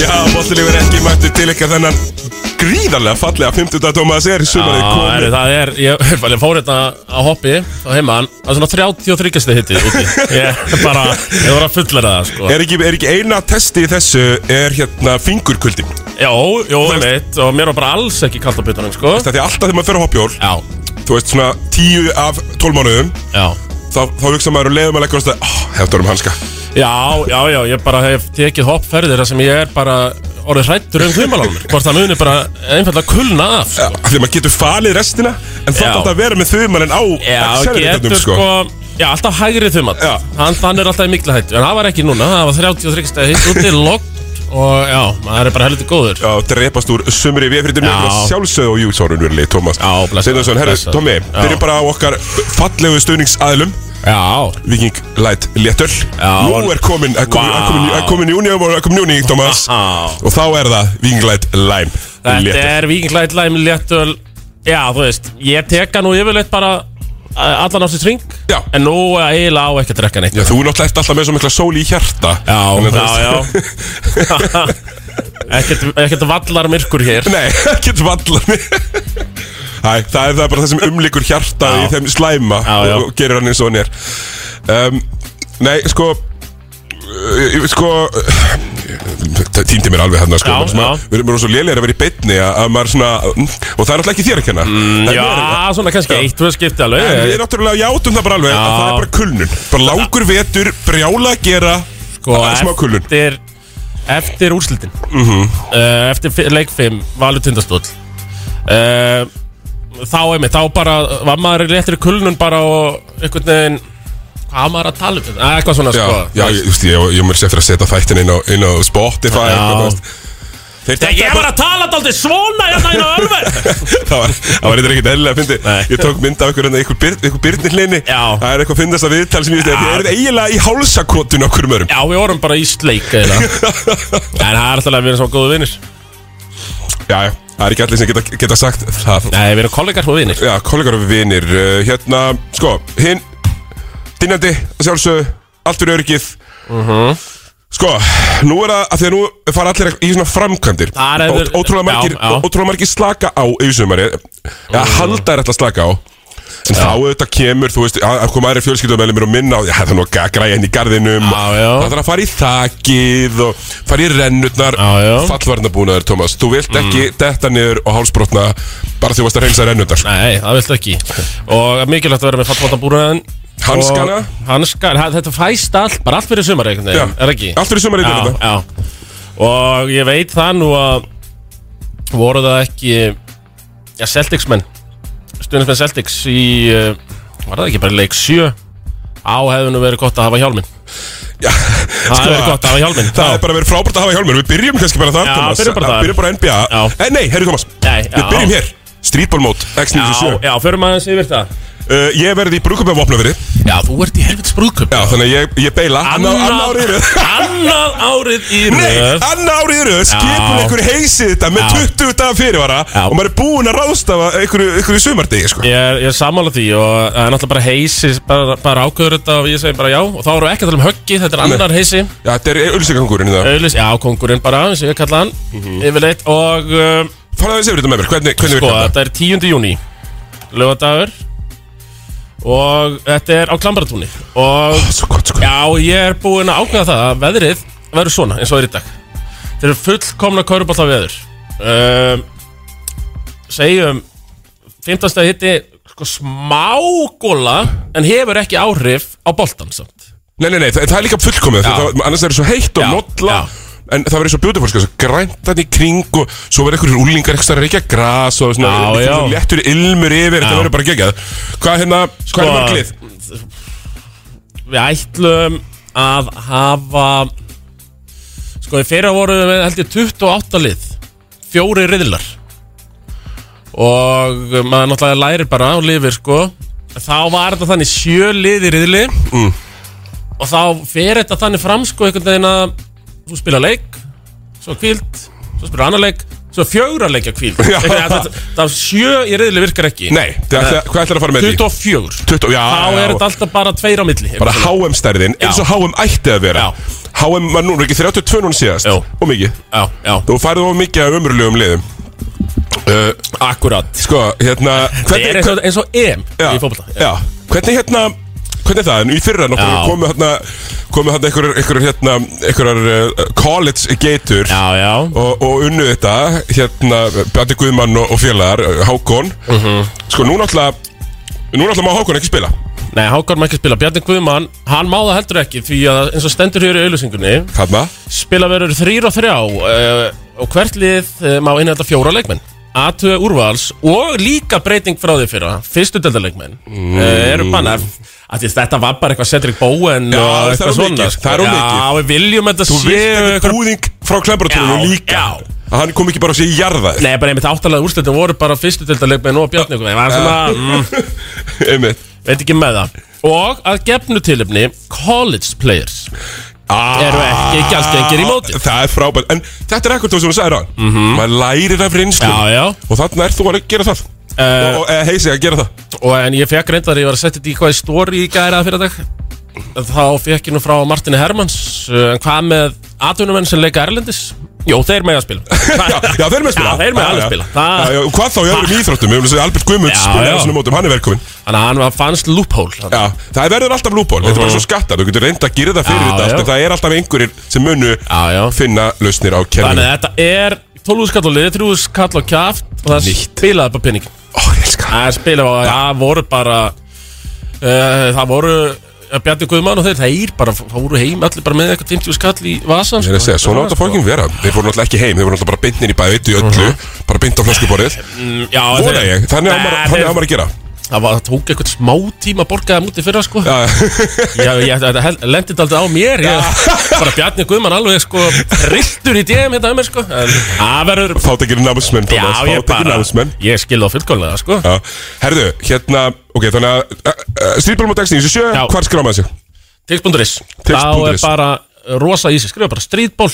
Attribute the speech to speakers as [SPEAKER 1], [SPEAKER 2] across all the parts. [SPEAKER 1] Já, bollilífur ekki mættu til ykkar þennan gríðarlega fallega 50. Thomas er sumarið
[SPEAKER 2] Já,
[SPEAKER 1] komið
[SPEAKER 2] er, það er, ég ég fór hérna á hoppi á heimaðan, það er svona 33 stið hitti úti. Ég bara, ég var að fullera það, sko.
[SPEAKER 1] Er ekki, er ekki eina testi í þessu er hérna fingurkuldin
[SPEAKER 2] Já, já, einmitt, og mér var bara alls ekki kallt á bytunum, sko.
[SPEAKER 1] Þetta er alltaf þegar maður fer á hoppjól
[SPEAKER 2] Já,
[SPEAKER 1] Þú veist svona 10 af 12 mánuðum
[SPEAKER 2] já.
[SPEAKER 1] Þá, þá hugsa maður um og leiðum að leggja á stað oh, Hefður um hanska
[SPEAKER 2] Já, já, já, ég bara hef tekið hoppferðir þar sem ég er bara orðið hrættur um þumalálmur. Hvort það muni bara einfallega kulna af, sko.
[SPEAKER 1] Þegar maður getur falið restina En þá
[SPEAKER 2] Já.
[SPEAKER 1] þátt að vera með þumalinn á
[SPEAKER 2] Já,
[SPEAKER 1] acceleratornum,
[SPEAKER 2] getur sko Já, alltaf hægri þumat
[SPEAKER 1] Já.
[SPEAKER 2] hann, hann er alltaf í mikla hættu En það var ekki núna, það var 33 stegi hitt úti Logg og já, maður er bara heldur góður
[SPEAKER 1] Já, drepast úr sumri viðfritum
[SPEAKER 2] Já.
[SPEAKER 1] Sjálfsögðu og júsárun verið Thomas
[SPEAKER 2] Já, blessaður,
[SPEAKER 1] Seinnarsson, herru,
[SPEAKER 2] blessaður.
[SPEAKER 1] Tommi
[SPEAKER 2] Já.
[SPEAKER 1] Byrjum bara á okkar fallegu stuðningsaðilum
[SPEAKER 2] Já,
[SPEAKER 1] Viking Light Léttöl
[SPEAKER 2] Já.
[SPEAKER 1] Nú er komin, er komin, er komin, er komin júni og er komin júni, Thomas
[SPEAKER 2] Vá.
[SPEAKER 1] Og þá er það Viking Light Lime
[SPEAKER 2] Ah. þetta
[SPEAKER 1] Léttöl
[SPEAKER 2] er vikinglæt læmi léttöl Já, þú veist, ég teka nú yfirleitt bara eh, allan ásins ring
[SPEAKER 1] Já.
[SPEAKER 2] En nú er eiginlega á ekki að drekka neitt
[SPEAKER 1] Já, þú náttúrulega ert alltaf með svo mikla sól í hjarta
[SPEAKER 2] Já,
[SPEAKER 1] Þannig
[SPEAKER 2] já,
[SPEAKER 1] að
[SPEAKER 2] já
[SPEAKER 1] þú-
[SPEAKER 2] Ekkert, ekkert vallar myrkur hér
[SPEAKER 1] Nei, ekkert vallan Æ, það er það er bara það sem umlikur hjarta
[SPEAKER 2] Já.
[SPEAKER 1] í þeim slæma
[SPEAKER 2] Já, já.
[SPEAKER 1] og gerir hann eins og hann er um, Nei, sko uh, sko það týndi mér alveg hérna sko
[SPEAKER 2] Já,
[SPEAKER 1] maður svona,
[SPEAKER 2] já.
[SPEAKER 1] við erum svo lélegir að vera í beinni að, að maður svona, og það er náttúrulega ekki þér að kenna mm,
[SPEAKER 2] Já, svona kannski eitt, þú veist, skipti alveg
[SPEAKER 1] En við náttúrulega játum það bara alveg að
[SPEAKER 2] Já.
[SPEAKER 1] það er bara kulnun bara langur vetur, brjála að gera
[SPEAKER 2] sko,
[SPEAKER 1] það er smá kulnun
[SPEAKER 2] eftir, eftir úrslitin uh, Eftir fi- leik 5 Valur tindastóll uh, Þá einmitt, þá bara Var maður réttir í kulnun bara og einhvern veginn Hvað var maður að tala um þetta? Eh, Eitthvað svona
[SPEAKER 1] Já,
[SPEAKER 2] sko
[SPEAKER 1] já, ég, þú veist, ég, ég mér sé eftir að setja þættin inn á, inn á Spotify
[SPEAKER 2] Já.
[SPEAKER 1] eitthvað, þú veist. Þeir
[SPEAKER 2] Þegar
[SPEAKER 1] detta
[SPEAKER 2] ég var að tala alltaf svona hérna inn á örver
[SPEAKER 1] það var, það var eitthvað ekkert eðlilega að
[SPEAKER 2] Nei.
[SPEAKER 1] fyndi Ég tók mynd af ykkur, hérna, ykkur, byr, ykkur byrnir hlinni
[SPEAKER 2] Já.
[SPEAKER 1] Það er eitthvað fyndast að viðtal sem ég veist Það er eiginlega í hálsakotun okkur um örum
[SPEAKER 2] Já, við vorum bara í sleik eða En það er alltaf að við erum svo góðu vinnir
[SPEAKER 1] Já, já, það er ekki allir sem geta, geta sagt það
[SPEAKER 2] Nei, við erum kollegar og vinnir
[SPEAKER 1] Já, kollegar og vinir uh, Hérna, sko, hinn Dynjandi, að sjálfsögðu Allt fyrir öryggið
[SPEAKER 2] Mhm.
[SPEAKER 1] Sko, nú er það, af því að nú fara allir í svona framkvæmdir
[SPEAKER 2] Það er-
[SPEAKER 1] Ó- Ótrúlega margir,
[SPEAKER 2] já, Mhm. já.
[SPEAKER 1] ótrúlega margir slaka á yfir sumari Já, halda er alltaf slaka á En þá auðvitað kemur, þú veist, að að koma aðri fjölskyldumeðlumir og minna á því, "Hæ, það er nú að græja henni í garðinum
[SPEAKER 2] Já, já.
[SPEAKER 1] Það þarf að fara í þakið og fara í rennurnar
[SPEAKER 2] Já, já. Mm.
[SPEAKER 1] Fallvarnabúnaður, Thomas, þú vilt ekki detta niður og hálsbrotna bara því þú varst að reynsa rennurnar
[SPEAKER 2] Nei, það viltu ekki Og mikilvægt að vera með fallbóttabúröðan
[SPEAKER 1] Hanskana?
[SPEAKER 2] Hanskana, þetta fæst allt, bara allt fyrir sumar einhvern veginn,
[SPEAKER 1] Já.
[SPEAKER 2] er ekki?
[SPEAKER 1] Allt fyrir sumarið
[SPEAKER 2] já,
[SPEAKER 1] þetta
[SPEAKER 2] já Og ég veit það nú að voru það ekki já, Celtics menn Stundismenn Celtics í uh, var það ekki bara í leik 7 á hefði nú verið gott að hafa hjálminn
[SPEAKER 1] Já,
[SPEAKER 2] Það
[SPEAKER 1] sko,
[SPEAKER 2] er verið gott að hafa hjálminn
[SPEAKER 1] Það er bara verið frábært að hafa hjálmur Við byrjum kannski bara þar,
[SPEAKER 2] Já,
[SPEAKER 1] Thomas
[SPEAKER 2] byrjum bara þar.
[SPEAKER 1] Byrjum bara NBA
[SPEAKER 2] Já.
[SPEAKER 1] Eh, Nei, herri Thomas
[SPEAKER 2] Nei,
[SPEAKER 1] Við
[SPEAKER 2] já.
[SPEAKER 1] byrjum hér Streetballmót
[SPEAKER 2] Já,
[SPEAKER 1] X97
[SPEAKER 2] já, förum aðeins yfir það
[SPEAKER 1] uh, Ég verði í brúkupið á vopnafyrir Já,
[SPEAKER 2] Já, þú ert í helvits brúðköp
[SPEAKER 1] þannig að ég, ég beila Anna, anna árið í röð.
[SPEAKER 2] annað árið í
[SPEAKER 1] Nei,
[SPEAKER 2] röð
[SPEAKER 1] anna árið í röð Skipun
[SPEAKER 2] Já.
[SPEAKER 1] ykkur heysið þetta með
[SPEAKER 2] Já.
[SPEAKER 1] 20 dagar fyrirvara
[SPEAKER 2] Já.
[SPEAKER 1] Og maður er búinn að ráðstafa ykkur, ykkur í sumardegi sko.
[SPEAKER 2] Ég er, ég er sammála því og eh, það er náttúrulega bara heisi, bara, bara ákveður þetta og ég segi bara já og þá erum við ekki að tala um höggi, þetta er annar heisi
[SPEAKER 1] Já, þetta er ölsingangurinn það
[SPEAKER 2] Auðlis, já, kongurinn bara, eins og ég kalla hann yfirleitt og um,
[SPEAKER 1] Fáðu aðeins yfir þetta með mér, hvernig, hvernig
[SPEAKER 2] sko,
[SPEAKER 1] virkar þetta?
[SPEAKER 2] þetta er 10. júni lögadagur og þetta er á Klambratúni og
[SPEAKER 1] Svo gott sko
[SPEAKER 2] já, ég er búinn að ákveða það að veðrið verður svona eins og er í dag Þetta eru fullkomna kaurubólta veður um, segjum 15. hitti sko smá góla en hefur ekki áhrif á boltan samt
[SPEAKER 1] Nei, nei, nei, það, það er líka fullkomið það, það, Annars er það svo heitt og
[SPEAKER 2] Já,
[SPEAKER 1] modla
[SPEAKER 2] já.
[SPEAKER 1] En það verður svo beautiful, sko, svo grænt hann í kring og svo verður einhverjir úlingar eitthvað að reykja gras og svona,
[SPEAKER 2] Já,
[SPEAKER 1] einhver
[SPEAKER 2] já.
[SPEAKER 1] svona léttur ilmur yfir, þetta verður bara geggjað. Hvað hérna, hvað
[SPEAKER 2] Sko-
[SPEAKER 1] er mörglið?
[SPEAKER 2] Við ætlum að hafa Sko, í fyrra voru við með, held ég 28 lið Fjóri riðlar Og maður náttúrulega lærir bara og lifir, sko Þá var þetta þannig sjö lið í riðli
[SPEAKER 1] Mm,
[SPEAKER 2] Og þá fer þetta þannig fram, sko, einhvern veginn að Þú spila leik, svo kvíld, svo spila annar leik Svo fjögra leikja kvíl
[SPEAKER 1] Já.
[SPEAKER 2] Það er sjö í reyðli virkar ekki
[SPEAKER 1] Nei, það ætla, hvað ætlar að fara með því?
[SPEAKER 2] 24
[SPEAKER 1] 20, já,
[SPEAKER 2] Þá
[SPEAKER 1] já,
[SPEAKER 2] er þetta alltaf bara tveir á milli
[SPEAKER 1] bara HM stærðin, eins og HM ætti að vera
[SPEAKER 2] Já.
[SPEAKER 1] HM var núna ekki 32 núna síðast
[SPEAKER 2] Jú.
[SPEAKER 1] og mikið,
[SPEAKER 2] Já, já,
[SPEAKER 1] þú færðu of mikið af umröðlegum liðum uh,
[SPEAKER 2] akkurat
[SPEAKER 1] Sko, hérna
[SPEAKER 2] Það er
[SPEAKER 1] hvernig,
[SPEAKER 2] eins og, eins og EM
[SPEAKER 1] já,
[SPEAKER 2] í fótbolta
[SPEAKER 1] já, hvernig hérna Hvernig er það, en í fyrra
[SPEAKER 2] Já.
[SPEAKER 1] nokkur komu hérna komu hérna einhverjar einhverjar hérna, einhverjar uh, college geitur
[SPEAKER 2] já, já.
[SPEAKER 1] og, og unnu þetta hérna Bjarni Guðmann og, og félagar uh, Hákon
[SPEAKER 2] Mhm.
[SPEAKER 1] sko núna alltaf núna alltaf má Hákon ekki spila
[SPEAKER 2] Nei, Hákon má ekki spila Bjarni Guðmann, hann má það heldur ekki Því að eins og stendur hér í auðlýsingunni
[SPEAKER 1] hérna
[SPEAKER 2] Spila verður þrýr og þrjá uh, Og hvert lið uh, má innhælda fjóra leikmenn A2 úrvals og líka breyting frá því fyrra Fyrstu deildaleikmenn mm. Eru banna að því Þetta var bara eitthvað Cedric Bowen
[SPEAKER 1] Já,
[SPEAKER 2] og
[SPEAKER 1] það er
[SPEAKER 2] eitthvað
[SPEAKER 1] of
[SPEAKER 2] svona sko.
[SPEAKER 1] mikið, það er of
[SPEAKER 2] Já,
[SPEAKER 1] mikið.
[SPEAKER 2] við viljum að þetta
[SPEAKER 1] þú
[SPEAKER 2] sé
[SPEAKER 1] vilt ekki
[SPEAKER 2] eitthvað-
[SPEAKER 1] búðing frá klembaratónu
[SPEAKER 2] Já,
[SPEAKER 1] líka
[SPEAKER 2] já.
[SPEAKER 1] að hann kom ekki bara að sé jarðaður
[SPEAKER 2] Nei, bara einmitt áttalega úrslitin voru bara fyrstu deildaleikmenn og Bjarni Guðmann Það er svona, mm,
[SPEAKER 1] einmitt
[SPEAKER 2] veit ekki með það Og að gefnu tilefni College players Eru ekki gjaldgengir í móti.
[SPEAKER 1] Ah, það er frábært en þetta er ekkert það sem hún sagði rann maður lærir af reynslu
[SPEAKER 2] Já, já
[SPEAKER 1] og þannig er þú að gera það
[SPEAKER 2] Eh.
[SPEAKER 1] og e, heisi að gera það
[SPEAKER 2] Og en ég fekk reyndar, ég var að setja þetta í hvað í stóri í gæra að fyrir dag Þá fekk ég nú frá Martini Hermans uh, En hvað með atvinnumenn sem leika Erlendis? Jó, þeir með að spila
[SPEAKER 1] já, já, þeir eru með að spila
[SPEAKER 2] Já, þeir eru með alveg að spila. Það-
[SPEAKER 1] já, já, Hvað þá í öðrum íþróttum, við viljum segja Albert Guðmunds
[SPEAKER 2] Já,
[SPEAKER 1] spila
[SPEAKER 2] já.
[SPEAKER 1] í þessum mótum, hann er velkomin
[SPEAKER 2] Þannig að hann var fannst loophole Mhm.
[SPEAKER 1] Já, það verður alltaf lúból, þetta er bara svo skattar Þú getur reynda að gera það fyrir
[SPEAKER 2] Já,
[SPEAKER 1] þetta
[SPEAKER 2] já.
[SPEAKER 1] allt En það er alltaf einhverjir sem munu
[SPEAKER 2] Já, já
[SPEAKER 1] finna lausnir á kerfinu
[SPEAKER 2] Þannig að þetta er 12 skall og lið, 3 skall og kjaft Og það
[SPEAKER 1] Nýtt.
[SPEAKER 2] spilaði bara pening
[SPEAKER 1] Ó, ég elska
[SPEAKER 2] Það spilaði bara, það voru bara uh, Það voru uh, Bjarni Guðmann og þeir, þeir bara fóru heim Allir bara með eitthvað 50 skall í sko. vasan
[SPEAKER 1] Ég er að segja, svona átt að fólkin vera Þeir voru náttúrulega ekki heim, þeir voru náttúrulega bara bindnir í bæði Eitt í öllu, bara bind á flöskuborðið
[SPEAKER 2] Mhm. Mm, Já,
[SPEAKER 1] Vona ég, þannig á
[SPEAKER 2] Nei,
[SPEAKER 1] maður-
[SPEAKER 2] þeir-
[SPEAKER 1] þannig á maður að gera
[SPEAKER 2] Það var, það tók eitthvað smá tíma að borga það mútið fyrra sko Já,
[SPEAKER 1] Já,
[SPEAKER 2] ég, ég þetta hel- lendi þetta aldrei á mér ég, Bara Bjarni Guðmann alveg sko Rilltur í DM hérna um mér sko En það verður
[SPEAKER 1] Fátækir námsmenn,
[SPEAKER 2] Já,
[SPEAKER 1] Thomas,
[SPEAKER 2] ég
[SPEAKER 1] fátækir
[SPEAKER 2] bara
[SPEAKER 1] námsmenn
[SPEAKER 2] Ég skil þá fullkomlega sko
[SPEAKER 1] Já, herðu, hérna, ok, þannig að eh, Strýtbólum á dagstíðin, þessu sjö,
[SPEAKER 2] Já.
[SPEAKER 1] hvar skráma þessu?
[SPEAKER 2] Tix.is Þá er
[SPEAKER 1] Tix.is.
[SPEAKER 2] bara rosa ísi Skrifa bara streetball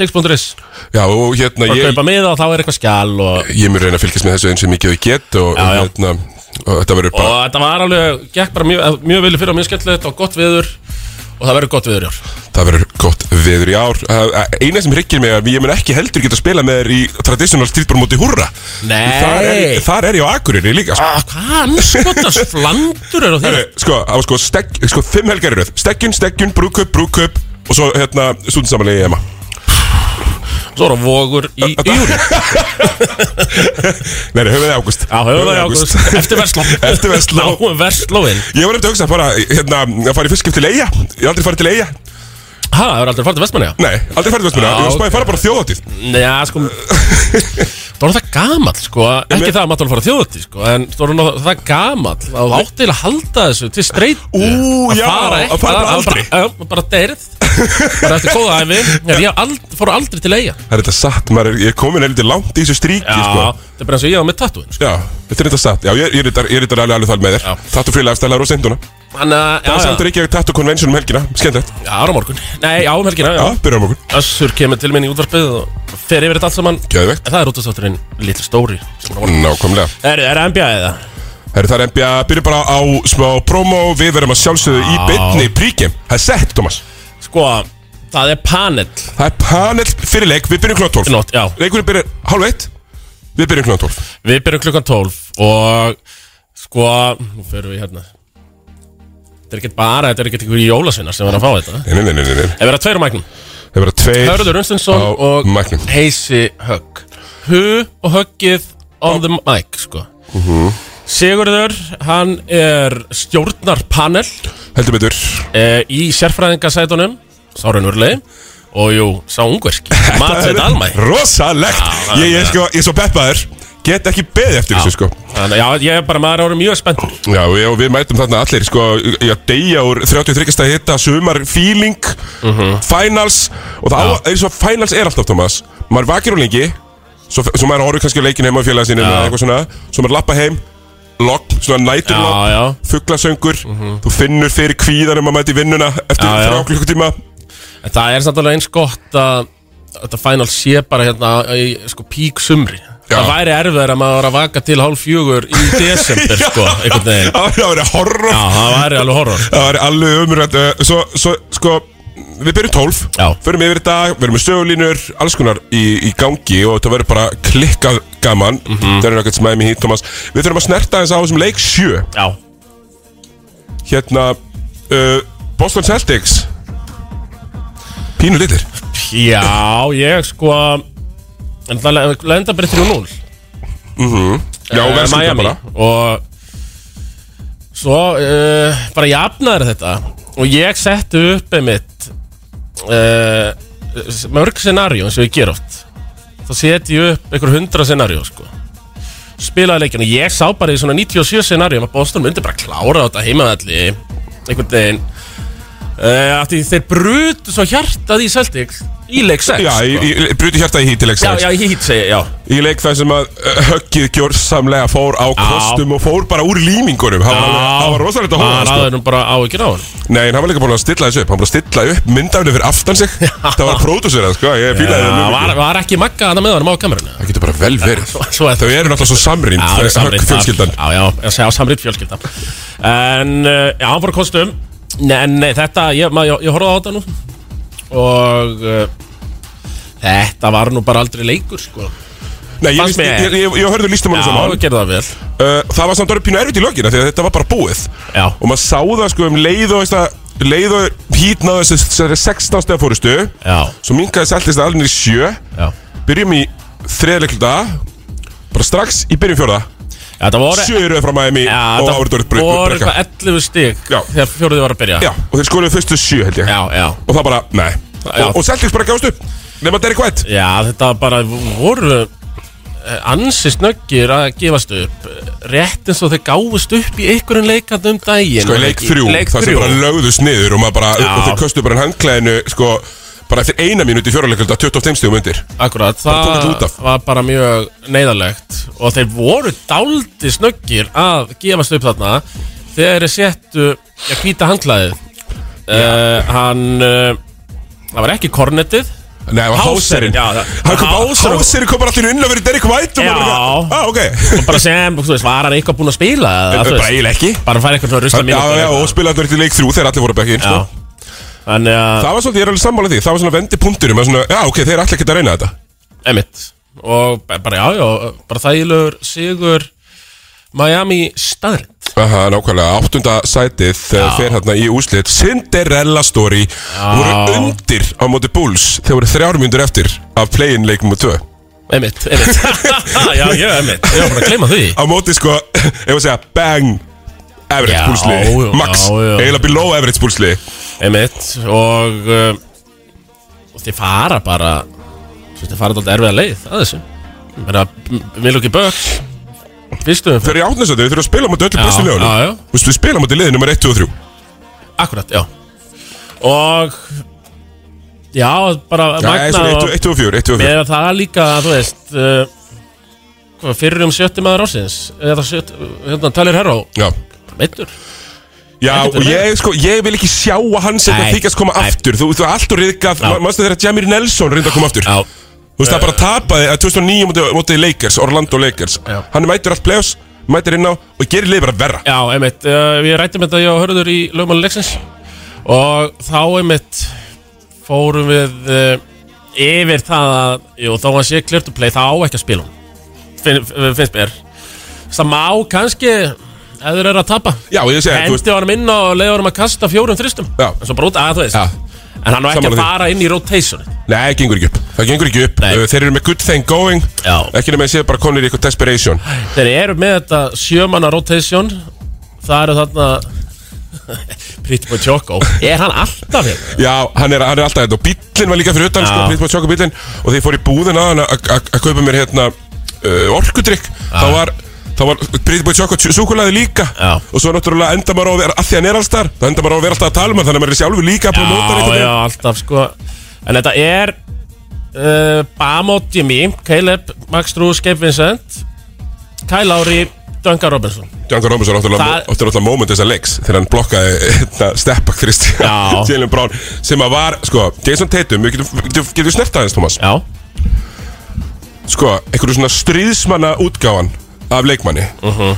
[SPEAKER 2] Tix.is
[SPEAKER 1] Já, og hérna,
[SPEAKER 2] Bara
[SPEAKER 1] ég,
[SPEAKER 2] kaupa miða og þá er eitthvað skjal og,
[SPEAKER 1] ég mun reyna að fylgjast með þessu eins og mikið og ég get og,
[SPEAKER 2] Já, já.
[SPEAKER 1] Hérna, og þetta verður
[SPEAKER 2] og
[SPEAKER 1] bara
[SPEAKER 2] þetta var alveg Gekk bara mjög, mjög vilja fyrir og mjög skemmtilegt Og gott viður Og það verður gott viður í ár
[SPEAKER 1] Það verður gott veður í ár Uh, Eina sem hryggir mig er að ég mun ekki heldur geta að spila með þér í traditional strítbór móti húrra
[SPEAKER 2] Nei. Ah,
[SPEAKER 1] Þar er, þar er ég á Akureyri líka sko.
[SPEAKER 2] Hvað skotas flandur er á þér
[SPEAKER 1] Herri, Sko, það var sko, stek, sko fimm helgar í röð Stekjun, stekjun, brúköp, brúköp Og svo hérna stundisamali í EMA
[SPEAKER 2] Svo er á vogur í, í júri
[SPEAKER 1] Nei, nei, höfum við águst
[SPEAKER 2] Já, höfum það í ágúst Eftir Vestló
[SPEAKER 1] Eftir Versló.
[SPEAKER 2] Náum Vestlóin
[SPEAKER 1] Ég var eftir að hugsa bara, hérna, að fara í fiskskip til Eyja Ég er aldrei farið til Eyja
[SPEAKER 2] Ha, það er aldrei farið til Vestmanniða
[SPEAKER 1] Nei, aldrei farið til Vestmuna
[SPEAKER 2] Já,
[SPEAKER 1] Ég var
[SPEAKER 2] ok.
[SPEAKER 1] spæði að fara bara á þjóðatíð
[SPEAKER 2] Nei, sko Það var það gamall, sko Ekki
[SPEAKER 1] men-
[SPEAKER 2] það að maður fara þjóðutti, sko En það var nú það gamall Það átti til að halda þessu til streit
[SPEAKER 1] Ú, já,
[SPEAKER 2] Að fara bara aldrei Já, bara deyrið Bara eftir góða æfi En ég ald- fór aldrei til eiga
[SPEAKER 1] Það er þetta satt, maður er, ég er komin eitthvað langt í þessu stríki
[SPEAKER 2] Já,
[SPEAKER 1] sko.
[SPEAKER 2] það er bara eins og ég á með tattúin, sko
[SPEAKER 1] Já, þetta er þetta satt Já, ég, ég, er þetta- ég er þetta alveg alveg þar með þér
[SPEAKER 2] Já.
[SPEAKER 1] Tattu frí lefstælar og senduna Það
[SPEAKER 2] Þannig að, uh,
[SPEAKER 1] er
[SPEAKER 2] já,
[SPEAKER 1] samt
[SPEAKER 2] já,
[SPEAKER 1] er ekki að tattu konvensjón um helgina Skemmtilegt
[SPEAKER 2] já, ára morgun Nei, já, um helgina,
[SPEAKER 1] Já,
[SPEAKER 2] já
[SPEAKER 1] byrjum okkur
[SPEAKER 2] Össur kemur til minn í útvarpið og fer yfir þetta allt saman
[SPEAKER 1] Gjöðvegt
[SPEAKER 2] En það er útastátturinn Little Story sem er á morgun.
[SPEAKER 1] Nákvæmlega
[SPEAKER 2] Er, er NBA eða?
[SPEAKER 1] Herri, það er NBA Byrjum bara á smá promo Við verðum að sjálfsögðu í
[SPEAKER 2] Já.
[SPEAKER 1] beinni príkjum Það er sett, Thomas
[SPEAKER 2] Sko, það er panel
[SPEAKER 1] Það er panel fyrir leik Við byrjum klokkan 12
[SPEAKER 2] Nótt, já
[SPEAKER 1] Leikurinn byrjar hálf eitt Við byrjum klokkan 12
[SPEAKER 2] Við byrjum klukkan 12 og sko, nú fyrir við hérna Þetta er ekkert bara, þetta er ekkert einhverjir jólasvinnar sem var að fá þetta
[SPEAKER 1] Nei, nei, nei, nei, nei, nei.
[SPEAKER 2] Það verða tveir á mæknum
[SPEAKER 1] Það er bara tveir
[SPEAKER 2] Hörður Unstinsson
[SPEAKER 1] á
[SPEAKER 2] og
[SPEAKER 1] mæknum.
[SPEAKER 2] Heisi Högg Hu og Höggið on the mic, sko
[SPEAKER 1] Mhm.
[SPEAKER 2] Sigurður, hann er stjórnarpanel
[SPEAKER 1] Heldur betur
[SPEAKER 2] e, í sérfræðingasætunum Sárunurlei og jú, sá ungverski Matset Almæ
[SPEAKER 1] Rosalegt
[SPEAKER 2] það er-
[SPEAKER 1] Ég er sko, ég er svo peppaður Get ekki beðið eftir þessu sko
[SPEAKER 2] Þannig, já, ég er bara maður ára mjög spennt
[SPEAKER 1] Já, og ég- og við mætum þarna allir sko, í að deyja úr 33. hitta sumar, feeling,
[SPEAKER 2] Mhm.
[SPEAKER 1] finals og það á, eins og finals er alltaf, Thomas maður vakir úr lengi svo, svo maður horfður kannski á leikin heima á félagasinu eða eitthvað svona, svo maður lappa heim logg, svona næturlogg,
[SPEAKER 2] Já, já Mhm.
[SPEAKER 1] fugglasöngur þú finnur fyrir kvíðanum að mæti vinnuna eftir
[SPEAKER 2] Já, já.
[SPEAKER 1] þrjá klukkutíma
[SPEAKER 2] En það er samt alveg eins gott að þetta final sé bara hérna í sko pík sumri
[SPEAKER 1] Já.
[SPEAKER 2] það væri erfiðar að maður var að vaka til hálf fjögur í desember sko, einhvern veginn já,
[SPEAKER 1] Það væri- það væri horror
[SPEAKER 2] það væri alveg horror
[SPEAKER 1] Það væri alveg umrætt uh, Svo, svo, sko Við byrjum 12
[SPEAKER 2] Já.
[SPEAKER 1] Förum yfir í dag Við erum með sögulínur Alls konar í, í gangi Og þetta verður bara klikkað gaman
[SPEAKER 2] Mhm.
[SPEAKER 1] Það er nákvæmt smæmi hít, Thomas Við þurfum að snerta eins á þessum leik 7
[SPEAKER 2] já,
[SPEAKER 1] Hérna uh, Boston Celtics Pínu litir
[SPEAKER 2] já, ég sko en það le- lenda bara í 3-0
[SPEAKER 1] Mhm. Já,
[SPEAKER 2] eh,
[SPEAKER 1] verðskulda
[SPEAKER 2] Miami
[SPEAKER 1] bara
[SPEAKER 2] og svo uh, bara jafnaður þetta og ég setti upp einmitt uh, mörg scenarió eins og ég ger oft þá seti ég upp einhver hundra scenarió sko spilaði leikinu, ég sá bara í svona 97 scenarió að Boston myndi bara klára þetta heimaðalli einhvern veginn uh, af því þeir brutu svo hjartað í Celtics í leik 6
[SPEAKER 1] Já, í,
[SPEAKER 2] sko.
[SPEAKER 1] í, í, bruti hjarta í hítileik
[SPEAKER 2] já, já, í hít segi, ég, já
[SPEAKER 1] Í leik þar sem að uh, höggið gjörsamlega fór á kostum og fór bara úr límingunum Það var alveg- það var rosalegt að sko.
[SPEAKER 2] hann
[SPEAKER 1] hóða
[SPEAKER 2] hafði nú bara á ekki náður
[SPEAKER 1] Nei, en hann var líka búin að stilla þessu upp Hann var að stilla upp myndafni fyrir aftan sig Það var pródúsirað, sko, ég fílaði það
[SPEAKER 2] Já,
[SPEAKER 1] mjög
[SPEAKER 2] var,
[SPEAKER 1] mikið
[SPEAKER 2] var ekki magga hann með honum á kamerunni
[SPEAKER 1] Það getur bara vel verið
[SPEAKER 2] Svo er
[SPEAKER 1] Þau eru náttúrulega svo samrýnd eh,
[SPEAKER 2] Já, það er samrýnd
[SPEAKER 1] Höggfjölskyldan
[SPEAKER 2] Já, já, ég segi á samrýnd fjölskyldan En, uh, já, hann fór að kostum Nei, nei, þetta, ég, maður, ég, ég horfði á þetta nú Og uh, Þetta var nú bara aldrei leikur, sko
[SPEAKER 1] Nei, ég,
[SPEAKER 2] Fannst
[SPEAKER 1] ég,
[SPEAKER 2] mér-
[SPEAKER 1] ég, ég, ég hörði lístum hann
[SPEAKER 2] Já,
[SPEAKER 1] svona
[SPEAKER 2] við gerðum það vel
[SPEAKER 1] Uh, Það var samt orðið pínu erfitt í lögina Því að þetta var bara búið
[SPEAKER 2] Já.
[SPEAKER 1] Og maður sá það sko um leið og veist að- Leið og hít náðu þessu- þessari 16 stegar fórustu
[SPEAKER 2] Já,
[SPEAKER 1] Svo minkaði seltist það alveg niður í sjö
[SPEAKER 2] já
[SPEAKER 1] Byrjum í þriðleikluta Bara strax í byrjum fjórða
[SPEAKER 2] Já, það voru
[SPEAKER 1] Sjö eru frá Miami
[SPEAKER 2] Já,
[SPEAKER 1] og
[SPEAKER 2] það
[SPEAKER 1] Árdur
[SPEAKER 2] voru
[SPEAKER 1] Brekka
[SPEAKER 2] eitthvað 11 stig
[SPEAKER 1] Já.
[SPEAKER 2] Þegar fjóruði var að byrja
[SPEAKER 1] Já, og þeir skoruðu fyrstu sjö held ég
[SPEAKER 2] já, já
[SPEAKER 1] Og það bara, nei
[SPEAKER 2] Já.
[SPEAKER 1] Og, og Celtics bara gafst upp Nefna Derek White
[SPEAKER 2] Já, þetta var bara voru eh, ansi snöggir að gefast upp eh, rétt eins og þeir gáfust upp í einhverjum leikand um daginn
[SPEAKER 1] Sko í leik þrjú
[SPEAKER 2] leik
[SPEAKER 1] Það sem
[SPEAKER 2] þrjú.
[SPEAKER 1] bara lögðust niður Og, maður bara,
[SPEAKER 2] Já.
[SPEAKER 1] og þeir köstu bara handklæðinu Sko bara eftir eina mínúti í fjóraleikulda 25 stíðum undir
[SPEAKER 2] Akkurat,
[SPEAKER 1] tók þetta út
[SPEAKER 2] það
[SPEAKER 1] af.
[SPEAKER 2] var bara mjög neyðarlegt og þeir voru daldi snöggir að gefast upp þarna þegar þeir settu að hvíta handklæðið uh, hann uh, það var ekki kornetið
[SPEAKER 1] Nei, það var
[SPEAKER 2] Hauserinn,
[SPEAKER 1] Háserinn
[SPEAKER 2] já, það- Hauser-
[SPEAKER 1] Háserinn kom bara allir inn að vera Derek White og maður
[SPEAKER 2] Já.
[SPEAKER 1] bara, ah, ok
[SPEAKER 2] bara sem, þú veist, var hann eitthvað búinn að spila eða, þú
[SPEAKER 1] Bara
[SPEAKER 2] veist,
[SPEAKER 1] eiginlega ekki
[SPEAKER 2] bara fær eitthvað svona
[SPEAKER 1] Já,
[SPEAKER 2] rusla mínútur
[SPEAKER 1] já, já,
[SPEAKER 2] eitthvað.
[SPEAKER 1] og spilaði þetta í leik þrjú þegar allir voru bekkin sko.
[SPEAKER 2] Já eh, Þannig að,
[SPEAKER 1] Það var svolítið, ég er alveg sammála því Það var svona vendi punkturum svona, Já, ok, þeir allir geta að reyna þetta
[SPEAKER 2] emitt Og b- bara, já, já, bara þægilegur sigur Miami staðrind
[SPEAKER 1] Aha, nákvæmlega, áttunda sætið já. fer hérna í úslit Cinderella story voru undir á móti Bulls þegar voru þrjár mínútur eftir af play-in leikum og tvö á
[SPEAKER 2] Emitt, emitt Já, já, emitt, ég var bara að gleyma því
[SPEAKER 1] móti sko, ef að segja, bang average
[SPEAKER 2] Já,
[SPEAKER 1] Bullsli,
[SPEAKER 2] já,
[SPEAKER 1] max
[SPEAKER 2] já, já.
[SPEAKER 1] eiginlega below average Bullsli
[SPEAKER 2] Emitt, og uh, Og þið fara bara þú veist, Þið fara þetta erfiða leið að þessu Menna, Milwaukee Bucks Fyrstu umferð
[SPEAKER 1] Þeir eru í átnesætið, þeir eru að spila á móti öllu
[SPEAKER 2] Já,
[SPEAKER 1] bestu
[SPEAKER 2] já, já.
[SPEAKER 1] liðunum Þú veist, við spila á móti liðið nummer 1, 2 og 3
[SPEAKER 2] Akkurat, já Og Já, bara
[SPEAKER 1] Já,
[SPEAKER 2] magnað
[SPEAKER 1] eða svona
[SPEAKER 2] og-
[SPEAKER 1] 1, 2 og 4, 1, 2 og 4
[SPEAKER 2] Mér er það líka, þú veist uh, hvað, Fyrir um sjötti maður ásins Eða sjött, hérna, Talir Herró
[SPEAKER 1] Já,
[SPEAKER 2] Meittur
[SPEAKER 1] já
[SPEAKER 2] Ekkert
[SPEAKER 1] og
[SPEAKER 2] verið.
[SPEAKER 1] ég, sko, ég vil ekki sjá að hann setja
[SPEAKER 2] Nei,
[SPEAKER 1] þykast koma
[SPEAKER 2] nei.
[SPEAKER 1] aftur Þú veist, það er allt og riðgað,
[SPEAKER 2] Já. Eh.
[SPEAKER 1] mannstu þegar Jamir Nelson reynda að koma aftur Þú veist, það bara tapaði að 2009 mótið, mótið Lakers, Orlando Lakers
[SPEAKER 2] Já.
[SPEAKER 1] Hann mætir allt playoffs, mætir inn á og gerir lið bara verra
[SPEAKER 2] Já, einmitt uh, Við rættum þetta ég og hörður í lögmáli leiksins Og þá einmitt Fórum við uh, Yfir það að Jú, þó að sé clear to play þá á ekki að spila hún Finn, eh, Finnst mér Það má kannski Ef þeir eru að tapa
[SPEAKER 1] Já, ég segi, þú veist,
[SPEAKER 2] Hendi honum inn og leiði honum að kasta fjórum þristum
[SPEAKER 1] Já.
[SPEAKER 2] En svo bara út að þú veist
[SPEAKER 1] Já.
[SPEAKER 2] En hann var ekki að
[SPEAKER 1] Sammála því.
[SPEAKER 2] fara inn í rotationið
[SPEAKER 1] nei, gengur ekki upp Það gengur ekki upp,
[SPEAKER 2] Nei.
[SPEAKER 1] Uh, þeir eru með good thing going
[SPEAKER 2] Já.
[SPEAKER 1] Ekki nema að séu bara konir í eitthvað desperation
[SPEAKER 2] Þeir eru með þetta sjömanna rotation Það eru þarna Pretty Boy Choco Er hann alltaf hérna?
[SPEAKER 1] Já, hann er, hann er alltaf þetta og bíllinn var líka fyrir utan, sko,
[SPEAKER 2] Já.
[SPEAKER 1] Pritmo Tjóka bíllinn Og þegar ég fór í búðin að hann að að- að kaupa mér hérna uh, orkudrykk Þá var, þá var Pritmo Tjóka súkulaði líka
[SPEAKER 2] Já.
[SPEAKER 1] Og svo náttúrulega enda maður á að vera, að því hann er allstar Það enda maður á að vera alltaf að tala um hann, þannig að maður er sjálfur líka að
[SPEAKER 2] Já,
[SPEAKER 1] promóta hann
[SPEAKER 2] já, alltaf sko En þetta er uh, Bamot Jimmy, Caleb Max Drews, Gabe Vincent Kyle Lowry, Dunga Robinson
[SPEAKER 1] Django Robinson átti náttúrulega-
[SPEAKER 2] Það-
[SPEAKER 1] átti náttúrulega moment þessa leiks þegar hann blokkaði hérna, steppa
[SPEAKER 2] Já.
[SPEAKER 1] Kristján Jalen Brown sem að var, sko, Jason Tatum við getum, getum, getum snert aðeins, Thomas
[SPEAKER 2] Já,
[SPEAKER 1] sko, einhverju svona stríðsmanna útgáfan af leikmanni
[SPEAKER 2] Mhm.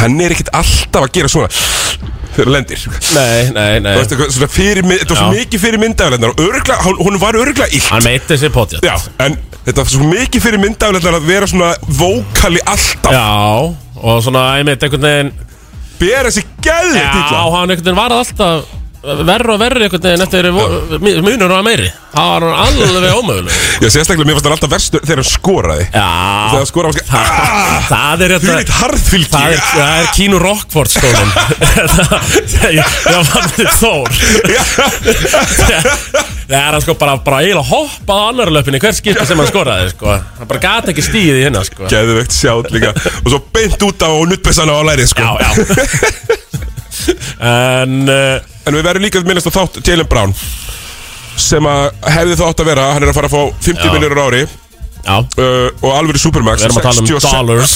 [SPEAKER 1] hann er ekkit alltaf að gera svona þegar hann lendir
[SPEAKER 2] nei, nei, nei
[SPEAKER 1] Þú veist, eitthvað svona fyrir, þetta var svo
[SPEAKER 2] Já.
[SPEAKER 1] mikið fyrir myndaflennar og örgla, hún, hún var örgla illt
[SPEAKER 2] Hann meiti sér potið
[SPEAKER 1] Já, en þetta var svo mikið fyrir myndaflennar að vera svona vókali alltaf
[SPEAKER 2] Já, og svona, ég meiti einhvern veginn
[SPEAKER 1] bera sig gæðið
[SPEAKER 2] Já,
[SPEAKER 1] ítla
[SPEAKER 2] hann einhvern veginn var alltaf verri og verri einhvern veginn eftir vo- mi- munur og meiri Það var hann alveg ómöguleg
[SPEAKER 1] Já, sérstaklega mér fannst hann alltaf verstur þegar hann skoraði
[SPEAKER 2] Já,
[SPEAKER 1] Þegar hann skoraði, hann skoraði
[SPEAKER 2] Ah. það er
[SPEAKER 1] Þú
[SPEAKER 2] þetta
[SPEAKER 1] er eitt harðfylgi ah!
[SPEAKER 2] Það er, það er Kínu Rockford skólinn Ég ég vann þitt Þór Það er hann sko bara, bara eiginlega hoppað á annar löpunni Hver skipti sem hann skoraði sko Hann bara gata ekki stíðið hérna sko Já,
[SPEAKER 1] Gæðvegt sjátt líka Og svo beint út á nuttbessana á lærið sko
[SPEAKER 2] já En uh,
[SPEAKER 1] En við verðum líka að minnast á þátt Jalen Brown Sem að hefði þá átt að vera Hann er að fara að fá 50
[SPEAKER 2] Já.
[SPEAKER 1] miljónur ári
[SPEAKER 2] Já,
[SPEAKER 1] uh, Og alvöru Supermax
[SPEAKER 2] við erum að tala um
[SPEAKER 1] 66
[SPEAKER 2] dollars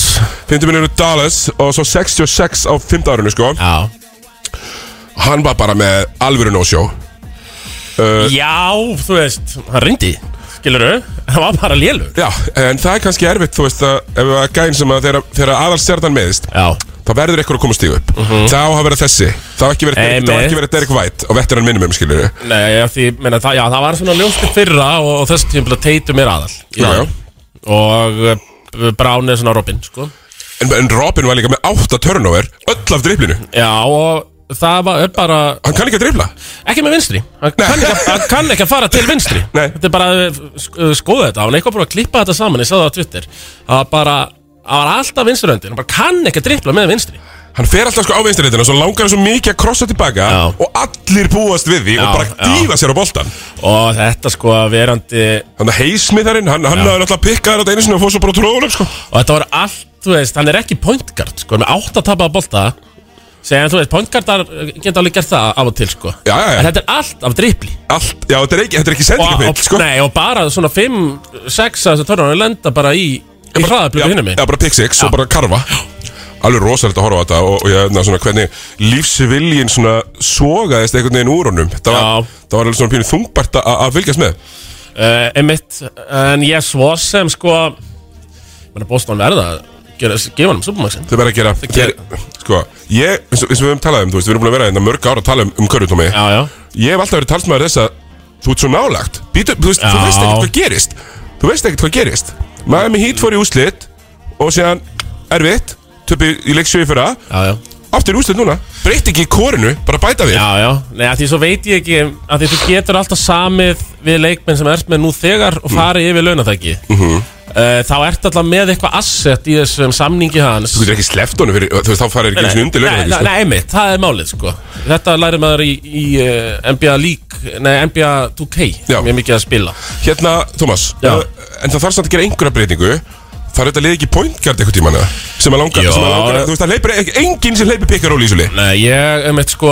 [SPEAKER 1] 50 miljónur dollars Og svo 66 á 5. árinu sko
[SPEAKER 2] Já
[SPEAKER 1] Hann var bara með alvöru no-show Uh,
[SPEAKER 2] Já, þú veist, hann ringdi Skilur hann var bara lélu
[SPEAKER 1] Já, en það er kannski erfitt Þú veist að Ef það er gæn sem að þegar- Þegar aðalstjarnan meðist
[SPEAKER 2] Já, Mhm.
[SPEAKER 1] þá verður eitthvað að koma stíg upp þá hafa verið þessi þá hafa ekki verið Derek,
[SPEAKER 2] Einmitt.
[SPEAKER 1] þá hafa ekki verið Derek White á vetturann minnum um skilur
[SPEAKER 2] nei, já, því, meina, það, já, það var svona ljóst í fyrra og, og þess tímplega teitum er aðal
[SPEAKER 1] Já, já.
[SPEAKER 2] Og uh, Brown er svona Robin, sko
[SPEAKER 1] en, en Robin var líka með 8 turnover öll af driplinu
[SPEAKER 2] Já, og það var er bara
[SPEAKER 1] hann kann ekki að dripla
[SPEAKER 2] Ekki með vinstri Hann kann ekki, að- hann kann ekki að fara til vinstri
[SPEAKER 1] Nei.
[SPEAKER 2] Þetta er bara eh, að skoða þetta Hann er eitthvað búin að klippa þetta saman, ég sagði það á Twitter Það var bara, það var alltaf vinströndin Hann bara kann ekki að drippla með vinstri
[SPEAKER 1] hann fer alltaf sko á veinstarleitina svo langar hann svo mikið að krossa tilbaka
[SPEAKER 2] Já.
[SPEAKER 1] og allir búast við því og bara
[SPEAKER 2] já.
[SPEAKER 1] dýfa sér á boltan
[SPEAKER 2] Og þetta sko að verandi
[SPEAKER 1] þannig að heismitharinn hann, hann hafði alltaf pikkað þetta einu sinni og fóð svo bara tróðuleg sko
[SPEAKER 2] Og þetta var allt, þú veist, hann er ekki point guard sko, með átt að tapa að bolta segja, þú veist, point guardar geta alveg gert það af og til, sko
[SPEAKER 1] Já, já, já.
[SPEAKER 2] En þetta er allt af dripli
[SPEAKER 1] allt já þetta er ekki þetta er ekki
[SPEAKER 2] og,
[SPEAKER 1] sendingapill sko
[SPEAKER 2] Nei, og bara svona 5, 6 þessu törnum lenda bara í, í hraðablöku
[SPEAKER 1] já,
[SPEAKER 2] hinum minn
[SPEAKER 1] já, bara pick six og bara karfa Alveg rosalegt að horfa á þetta og, og ég, na, svona, hvernig lífsviljin svona sogaðist einhvern veginn úr honum Það var,
[SPEAKER 2] Já.
[SPEAKER 1] það var alveg svona pínu þungbært að að fylgjast með
[SPEAKER 2] uh, Einmitt, en ég svo sem, sko Menni, Boston verða að gera, gefa hann um supermaxin
[SPEAKER 1] Þau verða að gera,
[SPEAKER 2] gera-
[SPEAKER 1] þeir- Sko, ég, eins og, eins og við höfum talað um, þú veist, við erum búin að vera hérna mörg ára að tala um, um körfutómi
[SPEAKER 2] Já, já,
[SPEAKER 1] Ég hef alltaf verið talsmaður þess að þú ert svo nálagt Býtu, þú, veist, þú
[SPEAKER 2] Já.
[SPEAKER 1] veist ekkert hvað gerist Þú veist ekkert hvað gerist Miami Heat fór í úslit og síðan erfitt, töpi í leiksjöfi fyrra
[SPEAKER 2] já, já
[SPEAKER 1] Aftur í úslit núna, breytt ekki í korinu, bara bæta við
[SPEAKER 2] Já, já, nei, að því svo veit ég ekki að því þú getur alltaf samið við leikmenn sem ert með nú þegar
[SPEAKER 1] Mm.
[SPEAKER 2] og farið yfir launatæki
[SPEAKER 1] Mhm.
[SPEAKER 2] -hmm. uh, þá ert alltaf með eitthvað asset í þessum samningi hans
[SPEAKER 1] Þú getur ekki sleppt honum fyrir, þú veist, þá farir ekki einu sinni undir sko.
[SPEAKER 2] Nei,
[SPEAKER 1] lögum
[SPEAKER 2] nei, nei, einmitt, það er málið sko Þetta læri maður í, í uh, NBA League Nei, NBA 2K
[SPEAKER 1] Já.
[SPEAKER 2] Mjög mikið að spila
[SPEAKER 1] Hérna, Thomas,
[SPEAKER 2] Já.
[SPEAKER 1] uh, en það þarf samt að gera einhverja breytingu Það er þetta liði ekki pointgjart eitthvað tíma hana Sem að langar,
[SPEAKER 2] Já.
[SPEAKER 1] sem að langar, þú veist, það leipir ekki Enginn sem leipir pikkar óli í svolí
[SPEAKER 2] Nei, ég, einmitt sko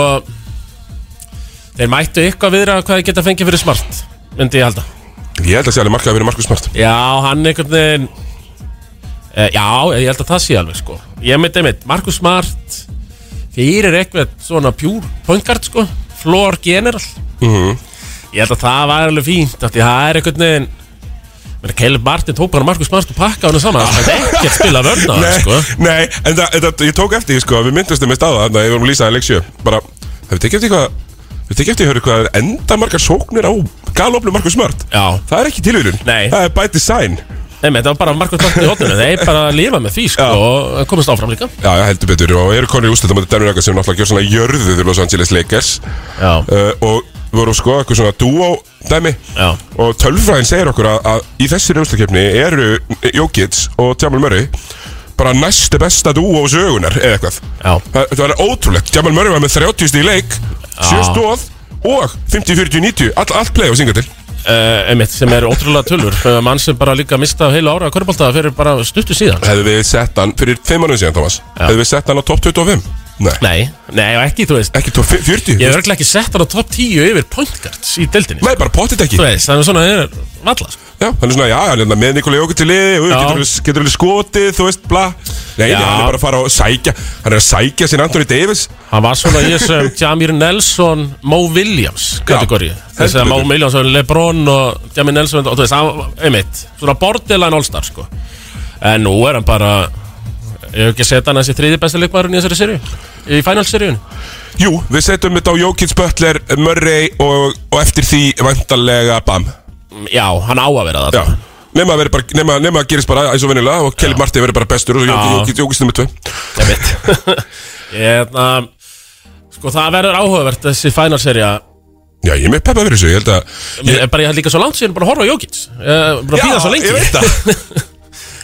[SPEAKER 2] Þeir mættu eitthvað viðra hvað þið geta fengið fyrir smart Myndi ég halda
[SPEAKER 1] Ég held að sé alveg markað að vera Markus Smart
[SPEAKER 2] Já, hann einhvern veginn e, Já, ég held að það sé alveg sko Ég myndi einmitt, Markus Smart Fyrir eitthvað svona pjúr Pointgard sko, floor general
[SPEAKER 1] Mhm.
[SPEAKER 2] Ég held að það var alveg fínt af Því það er einhvern veginn Menni, Caleb Martin tók bara Markus Smart og pakka hann saman Það er ekki að spila vörna
[SPEAKER 1] Nei,
[SPEAKER 2] sko.
[SPEAKER 1] nei, en það, en það, ég tók eftir, því, sko, við myndastum mest á það Þannig að ég vorum lýsaði leiksjö Bara, hefur tekið eftir hvað Hefur tekið eftir, hörðu, hvað er enda margar sóknir á galopnum Markus Smart
[SPEAKER 2] Já,
[SPEAKER 1] Það er ekki tilvílun
[SPEAKER 2] Nei.
[SPEAKER 1] Það er by design
[SPEAKER 2] nefnir, þetta var bara Markus Smart í hotninu Þeir bara lifa með því sko og komist áfram líka
[SPEAKER 1] Já, já, heldur betur og eru konur í ústöldum að Denver Nuggets sem náttúrulega gjör svona jörðu til Los Angeles Lakers
[SPEAKER 2] Já,
[SPEAKER 1] uh, og við vorum sko eitthvað svona duo dæmi
[SPEAKER 2] já,
[SPEAKER 1] og tölfræðin segir okkur að, að í þessari ústöldkjöfni eru Jokic og Jamal Murray bara næstu besta duo sögunar eða eitthvað
[SPEAKER 2] já
[SPEAKER 1] Það- Þetta var ótrúlegt, Jamal Murray var með 30 stig í leik, 7
[SPEAKER 2] Já.
[SPEAKER 1] stóð og 50-40-90, all, allt play og synga til
[SPEAKER 2] uh, einmitt, sem er ótrúlega tölur uh, mann sem bara líka mistaði heilu ára að körbólta fyrir bara stuttu síðan
[SPEAKER 1] Hefðu við sett hann, fyrir 5 mánuðin síðan Thomas Hefðu við sett hann á top 25? Nei,
[SPEAKER 2] nei, nei, og ekki, þú veist
[SPEAKER 1] ekki top 40?
[SPEAKER 2] ég hef örglega ekki sett hann á top 10 yfir point guards í deildinni
[SPEAKER 1] Nei, bara pottit ekki
[SPEAKER 2] þú veist, þannig svona er valla sko.
[SPEAKER 1] Já, hann er svona, já, hann er hérna með Nikolai Jókir til liði og
[SPEAKER 2] Já.
[SPEAKER 1] getur alveg- getur alveg skotið, þú veist, bla Nei, nei,
[SPEAKER 2] Já.
[SPEAKER 1] hann er bara að fara og sækja Hann er að sækja sér Anthony Davis
[SPEAKER 2] Hann var svona í þessum Jamir Nelson, Mo Williams kategóri Þess að Mo
[SPEAKER 1] betur.
[SPEAKER 2] Williams og Lebron og Jamir Nelson og þú veist, hann, einmitt, svona borderline all-star sko En nú er hann bara, ég hef ekki sett hann þessi þriði besti leikmaðurinn í þessari serju Í finals-serjun
[SPEAKER 1] Jú, við setjum þetta á Jókins Butler, Murray og, og eftir því vantarlega Bam
[SPEAKER 2] Já, hann á að vera það
[SPEAKER 1] Já, nema að, vera bara, nema, nema að gerist bara eins og venilega og Kelly Marti verið bara bestur og
[SPEAKER 2] Já.
[SPEAKER 1] Jókins, Jókins nummer 2
[SPEAKER 2] Ég veit Hérna, sko það verður áhugavert þessi finals-serja
[SPEAKER 1] Já, ég er með peppa fyrir þessu, ég held að
[SPEAKER 2] Ég er bara, ég held líka svo langt síðan bara að horfa á Jókins Ég er bara að býða svo lengi
[SPEAKER 1] ég veit það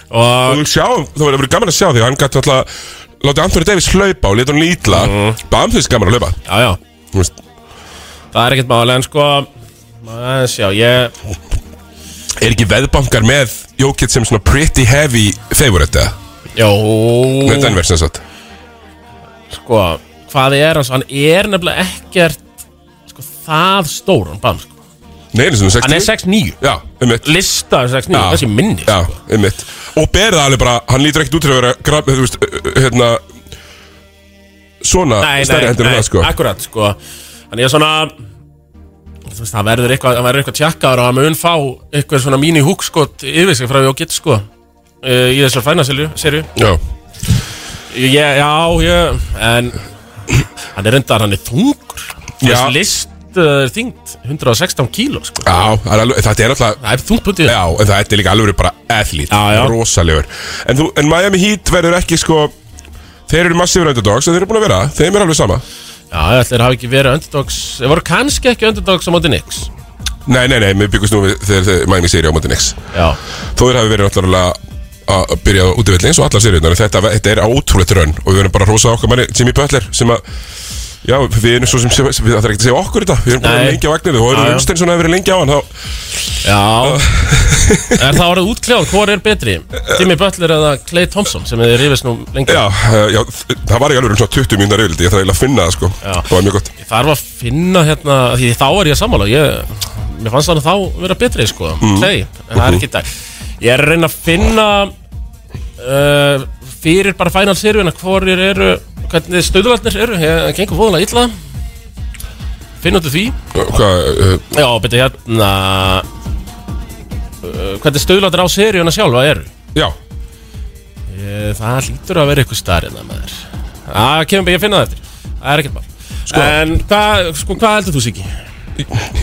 [SPEAKER 2] Og
[SPEAKER 1] Og sjá, það verður verið gaman að sjá því að hann gæti alltaf Látti Anthony Davis hlaupa og leta hann lítla Bam þess gaman að hlaupa
[SPEAKER 2] Mhm. Já, já,
[SPEAKER 1] Þú veist,
[SPEAKER 2] það er ekkert máli En sko, maður sjá, ég
[SPEAKER 1] Er ekki veðbankar með Jókic sem svona pretty heavy favorite eða?
[SPEAKER 2] Jó,
[SPEAKER 1] Með Denver sem sagt
[SPEAKER 2] sko Hvað er hans, hann er nefnilega ekkert Sko, það stór Hann, bam, sko.
[SPEAKER 1] Nei, einu sinni 60
[SPEAKER 2] hann er 6'9
[SPEAKER 1] Já, um mitt
[SPEAKER 2] Lista er 6'9,
[SPEAKER 1] Já.
[SPEAKER 2] þessi minni sko.
[SPEAKER 1] Já, um mitt Og berða alveg bara, hann lítur ekkert út til að vera graf, Þú veist, uh, uh, hérna Svona
[SPEAKER 2] Nei,
[SPEAKER 1] stærri
[SPEAKER 2] nei,
[SPEAKER 1] hendur en
[SPEAKER 2] nei,
[SPEAKER 1] það sko
[SPEAKER 2] akkurat, sko Þannig ég er svona Þú veist, það verður eitthvað, það verður eitthvað tjakkaður og hann mun fá eitthvað svona mini húkskot yfir sig frá Jókitt, sko eh, í þessar fænasilju, serju
[SPEAKER 1] Já,
[SPEAKER 2] Ég, já, ég, en hann er reyndar, hann er þungur
[SPEAKER 1] Já.
[SPEAKER 2] Þess list uh, er þyngd 116 kíló, sko
[SPEAKER 1] já það er alveg, þetta er alltaf
[SPEAKER 2] Það er þungt putið
[SPEAKER 1] Já, en það er líka alveg bara athlete
[SPEAKER 2] Já, já.
[SPEAKER 1] Rosalegur en, þú, en Miami Heat verður ekki sko Þeir eru massífur underdogs en þeir eru búin að vera Þeim er alveg sama
[SPEAKER 2] Já, ég ætla þeir hafa ekki verið underdogs Þeir voru kannski ekki underdogs á móti Nix
[SPEAKER 1] Nei, nei, nei, við byggumst nú við þegar þegar Miami séri á móti next
[SPEAKER 2] Já,
[SPEAKER 1] Þó þeir hafi verið náttúrulega að byrja á útivill eins og allar seriðunar þetta, þetta er ótrúlegt raun og við verðum bara að rosa okkar manni Jimmy Butler sem að já, við erum svo sem, sem við ætlum ekki að segja okkur þetta við erum bara
[SPEAKER 2] Nei.
[SPEAKER 1] lengi á vagninu og erum
[SPEAKER 2] Já, já.
[SPEAKER 1] umstein svona að verið lengi á hann þá,
[SPEAKER 2] já Er það orðið útkljár, hvor er betri? Jimmy Butler eða Clay Thompson sem þeir rifist nú lengi
[SPEAKER 1] já, uh, já, það var ekki alveg svona 20 mínúna reyðildi ég þarf eiginlega að finna það sko
[SPEAKER 2] Já.
[SPEAKER 1] það var mjög gott
[SPEAKER 2] Ég þarf að finna hérna, því þá er ég að sammála ég, Mér fannst þannig þá vera betri sko Klei, en það er ekki í dag Ég er að reyna að finna uh, Fyrir bara final seriuna Hvorir eru, hvernig stöðuvarnir eru Ég það gengur fóðulega illa Finna út úr því
[SPEAKER 1] Uh, hvað, uh,
[SPEAKER 2] Já, betur hérna uh, Hvernig stöðuvarnir á seriuna sjálfa eru
[SPEAKER 1] já,
[SPEAKER 2] ég, Það lítur að vera eitthvað starf hérna maður Það kemur bara, ég finna það eftir Það er ekkert mál
[SPEAKER 1] Sko.
[SPEAKER 2] En hvað, sko, hvað heldur þú Siki?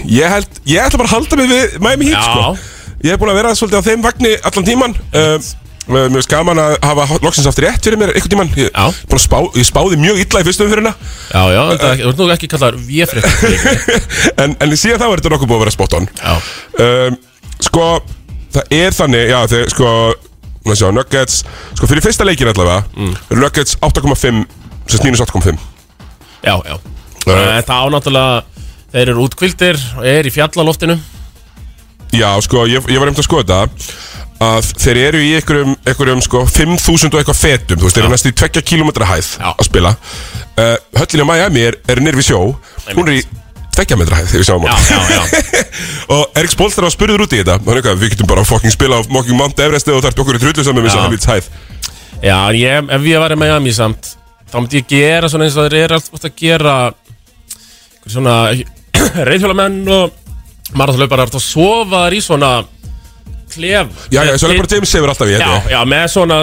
[SPEAKER 1] ég held ég ætla bara að halda mig við Miami Heat
[SPEAKER 2] Já.
[SPEAKER 1] sko ég er búin að vera svolítið á þeim vagni allan tíman um, Mér finnst gaman að hafa loksins aftur rétt fyrir mér einhvern tíman Ég,
[SPEAKER 2] Já.
[SPEAKER 1] búin að spá, ég spáði mjög illa í fyrstu Eh, umfyrirna
[SPEAKER 2] Já, já, þetta er- þú ert nú ekki kallar véfrétt
[SPEAKER 1] en, en síðan þá er þetta nokkuð búið að vera spot on
[SPEAKER 2] Já,
[SPEAKER 1] um, Sko, það er þannig Já, þeir, sko maður sjá, Nuggets, sko fyrir fyrsta leikin allavega
[SPEAKER 2] Mm.
[SPEAKER 1] eru Nuggets 8,5 sem snýnus 8,5
[SPEAKER 2] já, já En Eh, Það á náttúrulega, þeir eru útkvildir og er í fjallaloftinu
[SPEAKER 1] Já, sko, ég, ég var einmitt að skoða þetta að þeir eru í einhverjum, einhverjum sko, 5.000 og eitthvað fetum þú veist, þeir eru næstu í 2 km hæð
[SPEAKER 2] Já.
[SPEAKER 1] að spila uh, Höllin á Miami er, er nýr við sjó hún er í 2 metra hæð þegar við sjáum
[SPEAKER 2] Já,
[SPEAKER 1] hann.
[SPEAKER 2] já, já
[SPEAKER 1] og Erik Spolstra var spurður út í þetta hann er eitthvað, við getum bara fucking spila á mocking Mount Everest og það er okkur í trullu saman með þess
[SPEAKER 2] Já.
[SPEAKER 1] að helvits hæð
[SPEAKER 2] Já, en ég, ef ég væri með Miami samt þá myndi ég gera svona eins og þeir eru alltaf að gera einhver svona reyðhjólamenn og marathonlauparar þá sofa þær í svona klef
[SPEAKER 1] já, já, svo er bara James hefur alltaf í
[SPEAKER 2] Eh, Já, eh.
[SPEAKER 1] þetta
[SPEAKER 2] já, með svona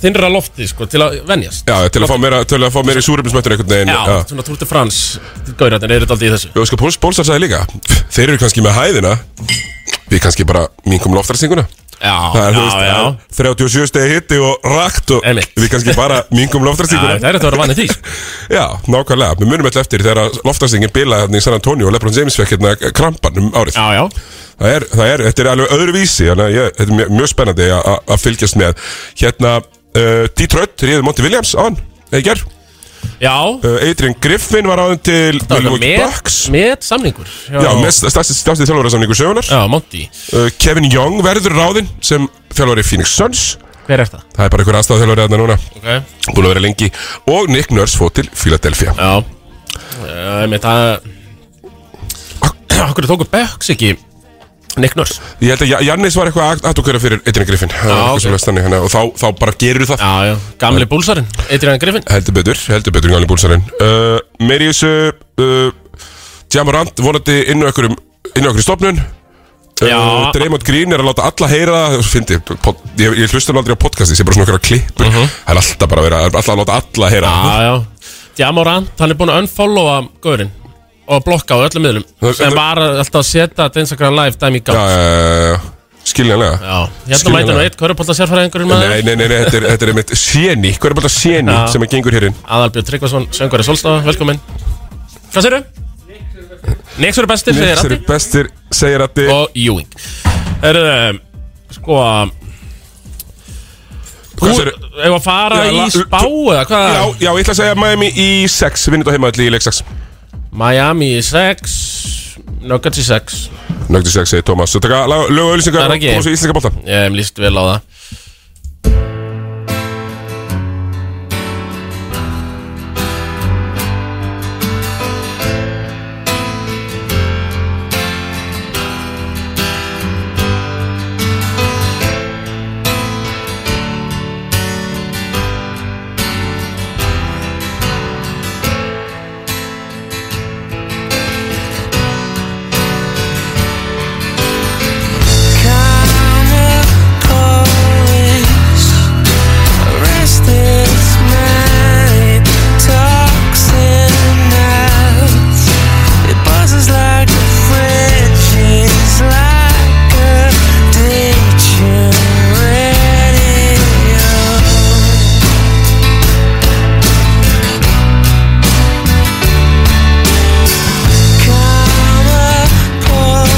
[SPEAKER 2] þinnra lofti sko, til að venjast
[SPEAKER 1] já, til að fá meira, til að fá meira í súrefnismættinu einhvern veginn
[SPEAKER 2] Já, svona Tour de France Gauðrættin er þetta aldrei í þessu
[SPEAKER 1] Jó, sko, Spolstra sagði líka þeir eru kannski með hæðina við kannski bara minkum loftarsinguna
[SPEAKER 2] Já,
[SPEAKER 1] Það er, þú
[SPEAKER 2] já, já
[SPEAKER 1] veist, 37 stegi hitti og rakt og
[SPEAKER 2] Einmitt.
[SPEAKER 1] við kannski bara mingum
[SPEAKER 2] Já,
[SPEAKER 1] loftarstinguna.
[SPEAKER 2] Það er þetta að vera vanið því sko.
[SPEAKER 1] Já, nákvæmlega. Við munum alltaf eftir þegar loftarstingin bilaði hérna í San Antonio og Lebron James fekk hérna krampan um árið.
[SPEAKER 2] Já, já
[SPEAKER 1] Það er, það er, þetta er alveg öðru vísi, þannig að ég, þetta er mjög, mjög spennandi að- að að fylgjast með. Hérna, uh, Detroit réði Monty Williams á hann, eða í ger.
[SPEAKER 2] Já
[SPEAKER 1] Uh, Adrian Griffin var á hann til Milwaukee
[SPEAKER 2] með,
[SPEAKER 1] Bucks.
[SPEAKER 2] með samningur
[SPEAKER 1] Já, mest stafsið þjálfarasamningu sögunar.
[SPEAKER 2] Já, Monty
[SPEAKER 1] Uh, Kevin Young verður ráðinn sem þjálfari Phoenix Suns.
[SPEAKER 2] Hver er það?
[SPEAKER 1] Það er bara einhver aðstæða þjálfari þarna núna.
[SPEAKER 2] Ok Já
[SPEAKER 1] búin að vera lengi og Nick Nurse fótt til Philadelphia
[SPEAKER 2] Já, ég meint að Akkur tóku Bucks ekki Nick Nurse
[SPEAKER 1] Ég held að Ja- Jannis var eitthvað að aðtokera fyrir Adrian Griffin Það var
[SPEAKER 2] ok.
[SPEAKER 1] eitthvað svoleiðis þannig, þannig að- Og þá, þá bara gerur það
[SPEAKER 2] Já, já, gamli búlsarinn, Adrian Griffin
[SPEAKER 1] Heldur betur, heldur betur Galli Búlsarinn uh, Meir í þessu uh, Jamorant vonandi inn á einhverjum inn á einhverjum stofnun
[SPEAKER 2] Já.
[SPEAKER 1] uh, Draymond Green er að láta alla heyra það, svo fyndi, pod, ég, ég hlusta nú aldrei á podcasti sem bara svona okkar klippur
[SPEAKER 2] Mhm.
[SPEAKER 1] Það er alltaf bara að vera, alltaf að láta alla heyra
[SPEAKER 2] Já, já, Jamorant, hann er búin að unfollowa Gaurinn og blokka á öllum miðlum
[SPEAKER 1] Það-
[SPEAKER 2] sem
[SPEAKER 1] það-
[SPEAKER 2] var að- alltaf að setja þetta Instagram live dæmi í gang Já,
[SPEAKER 1] uh, Skiljanlega
[SPEAKER 2] hérna
[SPEAKER 1] Skiljanlega.
[SPEAKER 2] mæti nú eitt körupoltasérfæraðingurinn
[SPEAKER 1] Nei,
[SPEAKER 2] maður
[SPEAKER 1] nei, nei, nei, þetta er, þetta er einmitt séni, hver er bara séni
[SPEAKER 2] Já.
[SPEAKER 1] sem er gengur hérinn
[SPEAKER 2] Aðalbjörn Tryggvason, söngari Solstafa, velkomin Hvað segirðu? Nix eru bestir, segir
[SPEAKER 1] Nils
[SPEAKER 2] Addi
[SPEAKER 1] eru bestir, segir Addi
[SPEAKER 2] og Ewing Herðu, sko Þú,
[SPEAKER 1] Hvað segirðu?
[SPEAKER 2] ef að fara
[SPEAKER 1] Já, la-
[SPEAKER 2] í spá eða hvað
[SPEAKER 1] Já, já, ég ætla að segja Miami í 6, vinnit á heimaðalli í leik 6
[SPEAKER 2] Miami í 6 Nuggets í 6
[SPEAKER 1] Nögtu 6, segir Tómas Svo taka lag- lög
[SPEAKER 2] Það
[SPEAKER 1] og auðlýsingar
[SPEAKER 2] er
[SPEAKER 1] og
[SPEAKER 2] ekki.
[SPEAKER 1] koma svo í íslenska bólta
[SPEAKER 2] Ég hef líst vel á það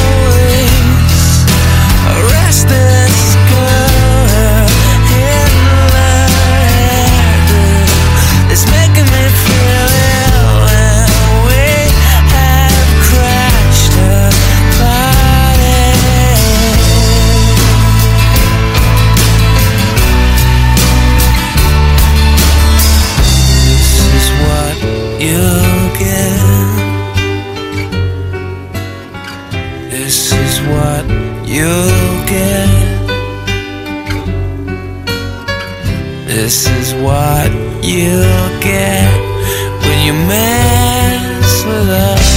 [SPEAKER 3] Poise Restless girl in my It's making me feel ill, and we have crashed the party. This is what you get. This is what you get. This is what you get when you mess with us.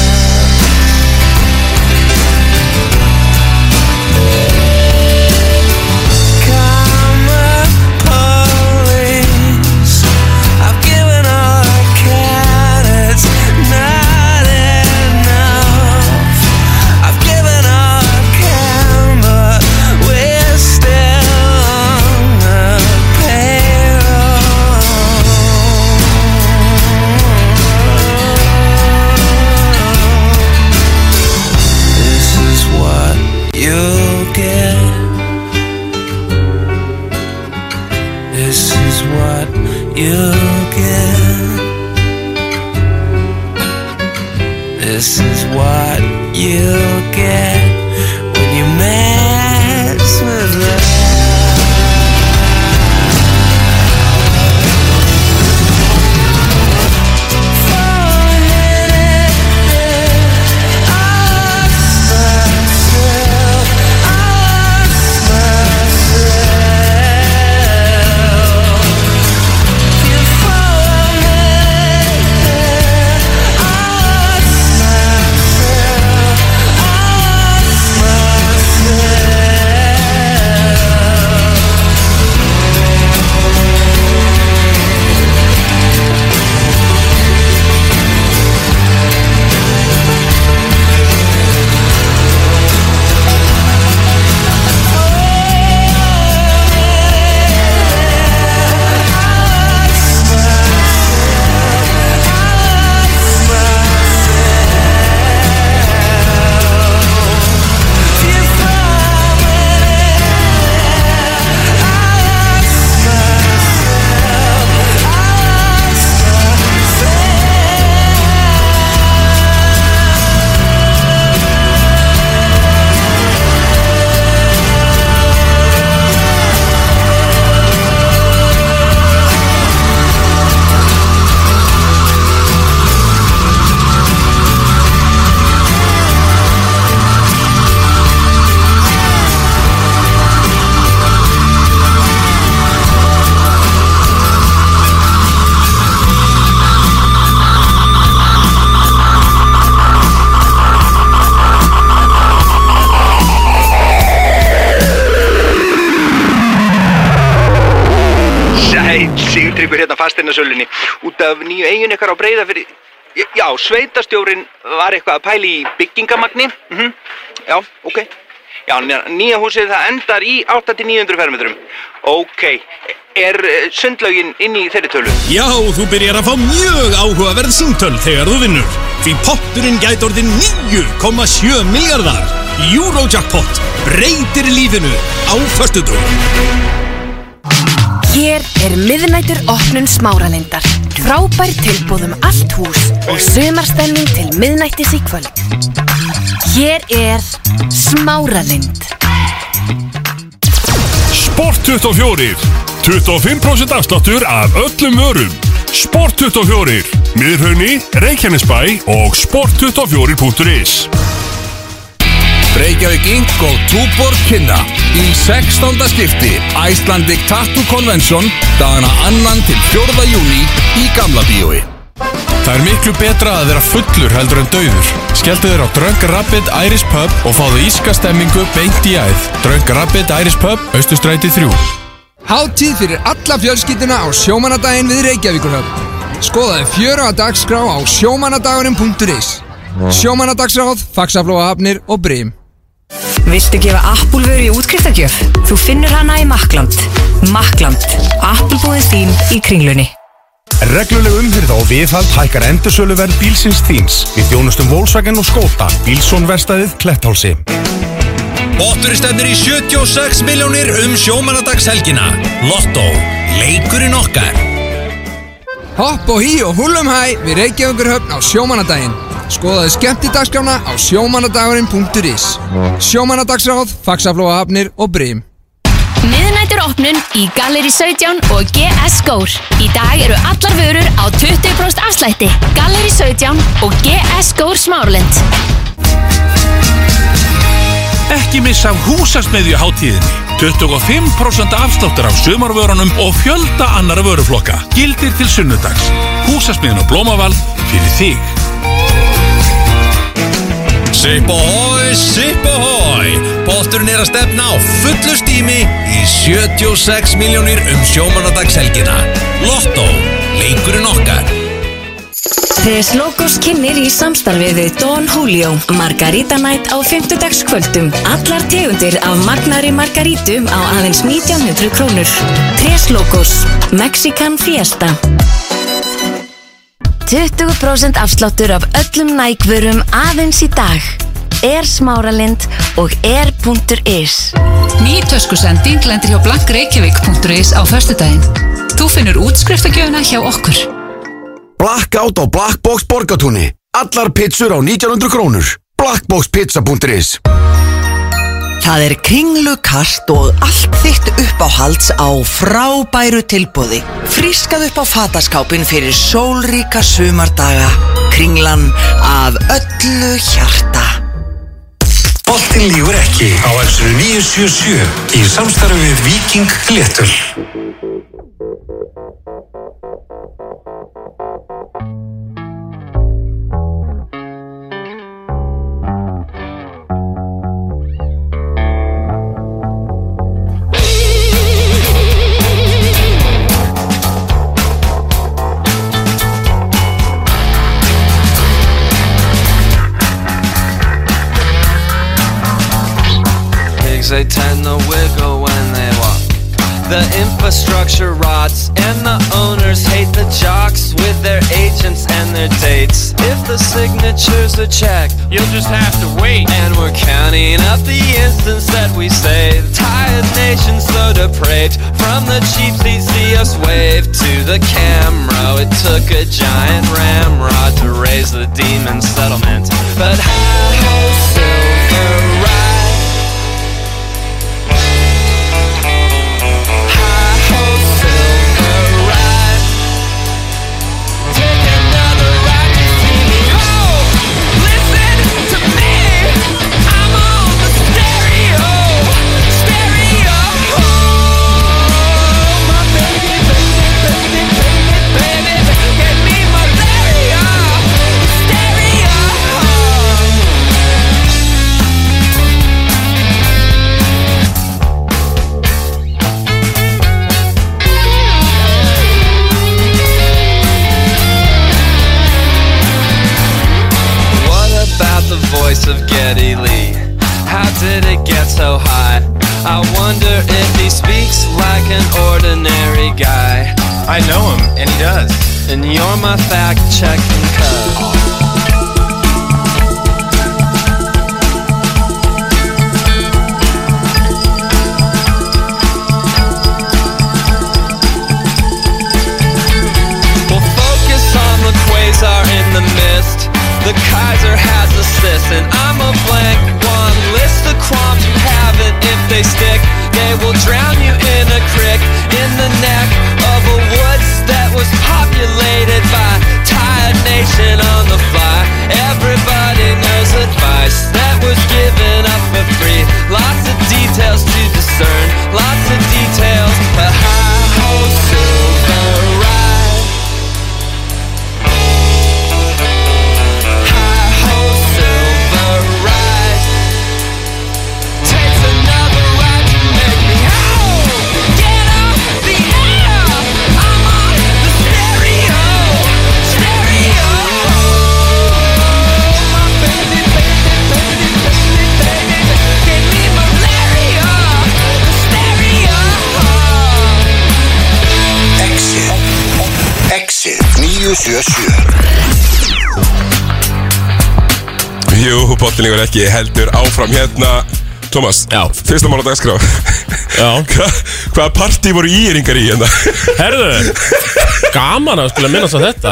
[SPEAKER 3] Karma police. I've given all I can. It's not enough. I've given all I can, but we're still on the payroll. This is what you get. This is what you get. This is what you get when you mess with love. Myself,
[SPEAKER 4] fasteina hérna út af nýju eigin ykkar á breyða fyrir já, sveitastjórin var eitthvað að pæli í byggingamagni mm já, ok já, ný- nýja húsið það endar í 8-900 fermetrum ok, er eh, sundlaugin inn í þeirri tölu?
[SPEAKER 5] Já, þú byrjar að fá mjög áhugaverð síntöl þegar þú vinnur. Því potturinn gæti orðin 9,7 miljardar. Eurojackpot breytir lífinu á föstudum.
[SPEAKER 6] Hér er miðnætur opnun smáralindar. Frábær tilbúðum allt hús og sömarstemning til miðnættis í kvöld. Hér er smáralind.
[SPEAKER 7] Sport 24 25% afsláttur af öllum vörum Sport 24 Miðraunni, Reykjanesbæ og sport24.is
[SPEAKER 8] Reykjavík Inc. og Túborg kynna í 16. skipti Icelandic Tattoo Convention dagana 2. til 4. júni í Gamla Bíói.
[SPEAKER 9] Það er miklu betra að vera fullur heldur en dauður. Skeltu þér á Drunk Rabbit Irish Pub og fáðu íska stemmingu beint í æð. Drunk Rabbit Irish Pub, Östustræti 3.
[SPEAKER 8] Hátíð fyrir alla fjölskylduna á sjómanadaginn við Reykjavíkurhöfn. Skoðaði fjöru að dagskrá á sjómanadagurinn.is Sjómanadagsráð, faxaflóahafnir og brím.
[SPEAKER 10] Viltu gefa Appulvöru í útskriftagjöf? Þú finnur hana í Makkland. Makkland. Appulbúðin þín í kringlunni.
[SPEAKER 11] Regluleg umhyrða og viðhald hækkar endursöluverð bílsins þíns við þjónustum Volkswagen og Skóta, bílsónverstaðið Kletthálsi.
[SPEAKER 5] Botturinn stefnir í 76 miljónir um sjómanadagshelgina. Lotto, leikurinn okkar.
[SPEAKER 8] Hopp og hí og húlum hæ við Reykjavíkurhöfn á sjómanadaginn. Skoðaði skemmtidagskrána á sjómanadagurinn.is Sjómanadagsráð, faxaflóahafnir og brím.
[SPEAKER 6] Miðnætur opnun í Galleri 17 og GS Gór. Í dag eru allar vörur á 20% afslætti. Galleri 17 og GS Gór smáralind.
[SPEAKER 5] Ekki missa af húsasmiðju hátíðinni. 25% afsláttur af sömarvörunum og fjölda annara vöruflokka. Gildir til sunnudags. Húsasmiðin og blómavald fyrir þig.
[SPEAKER 9] Sip ahoy, sip ahoy! Botturinn er að stefna á fullu stími í 76 miljónir um sjómanadagshelgina. Lotto, leikurinn okkar.
[SPEAKER 10] Tres Locos kynir í samstarfið við Don Julio. Margarita Night á 50 Allar tegundir af magnari margarítum á aðeins 1900 krónur. Tres Locos. Mexican Fiesta.
[SPEAKER 6] 20% afsláttur af öllum nækvörum aðeins í dag. Er smáralind og er.is.
[SPEAKER 10] Ný töskusending lendir hjá blankreykjavík.is á förstudaginn. Þú finnur útskriftagjöfuna hjá okkur.
[SPEAKER 12] Blackout á Blackbox Borgatúni. Allar pizzur á 1900 krónur. Blackboxpizza.is
[SPEAKER 13] Það er kringlukast og allt þitt uppáhalds á frábæru tilbúði. Frískað upp á fataskápin fyrir sólríka sumardaga. Kringlan af öllu hjarta.
[SPEAKER 11] Boltin lífur ekki á Exinu 977 í samstarfi við Viking Léttul.
[SPEAKER 14] pigs, they tend to wiggle when they walk. The infrastructure rots, and the owners hate the jocks with their agents and their dates. If the signatures are checked, you'll just have to wait. And we're counting up the instants that we save. Tired nation so depraved. From the cheap seats, see us wave to the camera. It took a giant ramrod to raise the demon settlement. But how silver ride? Malaria, hysteria price of Getty Lee. How did it get so high? I wonder if he speaks like an ordinary guy. I know him, and he does. And you're my fact checking cuz. We'll focus on the quasar in the mist. The Kaiser has a cyst, and I'm a blank one. List the qualms you have, and if they stick, they will drown you in a crick in the neck of a woods that was populated by tired nation on the fly. Everybody knows advice that was given up for free. Lots of details to discern, lots of details, but high holds silver right.
[SPEAKER 11] Exit Exit 977
[SPEAKER 1] Jú, botlinningur ekki heldur áfram hérna Thomas, Já. fyrsta mál á dagskrá
[SPEAKER 2] Já
[SPEAKER 1] Hva, Hvaða partí voru íringar í hérna?
[SPEAKER 2] Herðu, gaman að skilja minnast á þetta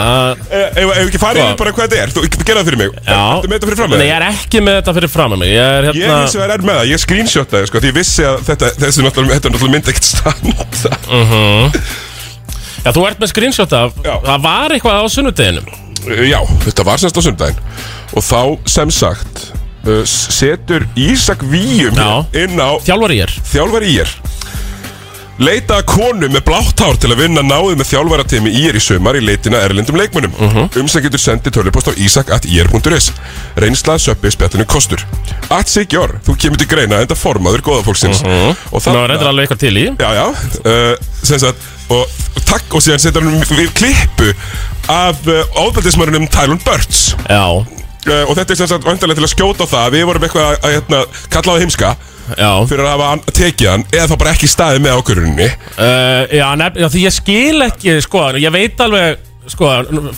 [SPEAKER 1] Ef ekki farið yfir bara hvað þetta er, þú gerða það fyrir mig Já Ertu með þetta fyrir fram
[SPEAKER 2] Nei, ég er ekki með þetta fyrir fram mig Ég er
[SPEAKER 1] Ég
[SPEAKER 2] hérna
[SPEAKER 1] hins vegar er með það, ég screenshotaði sko, því ég vissi að þetta, þessi náttúrulega, þetta er náttúrulega mynd ekkert standa
[SPEAKER 2] Mhm. Já, þú ert með screenshot af Það var eitthvað á sunnudeginum
[SPEAKER 1] Eh, Já, þetta var semst á sundaginn Og þá sem sagt uh, s- Setur Ísak Víum Já. inn á
[SPEAKER 2] Þjálfari ég
[SPEAKER 1] Þjálfari ég Leita að konu með blátt hár til að vinna náðið með þjálfaratemi IR í sumar í leitina erlendum leikmönnum. Uh
[SPEAKER 2] Mhm.
[SPEAKER 1] -huh. Umsækjendur sendi tölvupost á isak.ir.is. Reynslað söppi spjallinu kostur. At Sigjor, þú kemur til greina enda formaður góðafólksins.
[SPEAKER 2] Mhm.
[SPEAKER 1] Uh -huh.
[SPEAKER 2] Ná, reyndar alveg eitthvað til í.
[SPEAKER 1] Já, já. Uh, sem sagt, og takk og síðan setur hann við klippu af uh, ofbeldismörunum Tyron Burts.
[SPEAKER 2] Já.
[SPEAKER 1] Uh, og þetta er sem sagt vantarlega til að skjóta á það að við vorum eitthvað að, að hérna, kalla á það heimska
[SPEAKER 2] já.
[SPEAKER 1] fyrir að hafa an- tekið hann eða þá bara ekki staðið með ákvöruninni
[SPEAKER 2] uh, já, nefn, já, því ég skil ekki sko, ég veit alveg sko,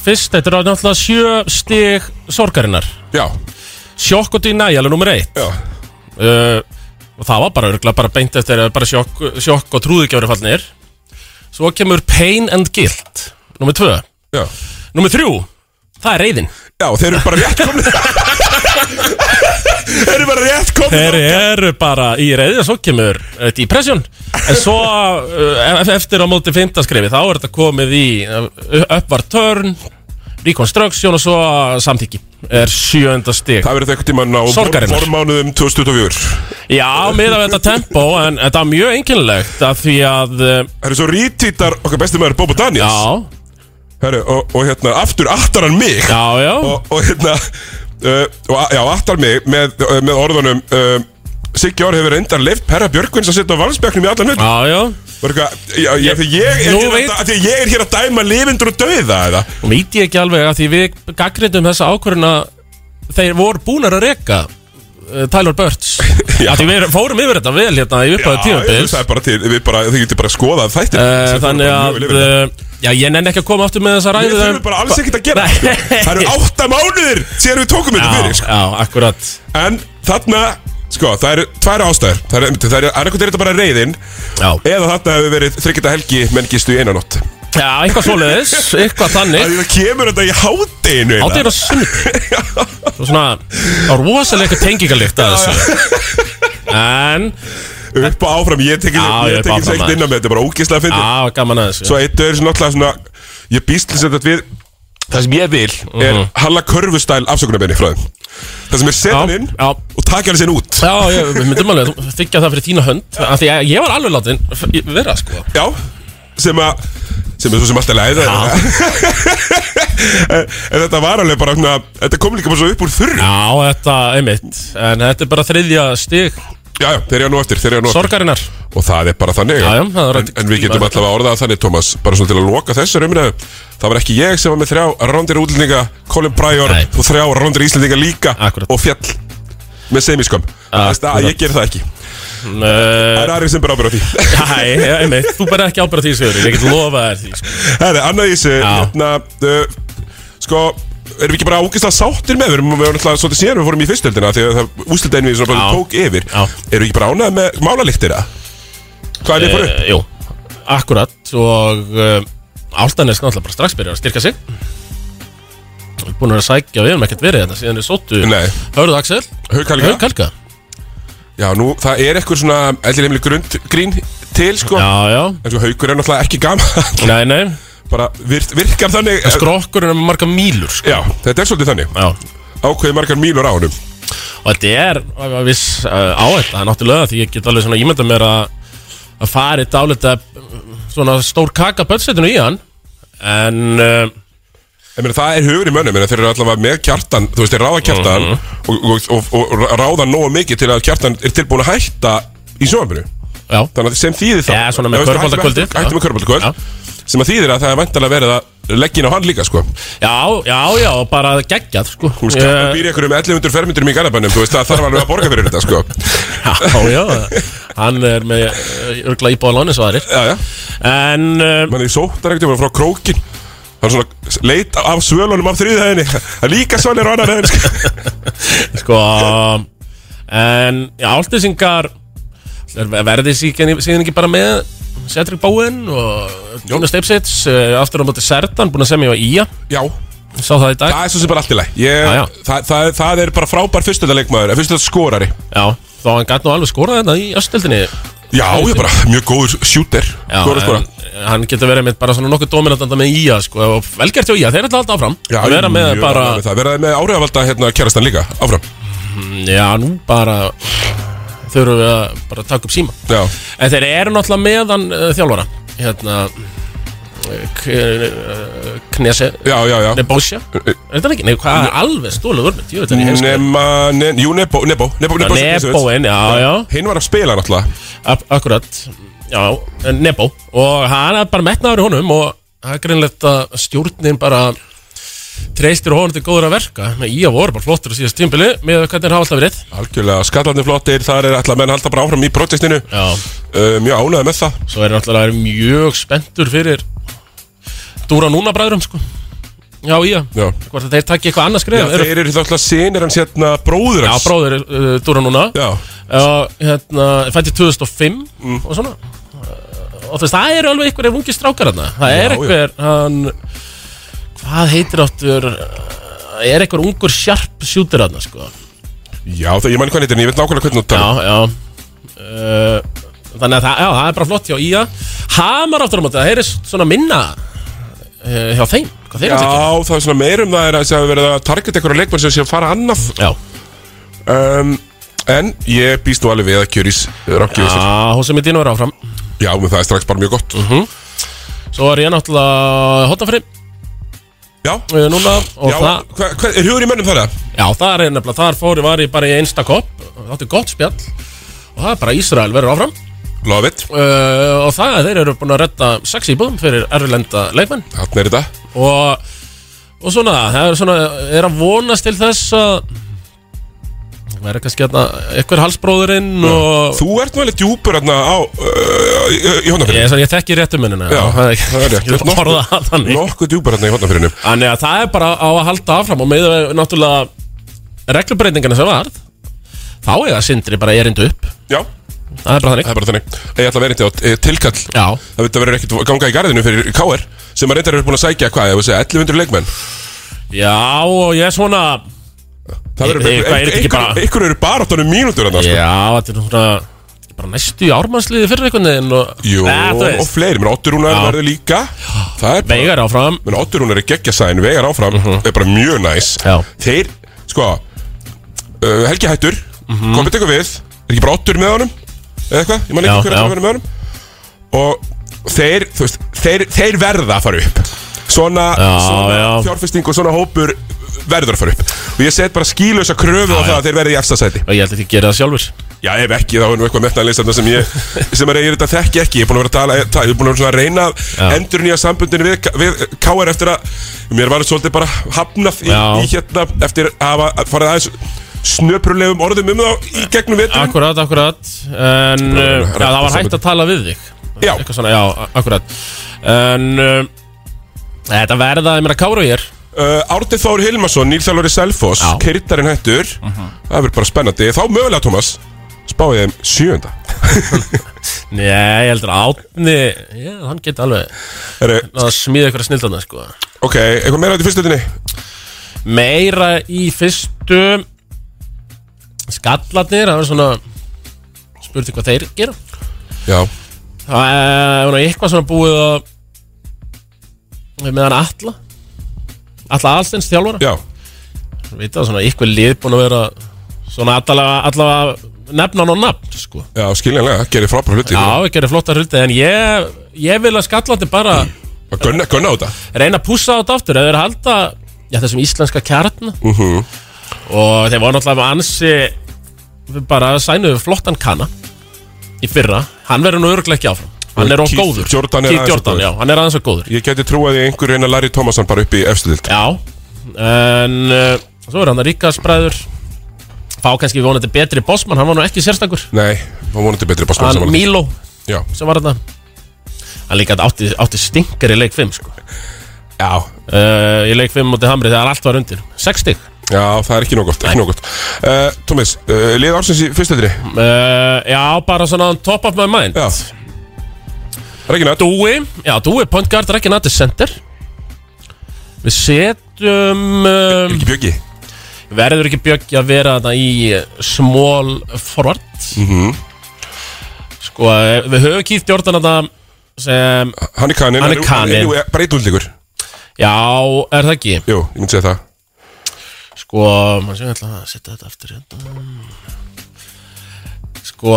[SPEAKER 2] fyrst, þetta er náttúrulega sjö stig sorgarinnar
[SPEAKER 1] já.
[SPEAKER 2] sjokk og dýna, alveg nummer eitt Eh,
[SPEAKER 1] já.
[SPEAKER 2] og það var bara, örgla, bara beint eftir bara sjokk, sjokk og trúðugjöfri fallnir svo kemur pain and guilt nummer tvö
[SPEAKER 1] já.
[SPEAKER 2] nummer þrjú, það er reyðin
[SPEAKER 1] já, þeir eru bara rétt komni þeir eru bara rétt komni
[SPEAKER 2] Þeir eru bara í reyðin svo kemur uh, depression en svo uh, ef- eftir á móti fimmtaskrifi þá er þetta komið í uh, uppvar törn reconstruction og svo samþyggi er sjönda stig
[SPEAKER 1] Það verður eitthvað tímann á
[SPEAKER 2] Sorgarinnar
[SPEAKER 1] formánuðum 2024
[SPEAKER 2] Já, með að þetta tempo en þetta er mjög einkennilegt að því að eh, Það
[SPEAKER 1] eru svo rítvítar okkar besti maður Bobo Daniels
[SPEAKER 2] Já
[SPEAKER 1] Heru, og, og hérna, aftur attar hann mig
[SPEAKER 2] Já, já
[SPEAKER 1] Og, og hérna, uh, og, a- já, attar mig með, uh, með orðunum uh, Siggi Ár hefur reyndar leift Perra Björkvins að sitja á valsbjörknum í allan hlut
[SPEAKER 2] Já, já
[SPEAKER 1] Var eitthvað, já, já, því ég, er
[SPEAKER 2] Nú
[SPEAKER 1] hér að
[SPEAKER 2] veit-
[SPEAKER 1] dæ- af því ég er hér að dæma lifindur og dauða eða
[SPEAKER 2] Veit ég ekki alveg að því við gaggrindum þessa ákvörðuna þeir voru búnar að reka uh, Tyler Burts Já, því við fórum yfir þetta vel hérna í upphæðu
[SPEAKER 1] Já,
[SPEAKER 2] tímabils
[SPEAKER 1] það er bara til, við bara, þið getur bara skoðað þættir
[SPEAKER 2] Eh, Þannig að eh, Já, ég nenni ekki að koma aftur með þessa ræðu
[SPEAKER 1] Við þurfum bara alls ekkert að gera sko. Það eru átta mánuðir síðan við tókum þetta fyrir sko.
[SPEAKER 2] Já, akkurat
[SPEAKER 1] En þarna, sko, það eru tvær ástæður Það eru, það eru, annarkvæmt er þetta bara reyðin
[SPEAKER 2] Já
[SPEAKER 1] Eða þarna hefur verið þryggjita helgi menn gistu í einanótt
[SPEAKER 2] Já, eitthvað svoleiðis, eitthvað þannig
[SPEAKER 1] Það kemur þetta í hádeginu eiginlega.
[SPEAKER 2] Hádeginu á sunnudegi Svo svona, það var rosalega eitthvað tengingalykt að þessu En
[SPEAKER 1] Upp og áfram, ég tekið
[SPEAKER 2] Já,
[SPEAKER 1] Ég tekið segt inn á með þetta, bara ógislega fyndið
[SPEAKER 2] Já, gaman aðeins
[SPEAKER 1] Svo eitt döður sem náttúrulega svona Ég býst þess að þetta við Það sem ég vil er
[SPEAKER 2] Mhm.
[SPEAKER 1] halla körfustæl afsökunarbeini frá þeim Það sem er setan inn
[SPEAKER 2] já.
[SPEAKER 1] og taka hann sinn út
[SPEAKER 2] Já, ég, við myndum alveg að þykja það fyrir þína hönd af Því að ég var alveg látin f- vera, sko
[SPEAKER 1] Já, sem að sem er svo sem alltaf leiða en, en þetta var alveg bara svona, þetta kom líka bara svo upp úr þurru
[SPEAKER 2] Já, þetta, einmitt En þetta er bara þriðja stig
[SPEAKER 1] Já, já, þeir eru nú eftir, þeir eru nú eftir
[SPEAKER 2] Sorgarinnar
[SPEAKER 1] Og það er bara þannig
[SPEAKER 2] Já, já, það er
[SPEAKER 1] en, en við getum alltaf að orða það þannig, Thomas Bara svona til að loka þessar umræðu Það var ekki ég sem var með þrjá rándir útlendinga Colin Pryor og þrjá rándir íslendinga líka Akkurat. Og fjall með semiskömm Þannig að ég ger það ekki Það er aðrið sem bara ábyrgð á því
[SPEAKER 2] Hæ, e- einmitt, þú bara ekki ábyrgð á því Sigurður, ég get lofað þér því sko.
[SPEAKER 1] Herri, annað í þessu hérna, uh, Sko, erum við ekki bara ágæslega sáttir með Við erum við erum náttúrulega svolítið síðan við fórum í fyrstöldina Því að það ústöldin við svona bara tók yfir Já. Erum við ekki bara ánægð með málalíktina? Hvað er þið fóru?
[SPEAKER 2] Eh, Jú, akkurat og uh, Áltanes náttúrulega bara strax byrjar að styrka sig Við erum búin að vera að sækja, við erum ekkert verið þetta síðan við sóttu
[SPEAKER 1] Nei.
[SPEAKER 2] Hörðu Axel
[SPEAKER 1] Haukhelga.
[SPEAKER 2] Haukhelga.
[SPEAKER 1] Já, nú, það er eitthvað svona Ellir heimli grund grín til, sko
[SPEAKER 2] Já, já
[SPEAKER 1] En sko, haukur er náttúrulega ekki gaman
[SPEAKER 2] Nei, nei
[SPEAKER 1] Bara vir, virkar þannig eh,
[SPEAKER 2] Skrokkurinn er með marga mýlur, sko
[SPEAKER 1] Já, þetta er svolítið þannig
[SPEAKER 2] Já
[SPEAKER 1] Ákveðið margar mýlur á honum
[SPEAKER 2] Og þetta er að viss uh, áhætt Það er náttúrulega því ég get alveg svona ímynda mér að að fari dálita svona stór kaka pötsetinu í hann en uh,
[SPEAKER 1] Ég meina, það er hugur í mönnum, ég meina, þeir eru allavega með kjartan, þú veist, þeir ráða kjartan
[SPEAKER 2] Mhm.
[SPEAKER 1] og, og, og, og ráða nógu mikið til að kjartan er tilbúin að hætta í sjónvarpinu.
[SPEAKER 2] Já.
[SPEAKER 1] Þannig að sem þýðir það.
[SPEAKER 2] Já, svona með
[SPEAKER 1] Ef þú veist,
[SPEAKER 2] körfuboltakvöldið.
[SPEAKER 1] hættum- Hættum með körbaldakvöld. Sem að þýðir að það er vantalega verið að leggja inn á hann líka, sko.
[SPEAKER 2] já, já, já, bara geggjað sko
[SPEAKER 1] Þú veist, hann býr ykkur um 1100 fermetrum í garabænum, þú veist, það þarf alveg að borga fyrir þetta, sko.
[SPEAKER 2] Já, já, hann er með eh, örgla íbúið á lóni svo aðrir
[SPEAKER 1] Já, já.
[SPEAKER 2] En uh,
[SPEAKER 1] Man, ég sóttar ekkert, ég var frá krókin. Það er svona leit af svölunum af þriðhæðinni. Það er líka svölunum á annar hæðinni, sko.
[SPEAKER 2] sko En já, áltisingar verði síðan, síðan ekki bara með Cedric Bowen og Jonas Steipsits aftur á móti Sertan, búin að semja á Ía
[SPEAKER 1] Já
[SPEAKER 2] Sá það í dag
[SPEAKER 1] Það er svo sem bara allt í lagi. Ég-
[SPEAKER 2] Já, já.
[SPEAKER 1] það- það- Það er bara frábær fyrstöldarleikmaður, fyrstöldarskorari.
[SPEAKER 2] Já, þá hann gæti nú alveg skorað þetta í östildinni
[SPEAKER 1] Já, ég bara mjög góður sjúter
[SPEAKER 2] Já,
[SPEAKER 1] Góður að skora.
[SPEAKER 2] en eh, hann getur verið með bara svona nokkuð dominantanda með Ía sko, og velgert hjá Ía, þeir ætla alltaf áfram
[SPEAKER 1] Já,
[SPEAKER 2] að vera með
[SPEAKER 1] mjög
[SPEAKER 2] bara,
[SPEAKER 1] ánægður með það. Verða með áriðavalda hérna kærastan líka Áfram
[SPEAKER 2] Mm, já, nú bara þurfum við að bara taka upp síma
[SPEAKER 1] Já
[SPEAKER 2] En þeir eru náttúrulega meðan uh, þjálfara hérna eh, k- eh, Knese
[SPEAKER 1] Já, já, já Eh,
[SPEAKER 2] Nebosja Er þetta ekki? Nei, hvað er alveg stóluð örmynd? Ég veit það ekki
[SPEAKER 1] Nema, ne, jú, Nebo Nebo, Nebo, Nebo,
[SPEAKER 2] Já, Nebóinn, já, já.
[SPEAKER 1] Hinn var að spila náttúrulega
[SPEAKER 2] Ak- Akkurat, já, en Nebo og hann er bara metnaður í honum og það er greinlegt að stjórnin bara treystir honum til góður að verka í að voru bara flottur á síðast tímbili með hvernig þeir hafa alltaf verið
[SPEAKER 1] Algjörlega skallarnir flottir Þar er alltaf menn halda bara áfram í protestinu
[SPEAKER 2] Já,
[SPEAKER 1] uh, Mjög ánægði með það
[SPEAKER 2] svo er náttúrulega mjög spenntur fyrir Dúra núna bræðurum sko Já, já,
[SPEAKER 1] Já,
[SPEAKER 2] hvort að þeir takki eitthvað annað
[SPEAKER 1] já
[SPEAKER 2] skrif
[SPEAKER 1] þeir eru náttúrulega sinir hans hérna bróður
[SPEAKER 2] Já,
[SPEAKER 1] hans
[SPEAKER 2] bróður uh, Dúra núna
[SPEAKER 1] Já, Mm.
[SPEAKER 2] og hérna, fætti 2005 og svona Eh, og þú veist, það eru alveg einhverjir ungi strákar hérna það
[SPEAKER 1] Já,
[SPEAKER 2] er
[SPEAKER 1] já.
[SPEAKER 2] einhver, hann hvað heitir áttur uh, er einhver ungur sjarp sjútir hérna, sko
[SPEAKER 1] já það, ég manni hvað hann heitir En ég veit nákvæmlega hvernig þú
[SPEAKER 2] já,
[SPEAKER 1] talar
[SPEAKER 2] já uh, þannig að það, já, það er bara flott hjá Ía Hamar áttur á móti, það er svona minna uh, hjá þeim, hvað þeir
[SPEAKER 1] Já,
[SPEAKER 2] eru ekki
[SPEAKER 1] það er svona meir um það er að það verið að targeta einhverja leikmenn sem sé að fara annað
[SPEAKER 2] Já,
[SPEAKER 1] um, En ég býst nú alveg við að Kjörís Rákjöfis
[SPEAKER 2] já hún sem er dýnur áfram Mhm.
[SPEAKER 1] Já, menn það er strax bara mjög gott
[SPEAKER 2] Svo er ég náttúrulega hotnafri
[SPEAKER 1] Já,
[SPEAKER 2] uh, núna og
[SPEAKER 1] já
[SPEAKER 2] það
[SPEAKER 1] hva, hva, er hugur í mönnum þar? eða?
[SPEAKER 2] Já, þar er nefnilega, þar fóri var ég bara í einsta kopp Þáttu gott spjall Og það er bara Ísrael verður áfram
[SPEAKER 1] Love it,
[SPEAKER 2] uh, Og það, þeir eru búin að redda sex íbúðum fyrir erfilenda leikmenn
[SPEAKER 1] þarna er þetta
[SPEAKER 2] Og, og svona, það er svona, er að vonast til þess að Það er kannski hérna, einhver halsbróðurinn og
[SPEAKER 1] Þú ert nú alveg djúpur hérna á uh, í, í
[SPEAKER 2] Ég,
[SPEAKER 1] hóndafyrir
[SPEAKER 2] svona, ég þekki réttu munina
[SPEAKER 1] Já,
[SPEAKER 2] það er ekki-
[SPEAKER 1] það er rétt.
[SPEAKER 2] Ég vil orða það þannig
[SPEAKER 1] Nokkuð djúpur hérna í hóndafyririnu
[SPEAKER 2] Þannig að það er bara á að halda áfram og með við náttúrulega reglubreitingarna sem varð þá eiga sindri bara erindu upp
[SPEAKER 1] Já,
[SPEAKER 2] það er bara þannig
[SPEAKER 1] það er bara þannig Ég ætla að vera þetta á eh, tilkall
[SPEAKER 2] Já,
[SPEAKER 1] Það veit að vera ekkert að ganga í garðinu fyrir KR sem að reyndar eru búin að sækja hvað, ég vil segja 1100 leikmenn
[SPEAKER 2] já og ég er svona
[SPEAKER 1] Það verður
[SPEAKER 2] Ég- ég- Eh, hvað, er þetta ekki
[SPEAKER 1] einhver-
[SPEAKER 2] bara-
[SPEAKER 1] einhver eru bara áttunum mínútur hérna sko.
[SPEAKER 2] Já, þetta er nú svona þetta er bara næstu í ármannsliði fyrir einhvern veginn og,
[SPEAKER 1] Jú,
[SPEAKER 2] Nei, þú
[SPEAKER 1] og
[SPEAKER 2] veist,
[SPEAKER 1] fleiri, menn Otturúnar
[SPEAKER 2] Já.
[SPEAKER 1] verður líka Það er bara,
[SPEAKER 2] Veigar áfram
[SPEAKER 1] menn Otturúnar er geggjasæðin Vegar áfram, er bara mjög næs
[SPEAKER 2] Mhm. Já.
[SPEAKER 1] Þeir, sko uh, Helgi hættur, mm
[SPEAKER 2] Mhm.
[SPEAKER 1] -hmm. komið tekur við Er ekki bara Ottur með honum? Eða eitthvað, ég man
[SPEAKER 2] Já,
[SPEAKER 1] ekki hver er
[SPEAKER 2] já.
[SPEAKER 1] að vera með honum Og þeir, þú veist Þeir, þeir verða að fara upp Svona,
[SPEAKER 2] Já,
[SPEAKER 1] svona
[SPEAKER 2] já.
[SPEAKER 1] fjárfesting og svona hópur verður að fara upp Og ég set bara skílösa kröfu á það að þeir verði í efsta sæti
[SPEAKER 2] og ég held að þið gera það sjálfur
[SPEAKER 1] Já, ef ekki, þá er nú eitthvað metnaðlistanda sem ég sem er, ég er þetta þekki ekki, ég er búin að vera að tala ta- ég er búin að vera svona að reyna að endur nýja sambundinu við, við KR eftir að mér var svolítið bara hafnað í,
[SPEAKER 2] Já.
[SPEAKER 1] í hérna eftir að hafa farið aðeins snöprulegum orðum um þá í gegnum vetur
[SPEAKER 2] Akkurat, akkurat En uh, já, það var hægt að tala við þig Já Eitthvað svona, já, akkurat En uh, Þetta verða, ég meira, kára ég er
[SPEAKER 1] Uh, Árni Þór Hilmarsson, nýrþjálfari Selfoss Kyrtarinn hættur
[SPEAKER 2] Mhm.
[SPEAKER 1] Það verður bara spennandi, þá mögulega Thomas Spáði þeim sjönda
[SPEAKER 2] Nei, ég heldur að Átni Já, hann geti alveg náð að smíða eitthvað snildana, sko
[SPEAKER 1] Ok, eitthvað meira í fyrstutinni?
[SPEAKER 2] Meira í fyrstu Skallarnir, það var svona Spurði hvað þeir gera
[SPEAKER 1] Já
[SPEAKER 2] Það er svona eitthvað svona búið að Með hann Atla Atla Alstens þjálfara
[SPEAKER 1] Já
[SPEAKER 2] Veit það, svona eitthvað lið búin að vera Svona allavega, allavega nefna hann á nafn sko.
[SPEAKER 1] Já, skiljanlega, gerir frábæra hluti
[SPEAKER 2] Já, við gerum flotta hluti En ég, ég vil að skallandi bara
[SPEAKER 1] Að gunna, gunna á þetta
[SPEAKER 2] Reyna að pússa á þetta aftur Eða þeir halda já, þessum íslenska kjarn
[SPEAKER 1] uh -huh.
[SPEAKER 2] Og þeir voru náttúrulega með ansi Bara sænuðu flottan kanna Í fyrra Hann verður nú örglega ekki áfram Hann er of
[SPEAKER 1] Keith
[SPEAKER 2] góður
[SPEAKER 1] Jordan er
[SPEAKER 2] Keith
[SPEAKER 1] aðeins of
[SPEAKER 2] Jordan,
[SPEAKER 1] góður.
[SPEAKER 2] já, hann er aðeins of góður
[SPEAKER 1] Ég geti trúið í einhver reyna Larry Thomason bara upp í efstudild
[SPEAKER 2] Já En uh, svo er hann að ríka spræður Fá kannski vonandi betri bossmann Hann var nú ekki sérstakur
[SPEAKER 1] Nei, hann vonandi betri bossmann sem var
[SPEAKER 2] Hann
[SPEAKER 1] hann.
[SPEAKER 2] Milo
[SPEAKER 1] Já.
[SPEAKER 2] Sem var hann Hann líka átti, átti stinkar í leik 5 sko
[SPEAKER 1] Já
[SPEAKER 2] uh, Í leik 5 mútið Hamri þegar allt var undir 6 stig
[SPEAKER 1] Já, það er ekki nóg gott, ekki nóg gott uh, Thomas, uh, lið ársins í fyrstutinni
[SPEAKER 2] uh, Já, bara svona on top of my mind Já
[SPEAKER 1] Reginat
[SPEAKER 2] Dúi Já, Dúi, point guard, Reginat er center Við setjum um, Er
[SPEAKER 1] ekki Bjöggi?
[SPEAKER 2] Verður ekki Bjöggi að vera þetta í small forward
[SPEAKER 1] Mhm.
[SPEAKER 2] Sko, eh, við höfum Keith Jordan þetta sem
[SPEAKER 1] Hann er kaninn
[SPEAKER 2] Hann er kaninn
[SPEAKER 1] Bara eitt útlíkur
[SPEAKER 2] Já, er það ekki?
[SPEAKER 1] Jú, ég myndi segja það
[SPEAKER 2] Sko, maður sé, ég ætla að setja þetta aftur hérna Sko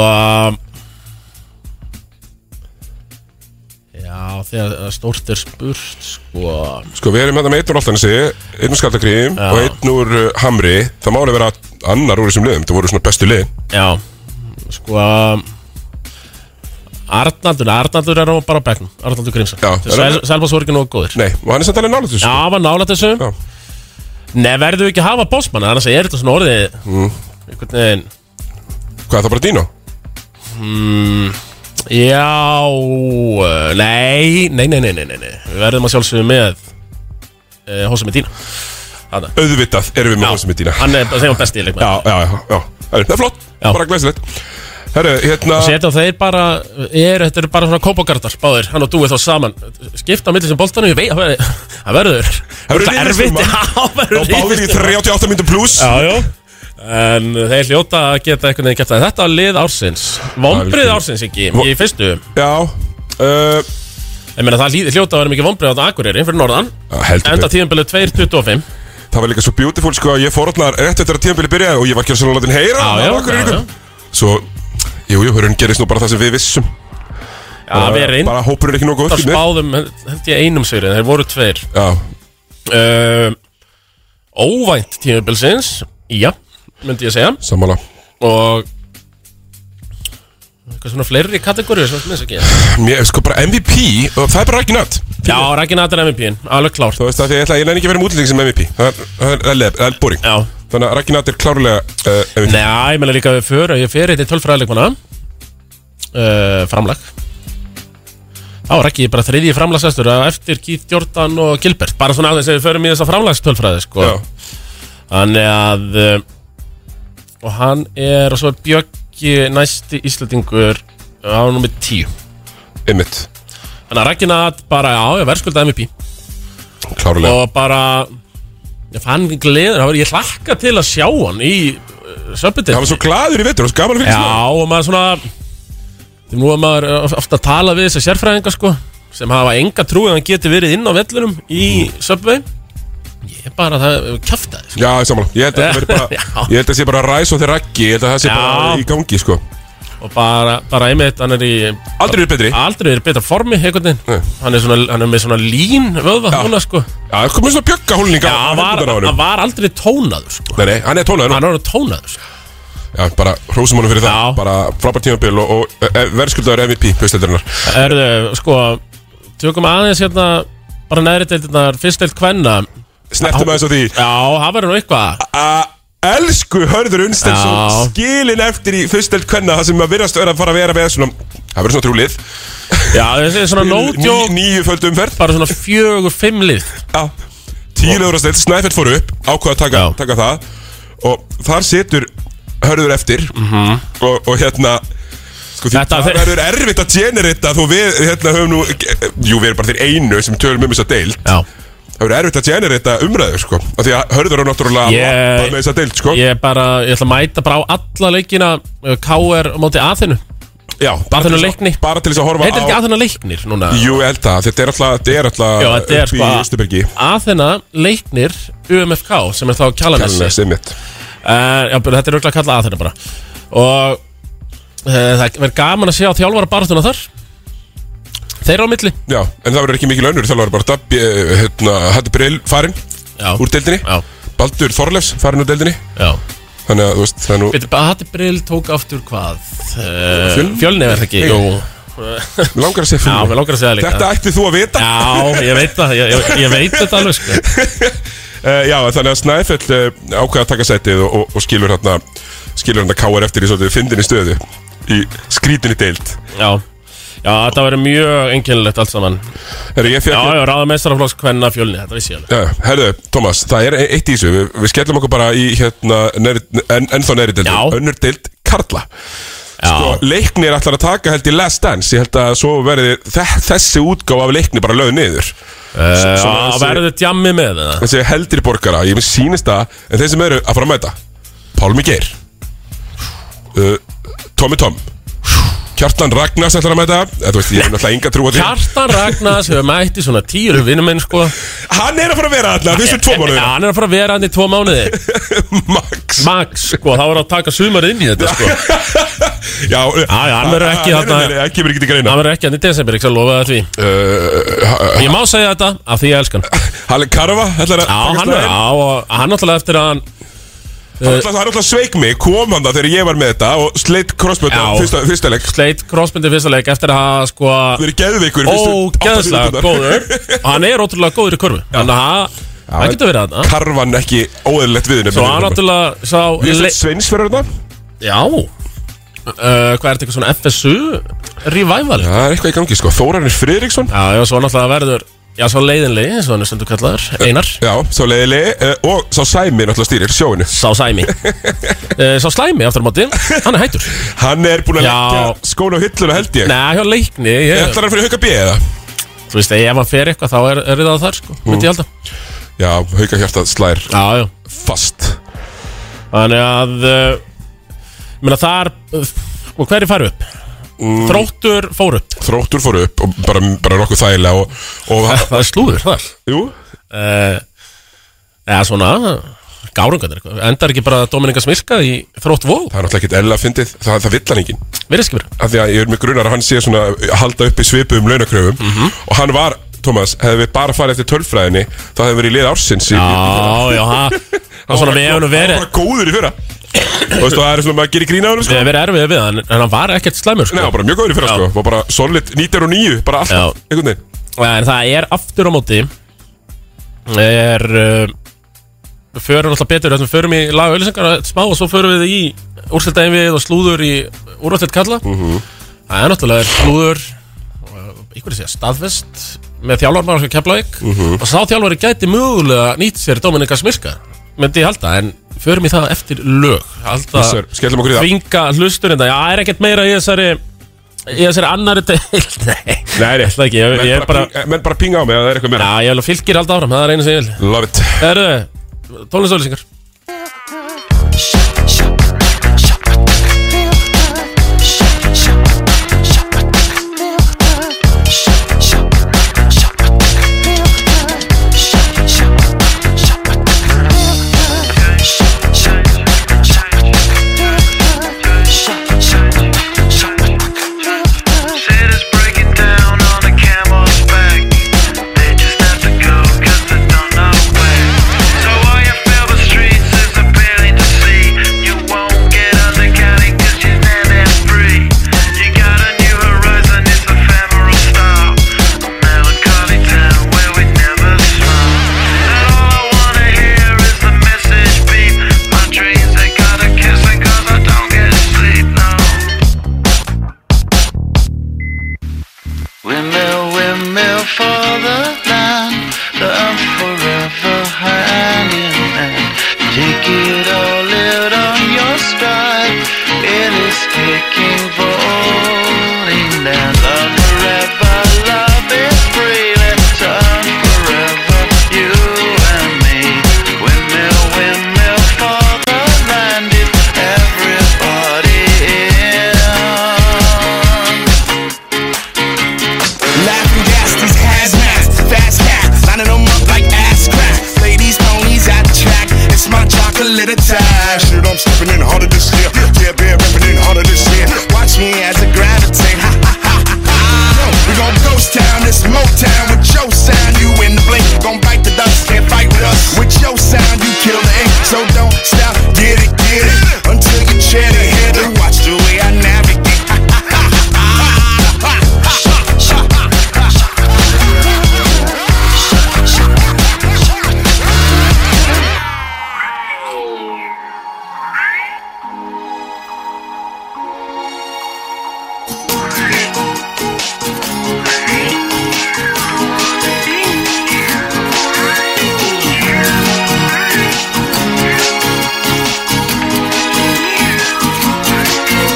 [SPEAKER 2] Já, þegar stórt er spurt Sko
[SPEAKER 1] Sko við erum hérna með einn úr Altanesi, einn úr Skallagriðum
[SPEAKER 2] Já.
[SPEAKER 1] og einn úr uh, Hamri Það máli vera annar úr þessum liðum, það voru svona bestu lið
[SPEAKER 2] Já, sko Arnaldur, Arnaldur er á bara á bekknum Arnaldur Grímsson
[SPEAKER 1] en-
[SPEAKER 2] Selma svo er ekki nógu góður
[SPEAKER 1] Nei, og hann er samt alveg nálægt þessu
[SPEAKER 2] Já, hann var nálægt þessu Nei, verðum við ekki að hafa bossmann Annars er þetta svona orðið einhvern veginn
[SPEAKER 1] Mm. Hvað, það bara Dino?
[SPEAKER 2] Mm, já, eh, nei, nei, nei, nei, nei, nei, nei. Við verðum að sjálfsögum með uh, Hósa Medina Hanna.
[SPEAKER 1] Auðvitað erum við með Hósa Medina
[SPEAKER 2] Hann er sem var besti í leikmann
[SPEAKER 1] Já, já, já, já, Herru, það er flott, bara glæsilegt Herru, hérna
[SPEAKER 2] Seta þeir bara, er, þetta eru bara svona kópagardar Báðir, hann og dúi þá saman Skipta á milli sem boltanum, ég veit að verði- Það verður Það verður erfitt Já, það verður
[SPEAKER 1] Og báðir í
[SPEAKER 2] rifist um hann.
[SPEAKER 1] 38 myndum pluss
[SPEAKER 2] Já, já En þeir hljóta að geta einhvern veginn gert það Þetta var lið ársins Vombrið ársins ekki, í fyrstu
[SPEAKER 1] Já uh,
[SPEAKER 2] Ég meina það líði hljóta að vera mikið vombrið á þetta Akureyri fyrir norðan
[SPEAKER 1] heldur
[SPEAKER 2] Enda tíðanbilið 2.25
[SPEAKER 1] Það var líka svo beautiful, sko, að ég fór hérna rétt eftir að tíðanbili byrjaði og ég var ekki að svona látin heyra
[SPEAKER 2] Já,
[SPEAKER 1] það
[SPEAKER 2] já,
[SPEAKER 1] var okkur í
[SPEAKER 2] já,
[SPEAKER 1] ykkur. Svo, jú, jú, hörun gerist nú bara það sem við vissum
[SPEAKER 2] Já, við reyndum
[SPEAKER 1] Bara hópur er ekki nógu
[SPEAKER 2] Það
[SPEAKER 1] góð
[SPEAKER 2] spáðum, held ég, einum sigrið Þeir voru tveir Eh,
[SPEAKER 1] Já
[SPEAKER 2] Óvænt tímabilsins Já, myndi ég segja
[SPEAKER 1] Sammála
[SPEAKER 2] Og Eitthvað svona fleiri kategóriur sem minnst ekki
[SPEAKER 1] Mér, sko, bara MVP, og það er bara ekki nætt
[SPEAKER 2] Já, Ragnar er MVP-in, alveg klár
[SPEAKER 1] Þú veist það, því ég ætla ég næði ekki að vera um útlýting sem MVP Það er, það er, það er, lef- það er boring
[SPEAKER 2] Já.
[SPEAKER 1] Þannig að Ragnar er klárlega uh, MVP
[SPEAKER 2] Nei, ég meina líka við fyrir Ég fyrir þetta í tölfræðileikmana uh, Framlag Þá er ekki bara þriðji framlagsestur Eftir Keith Jordan og Gilbert Bara svona aðeins ef við förum í þessa framlagstölfræði sko. Þannig að uh, Og hann er Og svo er Bjöggi næsti Íslandingur Á nummið tíu
[SPEAKER 1] Einmitt
[SPEAKER 2] Þannig að Ragnar bara á Ég verðskulda MVP
[SPEAKER 1] Klárlega
[SPEAKER 2] Og bara Ég fann gleður Ég hlakka til að sjá hann Í uh, söpbytið
[SPEAKER 1] Það var svo glaður í vetur, það var svo gaman að fylgja
[SPEAKER 2] Já, og maður svona Þegar nú er maður ofta að tala við þessar sérfræðinga sko sem hafa enga trú að hann geti verið inn á vellunum í
[SPEAKER 1] Mm.
[SPEAKER 2] Subway Ég er bara það, uh, kjafta þið
[SPEAKER 1] Já, sammála Ég held að það verði bara, ég held að sé bara ræs og þeir raggi Ég held að það sé bara
[SPEAKER 2] Já.
[SPEAKER 1] í gangi, sko
[SPEAKER 2] og bara, bara einmitt, hann er í
[SPEAKER 1] Aldrei er betri
[SPEAKER 2] Aldrei er í betra formi, einhvern veginn hann er, svona, hann er með svona lín vöðva núna sko
[SPEAKER 1] Já, það komið svona pjökkahólninga
[SPEAKER 2] Já, hann var, hann var aldrei tónaður sko
[SPEAKER 1] Nei, nei, hann er tónaður
[SPEAKER 2] Hann er tónaður sko.
[SPEAKER 1] Já, bara hrósum honum fyrir það Já. Bara frábært tímabil og, og e, verðskuldaður MVP, pösteldarinnar
[SPEAKER 2] Erðu, sko, tökum aðeins hérna bara neðri deildirnar, fyrst deild kvenna
[SPEAKER 1] Snertum aðeins á því
[SPEAKER 2] Já, það verður nú eitthvað
[SPEAKER 1] Elsku Hörður
[SPEAKER 2] Já.
[SPEAKER 1] Unstensson skilin eftir í fyrstelt kvenna það sem að virðast vera að fara að vera með svona það verður svona trúlið
[SPEAKER 2] Já, þessi er svona no-joke.
[SPEAKER 1] Nýju földu umferð
[SPEAKER 2] Bara svona fjögur, fimm lið
[SPEAKER 1] Já Tíu lögur að stilt, Snæfell fór upp ákvað að taka, taka það og þar situr Hörður eftir
[SPEAKER 2] Mhm.
[SPEAKER 1] og, og hérna Sko, því,
[SPEAKER 2] Þetta-
[SPEAKER 1] það verður erfitt að generita þó við hérna höfum nú jú við erum bara þeir einu sem tölum um þessa deild
[SPEAKER 2] Já.
[SPEAKER 1] það verður erfitt að generita umræðu sko af því að hörður á náttúrulega
[SPEAKER 2] Ég-
[SPEAKER 1] labbað með þessa deild sko
[SPEAKER 2] Ég er bara, ég ætla að mæta bara á alla leikina uh, KR á móti Aþenu
[SPEAKER 1] Já,
[SPEAKER 2] Aþenu leikni
[SPEAKER 1] Bara til þess að horfa
[SPEAKER 2] Heitir
[SPEAKER 1] á-
[SPEAKER 2] þetta ekki Aþenu leiknir núna?
[SPEAKER 1] Jú, ég held það, þetta er alltaf, þetta er alltaf
[SPEAKER 2] Já, þetta er
[SPEAKER 1] upp
[SPEAKER 2] sko
[SPEAKER 1] í Östubergi
[SPEAKER 2] Aþena leiknir UMFK sem er þá Kjalanesi
[SPEAKER 1] Kjalarnesi, einmitt.
[SPEAKER 2] uh, Já, bara þetta er auðvitað að kalla Aþena bara Og uh, það verður gaman að sjá þjálfara barðuna þar Þeir á milli
[SPEAKER 1] Já, en það verður ekki mikil önnur Það verður bara Dabbi, eh, hérna, Hattu Brill farin
[SPEAKER 2] Já.
[SPEAKER 1] Úr deildinni Já. Baldur Þorlefs farin úr deildinni
[SPEAKER 2] Já.
[SPEAKER 1] Þannig að, þú veist, það er nú
[SPEAKER 2] Býttu, bara Hatti Brill tók aftur hvað? Uh,
[SPEAKER 1] Fjölni?
[SPEAKER 2] Fjölni verður ekki
[SPEAKER 1] Nei.
[SPEAKER 2] Jú
[SPEAKER 1] Mér langar að segja
[SPEAKER 2] Já, mér langar að segja það líka
[SPEAKER 1] Þetta ætti þú að vita
[SPEAKER 2] Já, ég veit það, ég, ég, ég veit þetta alveg sko.
[SPEAKER 1] Eh, Já, þannig að Snæfell eh, ákvað að taka sætið og, og, og skilur hérna Skilur hérna káar eftir í svolítið fyndinni stöðu Í skrítinni deild
[SPEAKER 2] Já, já þetta verður mjög einkennilegt allt saman
[SPEAKER 1] Herru, ég fekk
[SPEAKER 2] Já, já, ráða meistaraflokks hvenna fjölni, þetta vissi ég alveg
[SPEAKER 1] Já, herðu, Tómas, það er e- eitt í þessu Við, við skellum okkur bara í hérna neri, en, ennþá neðri deild Önnur deild Karla Sko, leiknir ætlar að taka held í Last Dance Ég held að svo verði þe þessi útgáfa af leikni bara lögð niður
[SPEAKER 2] Eh, já, verður þetta djammi með það?
[SPEAKER 1] Þessi heldri borgara, ég minn sýnist það En þeir sem eru að fara að mæta Pálmi Geir uh, Tommy Tom Kjartan Ragnars ætlar að mæta Eða, þú veist, Ég hef náttúrulega enga trú á því
[SPEAKER 2] Kjartan Ragnars hefur mætt í svona tíur vinnum minn sko Hann
[SPEAKER 1] er að fara að vera þarna, fyrstu tvo mánuðina.
[SPEAKER 2] Já, hann er að fara að vera hann í tvo mánuði
[SPEAKER 1] Max
[SPEAKER 2] Max, sko, þá er að taka sumar inn í þetta sko
[SPEAKER 1] Já, já,
[SPEAKER 2] já, hann verður ekki
[SPEAKER 1] Nei, nei,
[SPEAKER 2] þarna
[SPEAKER 1] nei, nei, kemur ekki til greina
[SPEAKER 2] Hann verður ekki hann í desember, ekki að lofa það því
[SPEAKER 1] uh,
[SPEAKER 2] Ég má segja þetta, af því ég elskan
[SPEAKER 1] Halle Karfa, ætlar að
[SPEAKER 2] Já,
[SPEAKER 1] takast
[SPEAKER 2] hann
[SPEAKER 1] það
[SPEAKER 2] er,
[SPEAKER 1] inn?
[SPEAKER 2] já, og hann náttúrulega eftir að hann Eh,
[SPEAKER 1] Það er alltaf- það er alltaf sveik mig, kom hann það þegar ég var með þetta og sleitt crossbönd á
[SPEAKER 2] Já.
[SPEAKER 1] fyrsta, fyrsta leik
[SPEAKER 2] Sleit crossbindi fyrsta leik eftir að hafa, sko
[SPEAKER 1] Verið geðveikur fyrstu átta
[SPEAKER 2] Ógeðslega
[SPEAKER 1] mínúturnar.
[SPEAKER 2] góður Og hann er ótrúlega góður í körfu Þannig að það- það getur verið þarna
[SPEAKER 1] Karvan ekki óðurlegt við henni
[SPEAKER 2] Svo hann náttúrulega sá
[SPEAKER 1] Við
[SPEAKER 2] le-
[SPEAKER 1] erum sveins fyrir þetta
[SPEAKER 2] Já uh, Hvað er þetta eitthvað svona FSU Revival Já,
[SPEAKER 1] það er eitthvað í gangi sko Þórarinn Friðriksson
[SPEAKER 2] Já, já, svo náttúrulega verður Já, svo leiðinli, svo hann er stundu kallaður Einar
[SPEAKER 1] Eh, Já, svo leiðinli uh, Og sá Sæmi náttúrulega stýrir sjóinu
[SPEAKER 2] Sá Sæmi uh, Sá Slæmi aftur á móti Hann er hættur
[SPEAKER 1] Hann er búin að leggja skóna á hilluna held ég
[SPEAKER 2] Nei, hjá leikni
[SPEAKER 1] Ég ætlar hann fyrir hauka bíða eða
[SPEAKER 2] Þú veist, ef hann fer eitthvað þá er, er það þar sko, myndi ég halda
[SPEAKER 1] Mm. Já, hauka hjarta slær
[SPEAKER 2] Já, já
[SPEAKER 1] Fast
[SPEAKER 2] Þannig að uh, Menna þar uh, Og hverju færu upp? Þróttur fór upp
[SPEAKER 1] Þróttur fór upp og bara, bara nokkuð þægilega og, og
[SPEAKER 2] Það er slúður þar
[SPEAKER 1] Jú
[SPEAKER 2] uh, Eða svona Gárungan er eitthvað Endar ekki bara Dominika Smirka í þrótt vó
[SPEAKER 1] Það er náttúrulega ekkert ella að fyndið Það, það vill hann enginn
[SPEAKER 2] Verðist ekki verið
[SPEAKER 1] Af því að ég er með grunar að hann sé svona að Halda upp í svipuðum launakröfum
[SPEAKER 2] Mhm.
[SPEAKER 1] Og hann var, Tómas, hefði við bara farið eftir tölfræðinni Það hefði verið í lið ársins í,
[SPEAKER 2] Já, já, það Það er svona við hefum nú verið
[SPEAKER 1] Það var góður í fyrra Þú veist, það er svona maður gerir grína á hann
[SPEAKER 2] Við
[SPEAKER 1] sko.
[SPEAKER 2] hefum verið erfið við hann En hann var ekkert slæmur sko
[SPEAKER 1] Nei, bara mjög góður í fyrra sko. Var bara solid 19 og 9 Bara allt
[SPEAKER 2] Já.
[SPEAKER 1] Einhvern veginn
[SPEAKER 2] En það er aftur á móti Er uh, Við förum alltaf betur Við förum í laga auðlýsingar smá Og svo förum við í úrstildæðin við Og slúður í úrvallilt kalla Það er náttúrulega slúður Ykkur sé að staðfest Með þjálfarmar sem Keflavík
[SPEAKER 1] Mhm.
[SPEAKER 2] Og sá þjálfari gæti mögulega nýtt sér Dominika Smilka Myndi ég halda En förum í það eftir lög Halda
[SPEAKER 1] Yes, sir. Skellum okkur í það.
[SPEAKER 2] Þvinga hlusturinn Já, það er ekkert meira í þessari Í þessari annari deild Nei
[SPEAKER 1] Nei, nei,
[SPEAKER 2] ekki, ég-
[SPEAKER 1] menn
[SPEAKER 2] ég er bara-
[SPEAKER 1] ping, Menn bara pinga á mig að það er eitthvað meira
[SPEAKER 2] Já, ég vil að fylgir alltaf áfram, það er einu sem ég vil
[SPEAKER 1] Love it
[SPEAKER 2] Herru, tónlistólýsingar
[SPEAKER 13] So I am fell the street. take it all out on your stride. It is kicking, falling down. Love forever, love is free. Let's turn forever, you and me. Windmill, windmill for the land. It's everybody in.
[SPEAKER 15] Laughing gas, these hazmats, fast cat, lining them up like ass crack. Ladies, ponies at the track, it's my chocolate attack. Shit, I'm stepping in harder this year. Yeah, bear ripping in harder this year. Watch me as I gravitate. Ha ha ha ha ha. Yo, We gon' ghost town, this Motown with your sound. You in the blink, gon' bite the dust, can't fight with us. With your sound, you kill the ink, so don't stop. Get it, get it, until you chair the head. Watch the way I navigate. Ha ha ha ha ha. Sha, sha.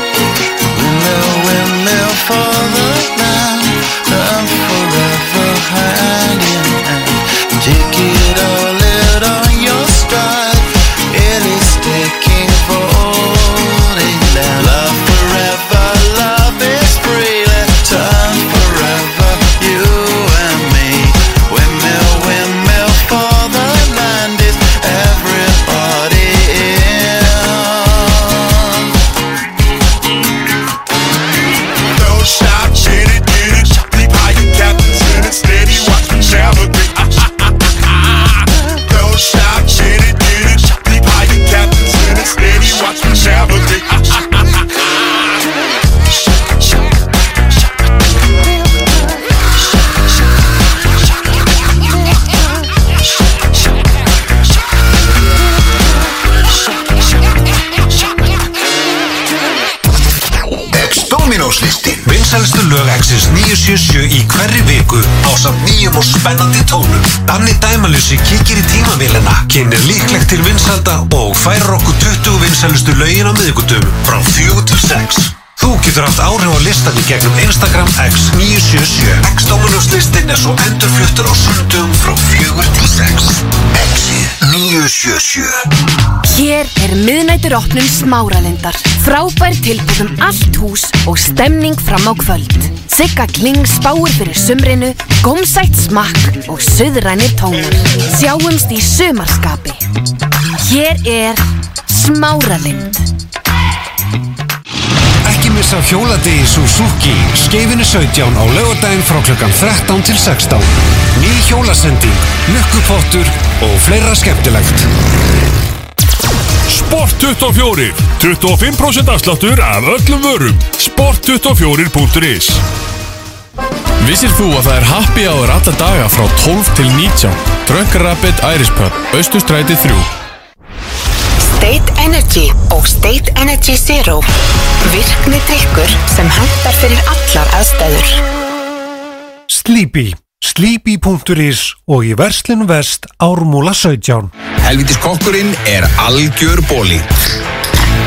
[SPEAKER 13] Windmill, windmill for the land. Love forever hiding and take it all out on your stride. It is taking falling down. Love forever, love is free. Let's turn forever, you and me. Windmill, windmill for the land. It's everybody in.
[SPEAKER 15] Don't stop, get it, get it. Leap high, you captains in it. Steady, watch me navigate. Ah, ah, ah, ah, ah. Don't stop, get it, get it. Leap high, you captains in it. Steady, watch me navigate. Ah, ah, ah, ah,
[SPEAKER 11] X-Dominos listin Vinsælstu lög X-is 977 í hverri viku á samt nýjum og spennandi tónum Danni Dæmalussi kikir í tímavélina kynir líklegt til vinsælda og færir okkur 20 vinsælustu lögin á miðgutum frá 4 til 6 Þú getur haft áhrif á listan í gegnum Instagram X977 X-Dominos listin er svo endurfluttur á sundum frá 4 til 6 X977
[SPEAKER 6] Hér er miðnættur opnum smáralindar, frábær tilbúðum allt hús og stemning fram á kvöld. Sigga Kling spáir fyrir sumrinu, gómsætt smakk og söðrænir tónar. Sjáumst í sömarskapi. Hér er smáralind.
[SPEAKER 16] Ekki missa af hjóladegi Suzuki Skeifinu 17 á laugardaginn frá klukkan 13 til 16 Ný hjólasending, lukkupottur og fleira skemmtilegt
[SPEAKER 7] Sport 24 25% afsláttur af öllum vörum Sport24.is
[SPEAKER 17] Vissir þú að það er happy hour alla daga frá 12 til 19 Drunk Rabbit Irish Pub, Östustræti 3
[SPEAKER 18] State Energy og State Energy Zero Virkni drikkur sem hendar fyrir allar aðstæður
[SPEAKER 16] Sleepy Sleepy.is og í verslun vest ármúla 17
[SPEAKER 5] Helvítis kokkurinn er algjör bóli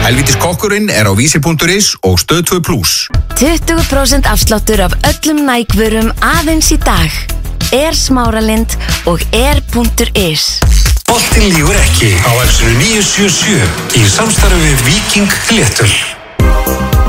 [SPEAKER 5] Helvítis kokkurinn er á vísir.is og stöð 2 plus
[SPEAKER 10] 20% afsláttur af öllum nækvörum aðeins í dag er smáralind og er.is
[SPEAKER 11] Boltin lífur ekki á X-inu 977 í samstarfi við Viking Léttul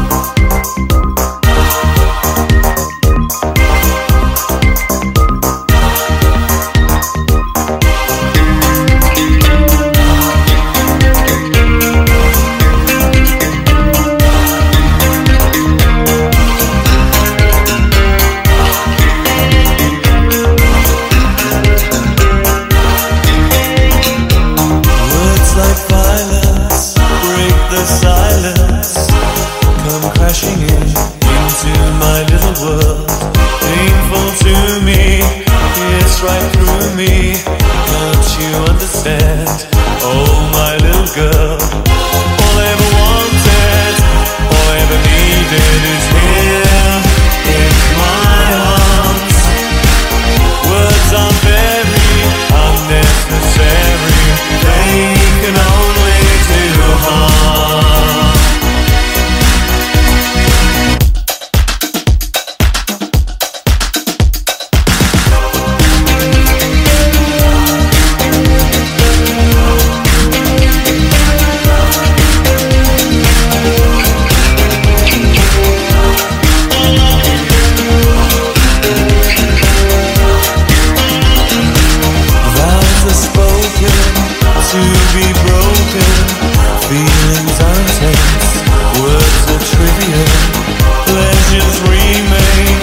[SPEAKER 13] Words like violence break the silence, come crashing in into my little world. Painful to me, it's right through me. Can't you understand? Oh, my little girl. All I ever wanted, all I ever needed is here in my arms. Words are very unnecessary. They can only broken, feelings intense, words are trivial, pleasures remain,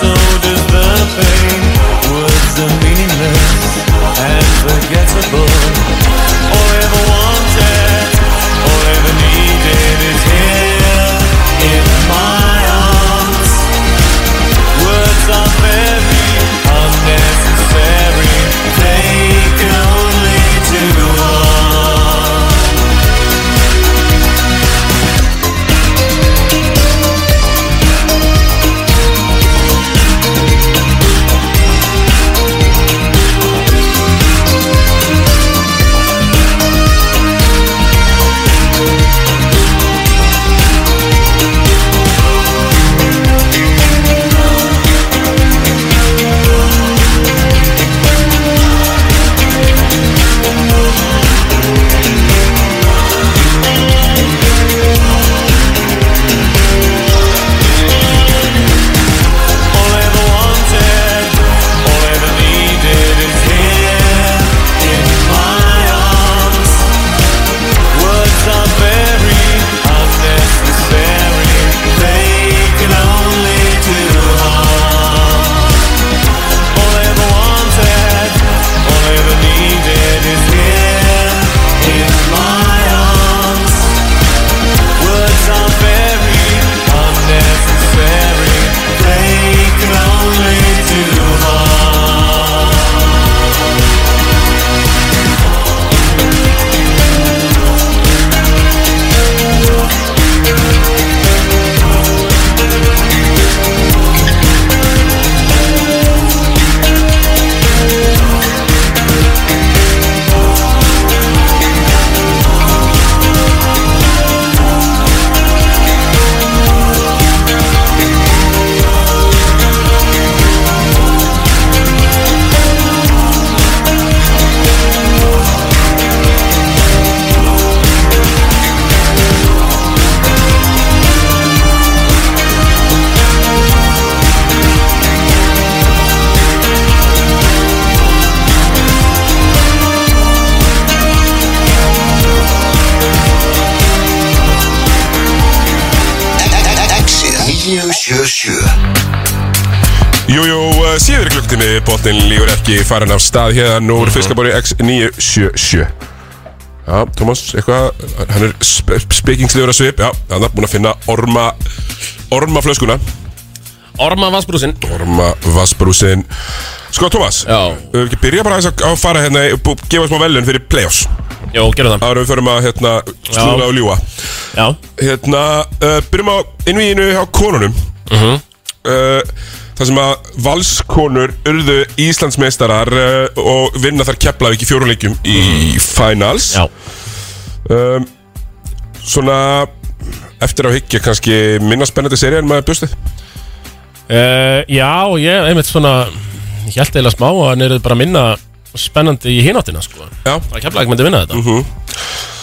[SPEAKER 13] so does the pain. Words are meaningless and forgettable. All I ever wanted, all I ever needed is here in my arms. Words are very unnecessary. They can only do harm. All I ever wanted, all I ever needed is here in my arms. Words are very unnecessary. They can only do harm. All I ever wanted, all I ever needed is here in my arms. Words are very unnecessary. They can only do harm.
[SPEAKER 11] Exit 977
[SPEAKER 1] Jú, jú, uh, síður í klukktinni Botnin lígur ekki farin af stað hérna Nú er fiskabóri X977 Já, Thomas, eitthvað Hann er sp spekingslegur að svip Já, hann er búin að finna orma Ormaflöskuna
[SPEAKER 2] Orma vassbrúsin
[SPEAKER 1] Orma vassbrúsin Sko, Thomas
[SPEAKER 2] Já
[SPEAKER 1] Við höfum ekki byrjað bara aðeins að- að fara hérna í- bú- Gefa smá velun fyrir playoffs
[SPEAKER 2] Jó, gerum það
[SPEAKER 1] Árum við förum að hérna slúra
[SPEAKER 2] Já.
[SPEAKER 1] og ljúa
[SPEAKER 2] Já
[SPEAKER 1] Hérna, uh, byrjum á innvíinu hjá konunum
[SPEAKER 2] Mhm.
[SPEAKER 1] uh, Það sem að valskonur urðu Íslandsmeistarar uh, og vinna þar Keflavík í fjórunleikjum
[SPEAKER 2] Mhm.
[SPEAKER 1] í finals Já um, Svona eftir á higgja kannski minna spennandi seri en maður bjóst við
[SPEAKER 2] Uh, já, ég einmitt svona Ég held eiginlega smá að hann er bara minna Spennandi í hináttina sko
[SPEAKER 1] Já
[SPEAKER 2] Það kemla ekki myndi vinna þetta
[SPEAKER 1] mm -hmm.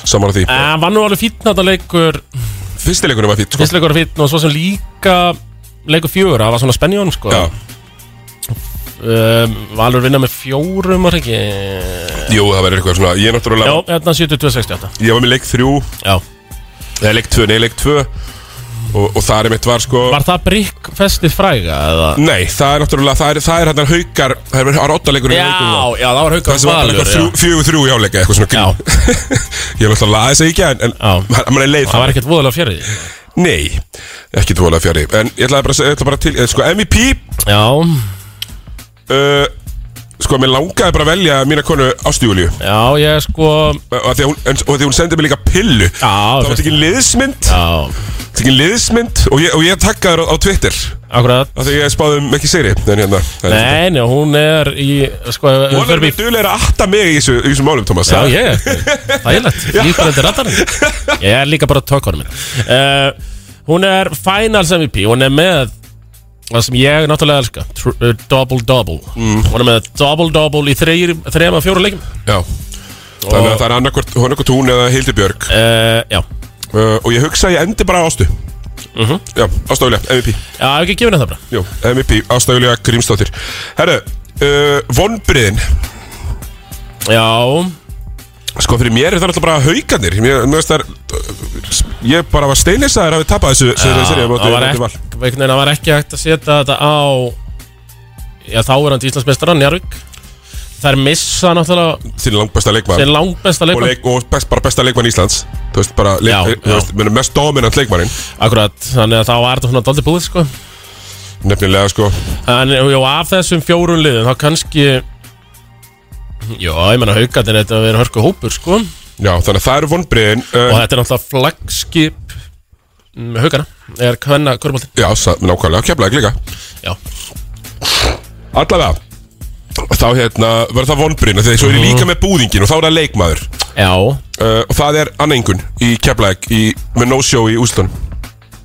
[SPEAKER 1] Saman að því
[SPEAKER 2] En var nú alveg fínn þetta leikur
[SPEAKER 1] Fyrstileikunum var fínn sko.
[SPEAKER 2] Fyrstileikur var fínn og svo sem líka Leikur fjögur, það var svona spenni í honum sko Já um, Valur vinna með fjórum var ekki
[SPEAKER 1] Jú, það verður eitthvað svona Ég er náttúrulega
[SPEAKER 2] Já, hérna 72-68
[SPEAKER 1] Ég var með leik 3
[SPEAKER 2] Já
[SPEAKER 1] Eða leik 2, nei leik 2 Og, og það er mitt var sko
[SPEAKER 2] Var það brickfestið fræga eða?
[SPEAKER 1] Nei, það er náttúrulega Það er, það er hann haukar Það er áttaleikur
[SPEAKER 2] Já, já, það var Haukar
[SPEAKER 1] Það sem var bara
[SPEAKER 2] Valur,
[SPEAKER 1] eitthvað þrjú-
[SPEAKER 2] já.
[SPEAKER 1] fjögur þrjú í áleika Eitthvað svona grín Ég var alltaf aðeins að íkja En, en hann- hann er leið
[SPEAKER 2] Það var ekkert voðalega fjarið
[SPEAKER 1] Nei, ekki tvoðalega fjari En ég ætlaði bara, að- ég ætla bara til eh, Sko, MVP
[SPEAKER 2] Já
[SPEAKER 1] uh, Sko, mér langaði bara að velja Mína konu Ástjúliu
[SPEAKER 2] Já, ég sko
[SPEAKER 1] Og því að hún, en- og því að hún sendi mér líka pillu Já, Það var tekin liðsmynd
[SPEAKER 2] Já
[SPEAKER 1] Tekin liðsmynd Og ég, og ég takkaði þér á, á Twitter
[SPEAKER 2] Akkurat
[SPEAKER 1] Þegar ég spáðum ekki sigri En hérna það er-
[SPEAKER 2] Nei, nei, hún er í sko,
[SPEAKER 1] Hún er
[SPEAKER 2] í-
[SPEAKER 1] með duðlega að atta mig í þessu, í þessu málum, Thomas
[SPEAKER 2] Já, ég Það er lett, líkur undir rattarinn Ég er líka bara tökkorn minn uh, Hún er Finals MVP Hún er með Það sem ég náttúrulega elska tr- uh, Double-double Hún er með double-double í þrejir, þrejum að fjóra leikum
[SPEAKER 1] Já Þannig að það er annarkvort, annarkvort hún eða Hildibjörg Eh,
[SPEAKER 2] uh, Já Mhm.
[SPEAKER 1] Og ég hugsa að ég endi bara á ástu uh -huh. Já, ástæðulega, MVP
[SPEAKER 2] Já, hef ekki gefin það bara
[SPEAKER 1] Jú, MVP, ástæðulega Grímsdóttir eh, Herru, uh, vonbriðin
[SPEAKER 2] Já
[SPEAKER 1] Sko fyrir mér er það alltaf bara haugarnir Mér mér finnst það Ég bara var steinlissaður að við tappa þessu
[SPEAKER 2] Já,
[SPEAKER 1] Sér
[SPEAKER 2] Ah, það
[SPEAKER 1] þessi
[SPEAKER 2] var ekki- einhvern veginn, það var ekki hægt að setja þetta á Já, þá er hann Íslandsmeistaran, Jarvik Þær missa náttúrulega
[SPEAKER 1] Sinn langbesta leikmann
[SPEAKER 2] Sinn langbesta leikmann.
[SPEAKER 1] Og, leik, og best, bara besta leikmann Íslands Þú veist bara leik,
[SPEAKER 2] Já,
[SPEAKER 1] Þú veist, mér er mest dominant leikmannin
[SPEAKER 2] Akkurat, þannig að þá var þetta svona daldi búið sko
[SPEAKER 1] Nefnilega sko
[SPEAKER 2] En jú, af þessum fjórun liðum, þá kannski Já, ég menna haugarnir þetta að vera hörku hópur sko
[SPEAKER 1] Já, þannig að það eru vonbriðin
[SPEAKER 2] Og þetta er náttúrulega flagskip með haugana Er hvenna körbóltin
[SPEAKER 1] Já, sa- nákvæmlega, keflaði líka
[SPEAKER 2] Já
[SPEAKER 1] Allavega Þá hérna verður það vonbrinn Þegar svo er ég líka með búðingin og þá er það leikmaður
[SPEAKER 2] Mhm.
[SPEAKER 1] Eh,
[SPEAKER 2] Já
[SPEAKER 1] Og það er annengun í keflaðeg í, Með no-show í úslan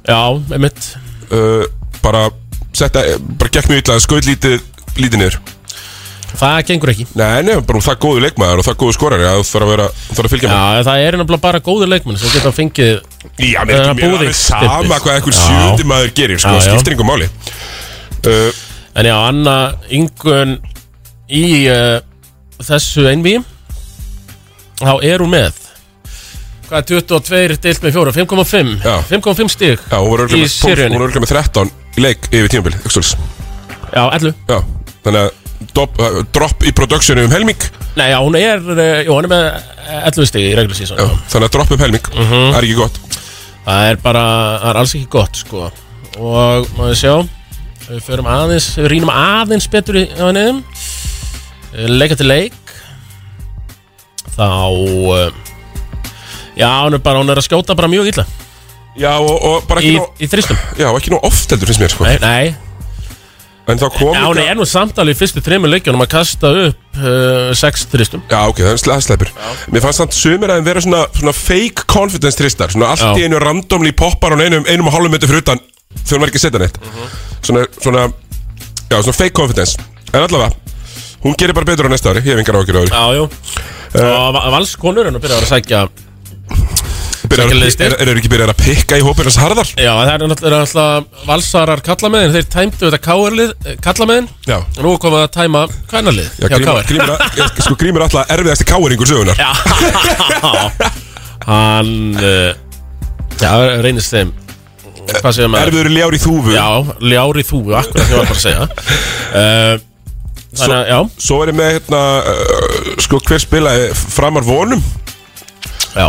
[SPEAKER 2] Já, einmitt
[SPEAKER 1] uh, Bara setta, bara gekk mjög illa Skauð lítið, lítið niður
[SPEAKER 2] Það gengur ekki
[SPEAKER 1] Nei, nei, bara það er góðu leikmaður og það er góðu skorari að þú þarf að vera, þú þarf að fylgja með
[SPEAKER 2] Já, það er náttúrulega bara góður leikmenn sem geta fengið
[SPEAKER 1] Já, mér er ekki- mér er alveg sama hvað einhver sjöundi maður gerir, sko, skiptir yngur máli uh,
[SPEAKER 2] En já, Anna Ingun í uh, þessu einví þá er hún með hvað er 22 deilt með 4 5,5 5,5 stig
[SPEAKER 1] Já, hún var
[SPEAKER 2] í
[SPEAKER 1] örgulega
[SPEAKER 2] seríunni
[SPEAKER 1] með, með 13 í leik yfir tímabil, ekki svolítið
[SPEAKER 2] Já, 11
[SPEAKER 1] Já, þannig að dop, uh, drop í productionu um helming
[SPEAKER 2] Nei, já, hún er, eh, jú, hún er með 11 stig í reglu síðan
[SPEAKER 1] Þannig að dropp um helming,
[SPEAKER 2] Mhm.
[SPEAKER 1] það er ekki gott
[SPEAKER 2] Það er bara, það er alls ekki gott sko Og maður sjá Við förum aðeins, við rýnum aðeins betur í á neðum Leika til leik Þá eh, Já, hún er bara, hún er að skjóta bara mjög illa
[SPEAKER 1] Já, og, og bara
[SPEAKER 2] Í-
[SPEAKER 1] ekki nóg-
[SPEAKER 2] í þristum.
[SPEAKER 1] Já, og ekki nóg oft heldur finnst mér, sko
[SPEAKER 2] Nei, nei.
[SPEAKER 1] En þá kom
[SPEAKER 2] Já, hún er nú samtalið í fyrstu þreymur leikjunum að kasta upp uh, sex þristum
[SPEAKER 1] Já, ok, það er sle- það sleppur Mér fannst samt sumir að þeim vera svona, svona fake confidence tristar Svona allt
[SPEAKER 2] Já.
[SPEAKER 1] í einu randomli poppar hún einum, einum og hálfum metri fyrir utan Þegar hún var ekki að setja neitt
[SPEAKER 2] Mhm.
[SPEAKER 1] Svona, svona, já, svona fake confidence En allavega, hún gerir bara betur á næsta ári Ég hef engar ákjör á ári
[SPEAKER 2] Já, jú
[SPEAKER 1] Eh,
[SPEAKER 2] Og Va- valskonur hann byrjar að sækja sækja
[SPEAKER 1] Byrjar að-
[SPEAKER 2] liðsstyrk.
[SPEAKER 1] Eru er, er ekki byrjar að pikka í hópin hans harðar?
[SPEAKER 2] Já, það er náttúrulega er náttúrulega valsarar kallameðin Þeir tæmdu þetta káarlið kallameðin
[SPEAKER 1] Já.
[SPEAKER 2] eh, Nú komum við að tæma kvænalið
[SPEAKER 1] Já, grímur, grímur, að- sko, grímur alltaf erfiðasti káeringur sögunar
[SPEAKER 2] Já Hann uh, Já, reynist þeim Hvað segja maður?
[SPEAKER 1] Eh, Erfiður ljár í þúfu
[SPEAKER 2] Já, ljár í þúfu, akkurat sem ég var bara að segja uh, Þannig að, já
[SPEAKER 1] Svo er ég með hérna uh, Sko hver spilaði framar vonum
[SPEAKER 2] Já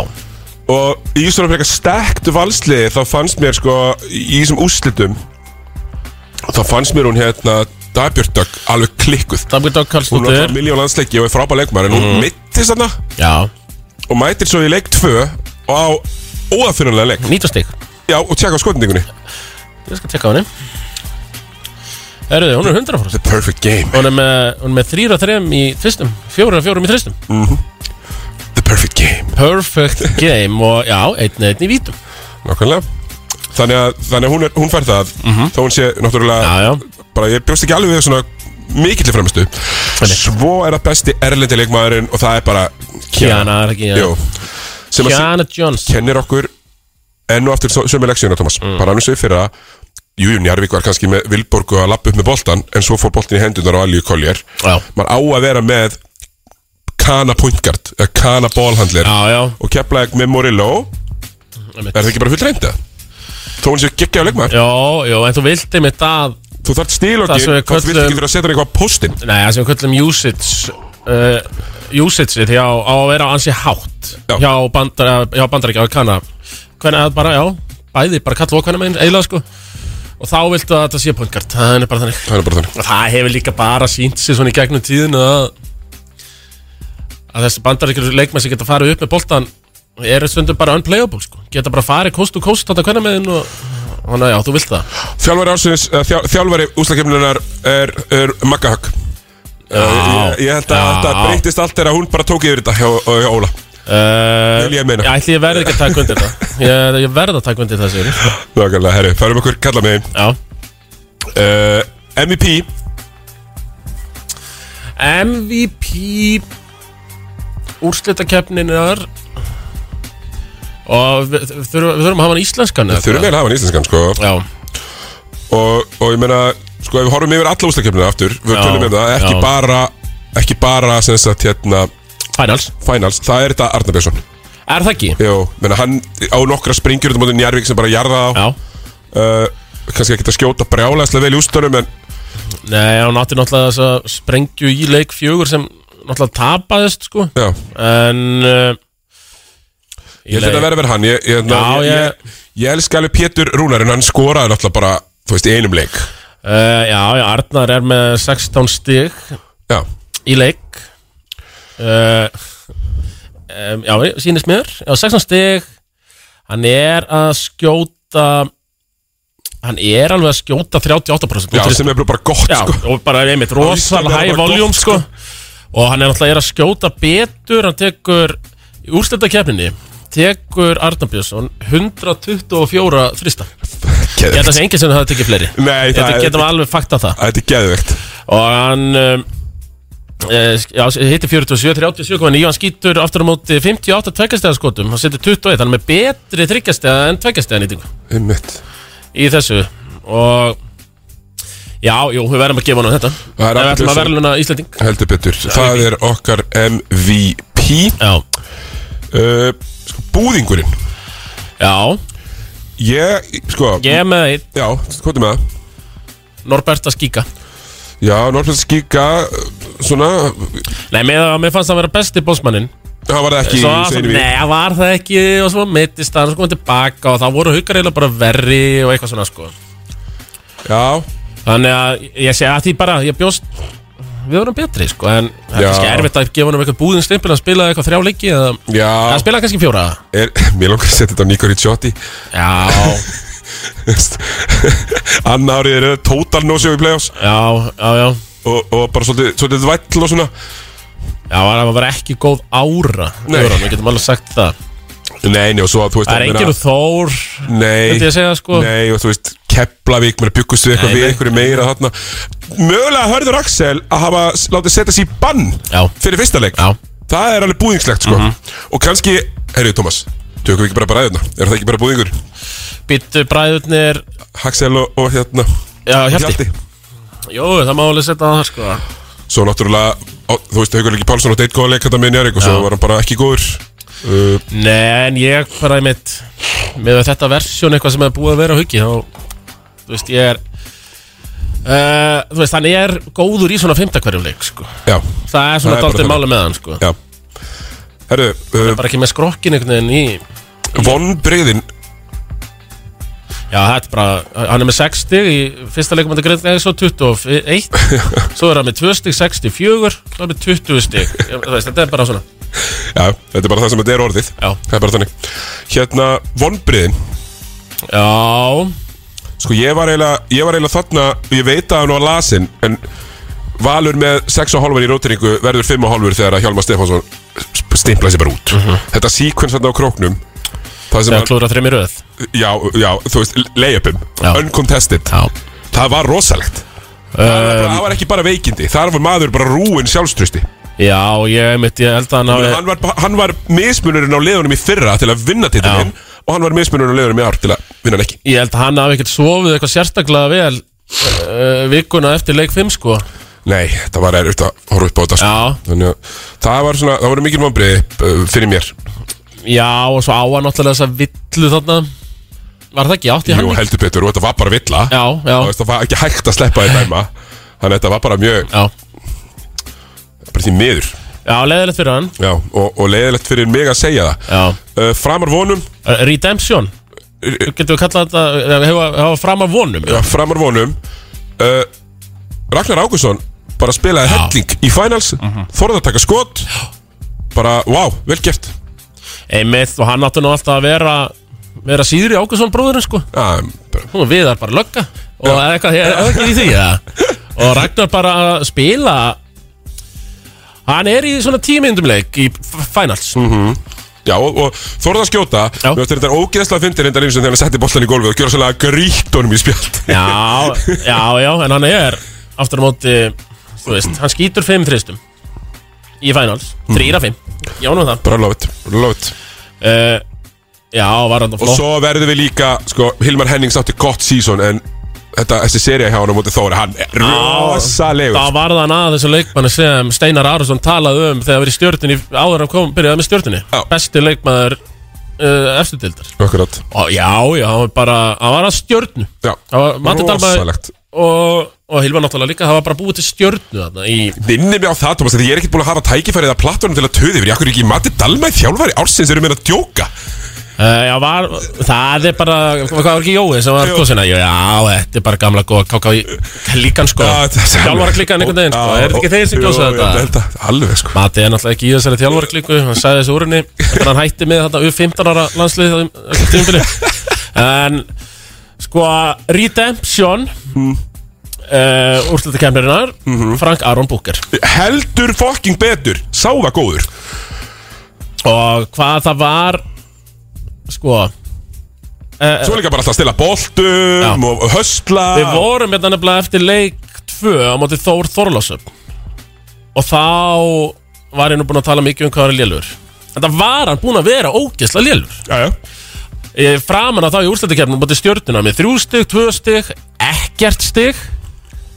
[SPEAKER 1] Og í svona frekar stektu valsliði Þá fannst mér sko Í þessum úslitum Þá fannst mér hún hérna Dagbjörndögg alveg klikkuð
[SPEAKER 2] Dagbjörndögg
[SPEAKER 1] Hún var miljón landsleiki og er frábær leikmar En hún
[SPEAKER 2] Mhm.
[SPEAKER 1] mittist þarna
[SPEAKER 2] Já
[SPEAKER 1] Og mætir svo í leik 2 Og á óafinnulega leik
[SPEAKER 2] 19 stík
[SPEAKER 1] Já og tjekka á skotningunni
[SPEAKER 2] Ég skal tjekka á henni Herruði, hún er 100
[SPEAKER 1] The perfect game
[SPEAKER 2] Hún er með, hún er með þrýra þrem í tvistum Fjóra fjórum í tvistum
[SPEAKER 1] Mhm. The perfect game
[SPEAKER 2] Perfect game og já, einn einn í vítum
[SPEAKER 1] Nákvæmlega Þannig að, þannig að hún, er, hún fær það Þá hún sé náttúrulega
[SPEAKER 2] Mhm. já, já.
[SPEAKER 1] Bara ég bjóst ekki alveg við svona mikillir fremistu Svo er það besti erlendi leikmaðurinn Og það er bara
[SPEAKER 2] Kiana er ekki, já.
[SPEAKER 1] Jú. Sem að
[SPEAKER 2] Kiana Jones
[SPEAKER 1] Kennir okkur enn og aftur sö- sömu leksjónu Thomas
[SPEAKER 2] Mm.
[SPEAKER 1] Bara annars við fyrir að Jú, jú, Njarvík var kannski með Vilborgu að lappa upp með boltan En svo fór boltin í hendunar á Alíu Collier
[SPEAKER 2] Já
[SPEAKER 1] Maður á að vera með Kana pointgard eða Kana ballhandler
[SPEAKER 2] Já, já
[SPEAKER 1] Og kepla með Morillo Er það ekki bara fullreynda? Þó hún sé geggja á leikmaður
[SPEAKER 2] Já, já, en þú vildi með það
[SPEAKER 1] Þú þarft stílokkin,
[SPEAKER 2] Það sem við
[SPEAKER 1] þá þú vilt
[SPEAKER 2] köllum-
[SPEAKER 1] ekki vera að setja hann eitthvað á póstinn.
[SPEAKER 2] Nei, það sem við köllum usage uh, Usage því á, á að vera ansi hátt já. Hjá bandar, eh, hjá bandar ekki, á kanna Hvernig að bara, já, bæði bara kalla og hvernig meginn eiginlega sko Og þá viltu að þetta sé pointgard Það er bara þannig
[SPEAKER 1] Það er bara þannig
[SPEAKER 2] Og það hefur líka bara sínt sig svona í gegnum tíðinu að að þessi bandaríkjur leikmenn sem geta farið upp með boltan eru stundum bara unplayable sko. geta bara farið kost og kost þetta hvernig meðin og þannig að já, þú vilt það
[SPEAKER 1] Þjálfari ársins, uh, þjál, þjálfari úslakefnilegar er, er Magga Högg Eh,
[SPEAKER 2] Já.
[SPEAKER 1] ég, ég held að
[SPEAKER 2] Já.
[SPEAKER 1] þetta breytist allt þegar hún bara tók yfir þetta hjá, hjá Óla
[SPEAKER 2] uh,
[SPEAKER 1] Vil ég meina
[SPEAKER 2] Já, ætli ég verði ekki að taka undir það ég, ég verði að taka undir það sigur
[SPEAKER 1] Nákvæmlega, herri, færum okkur kalla mig
[SPEAKER 2] Já
[SPEAKER 1] uh, MVP
[SPEAKER 2] MVP úrslitakeppninar og við, við, þurfum, við þurfum að hafa hann íslenskan
[SPEAKER 1] Við þurfum eiginlega að hafa hann íslenskan, sko
[SPEAKER 2] Já
[SPEAKER 1] Og, og ég meina, sko, ef við horfum yfir alla úslakefnilega aftur Við
[SPEAKER 2] Já.
[SPEAKER 1] tölum um það, ekki
[SPEAKER 2] Já.
[SPEAKER 1] bara Ekki bara, sem sagt, hérna
[SPEAKER 2] Finals
[SPEAKER 1] Finals, það er þetta Arnar Björnsson
[SPEAKER 2] Er það ekki?
[SPEAKER 1] Jó, menna hann á nokkra springjur Þetta mótið Njarvík sem bara jarða á
[SPEAKER 2] Já
[SPEAKER 1] uh, Kannski ekki að skjóta brjálæðslega vel í ústunum En
[SPEAKER 2] Nei, hann átti náttúrulega þess að sprengju í leik fjögur sem náttúrulega tapaðist sko
[SPEAKER 1] Já.
[SPEAKER 2] En uh,
[SPEAKER 1] ég held að þetta verði að vera hann Ég, ég,
[SPEAKER 2] Já,
[SPEAKER 1] ég,
[SPEAKER 2] ég-
[SPEAKER 1] ég, ég elska alveg Pétur Rúnar En hann skoraði náttúrulega bara, þú veist, í einum leik
[SPEAKER 2] Uh, já, já, Arnar er með 16 stig
[SPEAKER 1] já.
[SPEAKER 2] í leik uh, um, Já, sínist mér Já, 16 stig Hann er að skjóta Hann er alveg að skjóta 38%
[SPEAKER 1] Já, sem er bara gott
[SPEAKER 2] Já,
[SPEAKER 1] sko.
[SPEAKER 2] og bara einmitt
[SPEAKER 1] Á
[SPEAKER 2] rosal
[SPEAKER 1] Íslandi er það
[SPEAKER 2] high
[SPEAKER 1] bara
[SPEAKER 2] volume
[SPEAKER 1] gott,
[SPEAKER 2] sko. Og hann er náttúrulega er að skjóta betur Hann tekur í úrslitakefninni Tekur Arnar Björnsson 124 þrista Ég held að það sé enginn sem það tekið fleiri
[SPEAKER 1] Nei,
[SPEAKER 2] Þetta
[SPEAKER 1] það er-
[SPEAKER 2] getum við alveg fakta það
[SPEAKER 1] Þetta er geðvegt
[SPEAKER 2] Og hann um, eh, já, hittir 47, 37,9 Hann skýtur aftur á móti 58 tveggjastega skotum Hann setur 21, hann er með betri þryggjastega en tveggjastega nýtingu
[SPEAKER 1] Einmitt.
[SPEAKER 2] Í þessu Og já, jú, við verðum að gefa hann þetta
[SPEAKER 1] Það
[SPEAKER 2] Ef
[SPEAKER 1] er
[SPEAKER 2] Við
[SPEAKER 1] allir
[SPEAKER 2] ætlum að
[SPEAKER 1] sem-
[SPEAKER 2] verðluna Íslanding
[SPEAKER 1] Heldur betur Það er okkar MVP
[SPEAKER 2] Já
[SPEAKER 1] uh, sko, Búðingurinn
[SPEAKER 2] Já
[SPEAKER 1] Ég, sko
[SPEAKER 2] Ég er með einn
[SPEAKER 1] Já, hvað er með það?
[SPEAKER 2] Norberta Skíka
[SPEAKER 1] Já, Norberta Skíka Svona
[SPEAKER 2] Nei, mér, mér fannst það að vera besti bósmannin
[SPEAKER 1] Það var það ekki
[SPEAKER 2] svo,
[SPEAKER 1] í seinum í-
[SPEAKER 2] Nei, það var það ekki og svo mittist hann og svo komið tilbaka og það voru huggar eiginlega bara verri og eitthvað svona sko
[SPEAKER 1] Já
[SPEAKER 2] Þannig að ég segi að því bara, ég bjóst við vorum betri sko en það er
[SPEAKER 1] Já.
[SPEAKER 2] kannski erfitt að gefa hann um eitthvað búðin stimpil að spila eitthvað þrjá leiki eða
[SPEAKER 1] Já
[SPEAKER 2] að spila kannski fjóra
[SPEAKER 1] er, Mér langar að setja þetta á Nico Ricciotti Já Anna árið er total no-show í playoffs
[SPEAKER 2] Já, já, já
[SPEAKER 1] Og, og bara svolítið, svolítið væll og svona
[SPEAKER 2] Já, það var ekki góð ára
[SPEAKER 1] Nei.
[SPEAKER 2] yfir hann, við getum alveg sagt það
[SPEAKER 1] Nei, nei, og svo að þú veist
[SPEAKER 2] Það er
[SPEAKER 1] ég meina-
[SPEAKER 2] enginn úr Þór
[SPEAKER 1] Nei
[SPEAKER 2] myndi ég segja, sko.
[SPEAKER 1] Nei, og þú veist, Keflavík, mér byggust við eitthvað
[SPEAKER 2] Nei,
[SPEAKER 1] við
[SPEAKER 2] nei.
[SPEAKER 1] eitthvað meira þarna Mögulega hörður Axel að hafa s- látið setja sér í bann Já. fyrir fyrsta leik Já. Það er alveg búðingslegt, sko
[SPEAKER 2] Mhm.
[SPEAKER 1] Og kannski, herriði Tómas, tökum við ekki bara bræðuna Er það ekki bara búðingur?
[SPEAKER 2] Býttu bræðurnir
[SPEAKER 1] Axel og, og hérna
[SPEAKER 2] Já,
[SPEAKER 1] og
[SPEAKER 2] Hjalti Jó, það má alveg setja það sko
[SPEAKER 1] Svo náttúrulega, á, þú veist, Haukur Leiki Pálsson átti eitt góða leik þetta með Njarek og svo
[SPEAKER 2] Já.
[SPEAKER 1] var hann bara ekki góður uh,
[SPEAKER 2] Nei, en ég bara einmitt með þetta versjón eitthvað sem er búið að vera á huggi þá, þú veist, ég er uh, þú veist, hann er góður í svona fymtakverjum leik, sko
[SPEAKER 1] Já
[SPEAKER 2] það er svona
[SPEAKER 1] bara
[SPEAKER 2] daldið
[SPEAKER 1] þannig.
[SPEAKER 2] máli með hann, sko
[SPEAKER 1] Já Herru, uh,
[SPEAKER 2] bara ekki með skrokkin einhvern veginn í
[SPEAKER 1] vonbrigðin
[SPEAKER 2] já, það er bara, hann er með 60 í fyrsta leikum þetta greið, svo 21 svo er hann með 2 stig, 64 svo er hann með 20 stig Ég- þú veist, þetta er bara svona
[SPEAKER 1] Já, þetta er bara það sem þetta er orðið Já Það er bara þannig Hérna, vonbriðin
[SPEAKER 2] Já
[SPEAKER 1] Sko, ég var eiginlega, ég var eiginlega þarna og Ég veit að hann var lasin En Valur með 6,5 í rótiringu Verður 5,5 þegar að Hjalmar Stefánsson sp- Stimplaði sér bara út Þetta síkvens þarna á króknum Það
[SPEAKER 2] Þegar klúðrar þrem í röð
[SPEAKER 1] Já, já, þú veist, layupum Uncontested
[SPEAKER 2] já. Um,
[SPEAKER 1] Það var rosalegt það, var bara, það var ekki bara veikindi Þar var maður bara rúin sjálfstrusti
[SPEAKER 2] já, ég, einmitt, ég held að hann hafi
[SPEAKER 1] hann, var, hann var mismunurinn á liðunum í fyrra til að vinna titilinn og hann var mismunurinn á liðunum í ár til að vinna hann ekki
[SPEAKER 2] Ég held að hann hafi ekkert sofið eitthvað sérstaklega vel uh, vikuna eftir leik 5 sko
[SPEAKER 1] Nei, það var erfitt að horfa upp á þetta sko. Þannig að það var svona, það voru mikil vonbriði uh, fyrir mér
[SPEAKER 2] Já og svo á hann náttúrulega þessa villu þarna Var það ekki átt í hann
[SPEAKER 1] Jú,
[SPEAKER 2] ekki?
[SPEAKER 1] heldur betur og þetta var bara villa
[SPEAKER 2] Já, já
[SPEAKER 1] Þú veist, Það var ekki hægt að sleppa þetta dæma Þannig að þetta var bara mjög
[SPEAKER 2] já.
[SPEAKER 1] Bara því miður
[SPEAKER 2] Já, leiðilegt fyrir hann
[SPEAKER 1] Já, og, og leiðilegt fyrir mig að segja það
[SPEAKER 2] Já.
[SPEAKER 1] uh, Framar vonum
[SPEAKER 2] Eh,
[SPEAKER 1] Eh,
[SPEAKER 2] Redemption Getum við kallað þetta eh, Hafa hafa framar vonum
[SPEAKER 1] Já, framar vonum uh, Ragnar Ágússon bara spilaði helling í finals mm
[SPEAKER 2] Mhm.
[SPEAKER 1] Þorði að taka skot Bara, wow, vel gert
[SPEAKER 2] Einmitt og hann áttu nú alltaf að vera Vera síðri Ágússon bróðurinn sko
[SPEAKER 1] Já,
[SPEAKER 2] Hún viðar bara lögga Og það er eitthvað, er það ekki í því það Og Ragnar bara að spila Hann er í svona tímyndum leik Í f- finals
[SPEAKER 1] -hmm. Já, og, og þorði að skjóta Mér finnst þetta ógeðslega fyndin enda einu sem þegar hann setti boltan í gólfið og gjöra svolítið gríkt honum í spjald
[SPEAKER 2] Já, já, já, en hann er aftur á móti, þú veist, hann skýtur fimm þristum í finals,
[SPEAKER 1] Mhm.
[SPEAKER 2] þrýra fimm, já nú það
[SPEAKER 1] Bara lofið, lofið
[SPEAKER 2] uh, Já, var hann
[SPEAKER 1] Og svo verðum við líka, sko, Hilmar Hennings átti gott sísón en þetta, þessi seria hjá hann á móti Þóri, hann er rosalegur
[SPEAKER 2] Það var það að þessu leikmanni sem Steinar Arason talaði um þegar verið stjórnunni áður en hann kom, byrjaði með stjórnunni Besti leikmaður uh, eftirdildar
[SPEAKER 1] Akkurat
[SPEAKER 2] Ó, Já, já, hann var bara, hann var að stjórnu
[SPEAKER 1] Já,
[SPEAKER 2] Matti Dalmaður
[SPEAKER 1] rosalegt.
[SPEAKER 2] og, og Hilma náttúrulega líka, það var bara búið til stjórnu þarna í
[SPEAKER 1] Vinni mig á það, Thomas, því ég er ekkert búin að hafa tækifærið að plattunum til að töði yfir, ég akkur ekki Matti Dalmæð þjálfari ársins eru meira að djóka
[SPEAKER 2] Uh, já, var, það er bara, hvað var ekki Jói sem var góðsina? Já, þetta er bara gamla góða káká í klíkan sko Þjálfara klíkan einhvern veginn sko, er þetta ekki þeir sem gjósa þetta?
[SPEAKER 1] Alveg sko
[SPEAKER 2] Mati er náttúrulega ekki í þessari þjálfara klíku, hann sagði þessu úrunni Þannig hann hætti með þetta U15 ára landslið það tímabili En sko, Redemption mm. uh, Úrslita kemurinar, Frank Aron Booker
[SPEAKER 1] Mhm. Heldur fokking betur, sá það góður
[SPEAKER 2] Og hvað það var, sko
[SPEAKER 1] Svo er líka bara alltaf að stila boltum og höstla
[SPEAKER 2] Eh, Við vorum hérna nefnilega eftir leik 2 á móti Þór Þorlásöf og þá var ég nú búinn að tala mikið um hvað var lélur en það var hann búinn að vera ógeðslega lélur
[SPEAKER 1] Jæja
[SPEAKER 2] Ég framan að þá í úrslættikefnum móti stjórnuna með þrjú stig, tvö stig, ekkert stig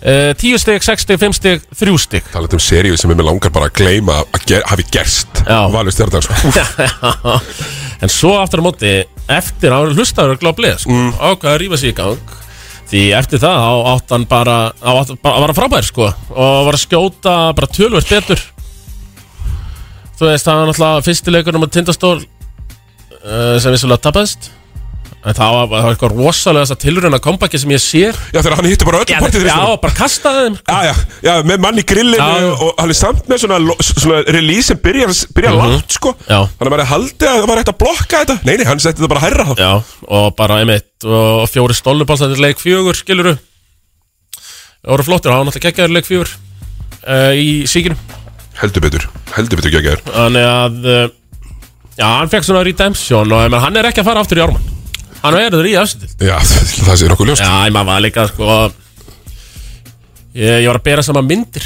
[SPEAKER 2] eh, tíu stig, sex stig, fimm stig, þrjú stig
[SPEAKER 1] Talað um seríu sem ég með langar bara að gleyma að ger, hafi gerst Valur stjarnar sko
[SPEAKER 2] en svo aftur á móti eftir að hlustaður að glóða bleið sko,
[SPEAKER 1] Mm.
[SPEAKER 2] ákvað að rífa sig í gang því eftir það á átt hann bara á átt, bara var hann frábær sko og var að skjóta bara tölvert betur þú veist það var náttúrulega fyrsti leikunum að tindastól uh, sem vissulega tapast en það var, það var eitthvað rosalega þess að tilruna kompakki sem ég sér
[SPEAKER 1] Já þegar hann hittu bara öllum
[SPEAKER 2] partið
[SPEAKER 1] partyþristunum.
[SPEAKER 2] já, bara kastaði þeim
[SPEAKER 1] Já, já, já, með mann í grillinu og hann er samt með svona, lo- svona release sem byrja, byrja
[SPEAKER 2] Mhm.
[SPEAKER 1] lágt sko
[SPEAKER 2] Já.
[SPEAKER 1] Þannig að maður haldi að það var hægt að blokka þetta Nei, nei, hann setti þetta bara hærra þá
[SPEAKER 2] Já, og bara einmitt og fjóri stóllubalsandir leik fjögur skiluru Það voru flottir, það var náttúrulega geggjaður leik fjögur uh, í síkinu
[SPEAKER 1] Heldur betur, heldur betur geggjær
[SPEAKER 2] Þannig að, uh, já, hann fekk svona redemption og menn, hann er ekki að fara aftur í ármann Hann er það í afsendil
[SPEAKER 1] Já, það sé nokkuð ljóst
[SPEAKER 2] Já, ég maður var líka, sko Ég, ég var að bera saman myndir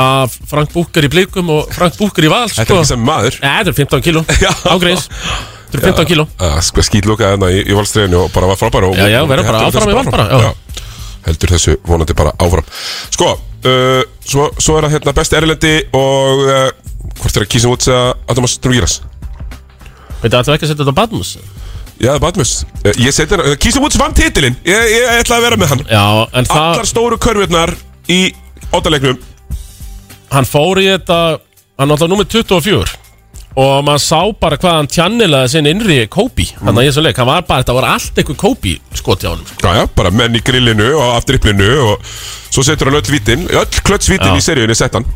[SPEAKER 2] af Frank Búker í blíkum og Frank Búker í val sko.
[SPEAKER 1] Þetta er ekki sem maður
[SPEAKER 2] Nei, þetta er 15 kíló, ágreis Þetta er 15 kíló
[SPEAKER 1] Að sko skýtloka þarna í, í valstræðinu og bara var frábær og,
[SPEAKER 2] Já, já,
[SPEAKER 1] og-
[SPEAKER 2] vera
[SPEAKER 1] og
[SPEAKER 2] bara áfram
[SPEAKER 1] heldur þessu
[SPEAKER 2] í Val bara, já.
[SPEAKER 1] Heldur þessu vonandi bara áfram Sko, uh, svo, svo er það hérna best erlendi og uh, hvort er að kísum út að Adamas Drúgiras
[SPEAKER 2] Veitu, ætlum við ekki að setja þetta á Badmus?
[SPEAKER 1] Já, Badmus Eh, Ég seti hann, kísum út vann titilinn ég, ég ætla að vera með hann
[SPEAKER 2] Já, en það
[SPEAKER 1] Allar stóru körfurnar í óttalegnum
[SPEAKER 2] hann fór í þetta hann var alltaf nummer 24 og maður sá bara hvað hann tjannilega sinn innri Kobe, hann
[SPEAKER 1] Mhm.
[SPEAKER 2] að ég svo leik hann var bara, þetta var allt eitthvað Kobe skoti á hann
[SPEAKER 1] Já, já, bara menn í grillinu og af dripplinu og svo setur hann öll vítin öll klötsvítin
[SPEAKER 2] Já.
[SPEAKER 1] í seríunni sett hann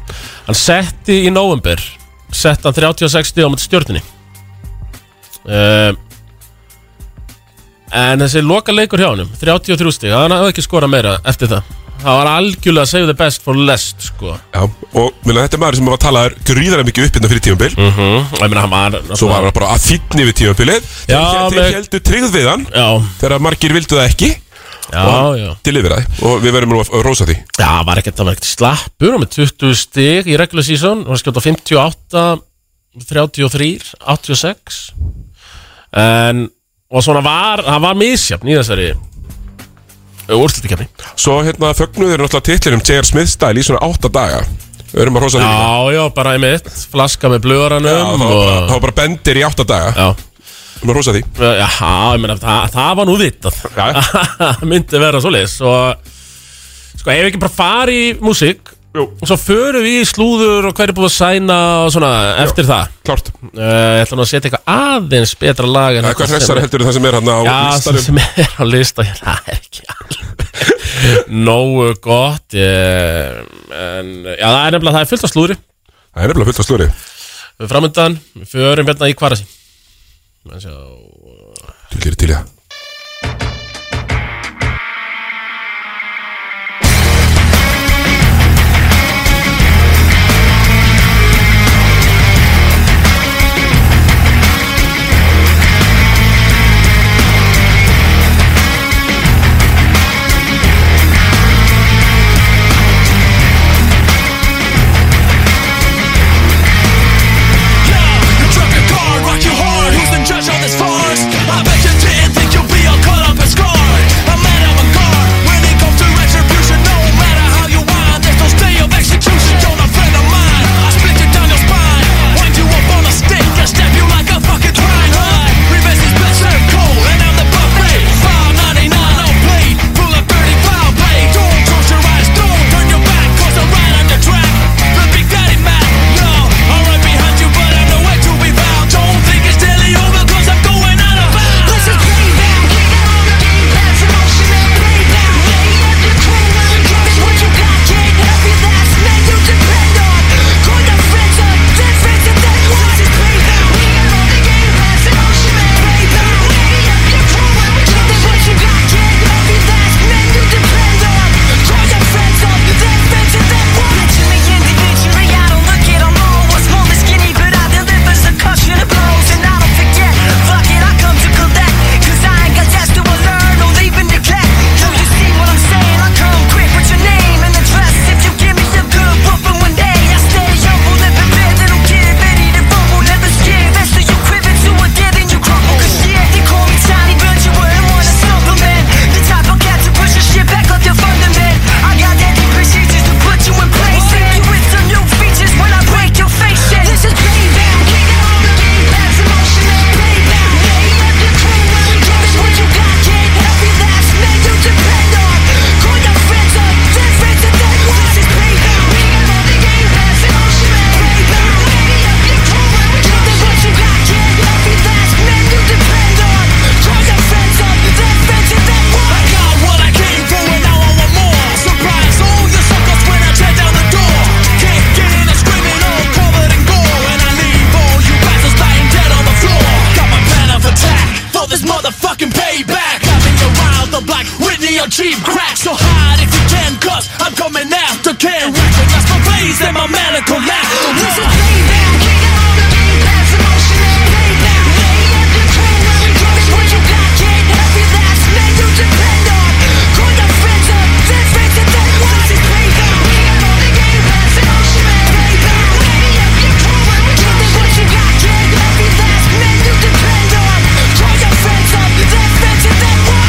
[SPEAKER 2] hann setti í november sett hann 30-60 á mæti stjórninni um, en þessi loka leikur hjá hann 33 stig, hann hafði ekki skorað meira eftir það það var algjörlega save the best for last sko
[SPEAKER 1] Já, og minna, þetta er maður sem var að tala gríðarlega mikið upp innan fyrir tímabil mm
[SPEAKER 2] -hmm. var,
[SPEAKER 1] Svo var hann bara að fýtni við tímabilið
[SPEAKER 2] Já,
[SPEAKER 1] Þeir- Þeir
[SPEAKER 2] með-
[SPEAKER 1] heldur tryggð við hann
[SPEAKER 2] já.
[SPEAKER 1] Þegar margir vildu það ekki
[SPEAKER 2] Já,
[SPEAKER 1] Og hann
[SPEAKER 2] já.
[SPEAKER 1] deliveraði Og við verðum nú að að rósa því
[SPEAKER 2] Já, það var ekkert, það var ekkert slappur hann var með 20 stig í regular season var skjóta 58 33, 86 en og svona var, það var misjafn í þessari úrslutikefni
[SPEAKER 1] Svo hérna fögnuður náttúrulega titlinum J.R. Smith stæl í svona átta daga Við verðum að rósa því líka.
[SPEAKER 2] Já, já, bara einmitt, flaska með blöðaranum
[SPEAKER 1] Já, það var bara- það var bara bendir í átta daga
[SPEAKER 2] Já
[SPEAKER 1] Við verðum að rósa því
[SPEAKER 2] Já, ég meina, það, það var nú vitað Það myndi vera svoleiðis og sko, ef við ekki bara fari í músík og svo förum við í slúður og hver er búið að sæna og svona eftir það Eh,
[SPEAKER 1] Klart
[SPEAKER 2] Ég ætla nú að setja eitthvað aðeins betra lag en
[SPEAKER 1] Eða hvað hressara heldur það sem er hann á
[SPEAKER 2] Já,
[SPEAKER 1] listanum?
[SPEAKER 2] sem er á lista Það er ekki alveg Nógu gott ég, en, Já, það er nefnilega, það er fullt af slúðri
[SPEAKER 1] Það er nefnilega fullt af slúðri
[SPEAKER 2] Við framöndan, við förum hérna í hvarasi Menn sjá
[SPEAKER 1] Til gerir til í það
[SPEAKER 19] Drop your guard, rock your heart. Who's the judge on this farce? I bet you didn't think you your dream crack So hide if you can Cause I'm coming after Can recognize my ways And my maniacal laughter Listen, lay back Lay down on the main pass Emotion and lay back Lay in control Every drug is what you got Kid, every last man you depend on Call your friends up Then face it, then what? This is lay down We got all the game pass Emotion and lay back Lay in control Every drug is what you got Kid, every last man you depend on Call your friends up Then face it, then what?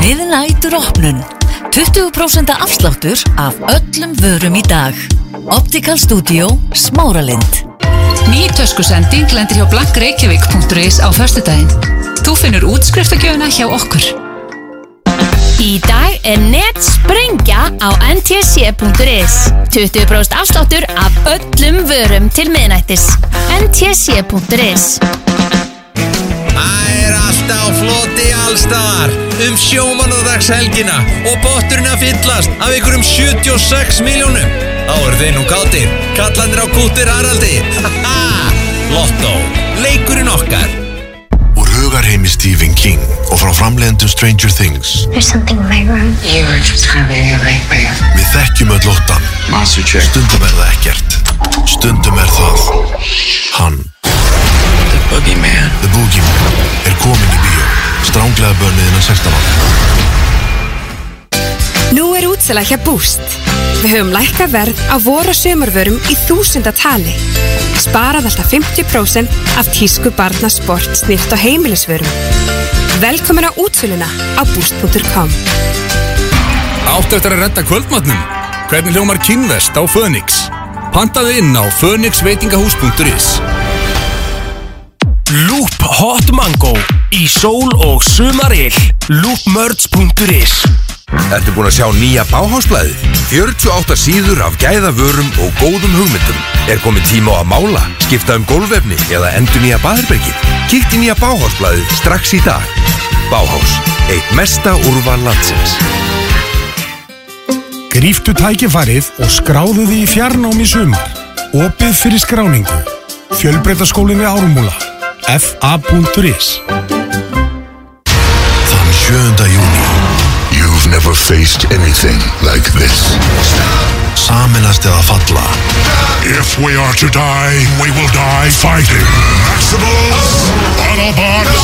[SPEAKER 10] Miðnætur opnun 20% afsláttur af öllum vörum í dag Optical Studio Smáralind
[SPEAKER 12] Ný töskusending lendir hjá blankreykjavík.is á förstudaginn. Þú finnur útskriftagjöfuna hjá okkur.
[SPEAKER 20] Í dag er netsprengja á ntc.is 20% afsláttur af öllum vörum til miðnættis ntc.is
[SPEAKER 9] Það er alltaf floti allstaðar um sjómanadagshelgina og bótturinn að fyllast af einhverjum 76 miljónum. Þá eru þeir nú kátir, kallandir á kútir Haraldi. Haha, Lotto, leikurinn okkar.
[SPEAKER 21] Úr hugarheimi Stephen King og frá framleiðendum Stranger Things
[SPEAKER 22] There's something in my room. You were just having a nightmare.
[SPEAKER 21] Við þekkjum öll óttan Stundum er það ekkert Stundum er það Hann The Boogeyman The Boogeyman er komin í bíó Stránglega bönnið innan 16 ára
[SPEAKER 23] Nú er útsala hjá Boost. Við höfum lækka verð á voru og sömurvörum í þúsunda tali. Sparað alltaf 50% af tísku barna sport, snilt og heimilisvörum. Velkomin á útsöluna á boost.com.
[SPEAKER 7] Áttu eftir að redda kvöldmatnum? Hvernig hljómar kynvest á Fönix? Pantaðu inn á fönixveitingahús.is
[SPEAKER 19] Loop Hot Mango í sól og sumarill loopmerge.is
[SPEAKER 5] Ertu búin að sjá nýja báhásblæði? 48 síður af gæðavörum og góðum hugmyndum. Er komið tíma á að mála, skipta um gólfefni eða endur nýja baðherbyggi? Kíkt í nýja báhásblæði strax í dag. Báhás, eitt mesta úrval landsins.
[SPEAKER 24] Gríftu tækifærið og skráðu því í fjarnámi í sumar. Opið fyrir skráningu. Fjölbreytaskólinn við Árumúla. fa.is
[SPEAKER 21] Þann 7. júni You've never faced anything like this Saminast eða falla
[SPEAKER 25] If we are to die, we will die fighting Maximals, Autobots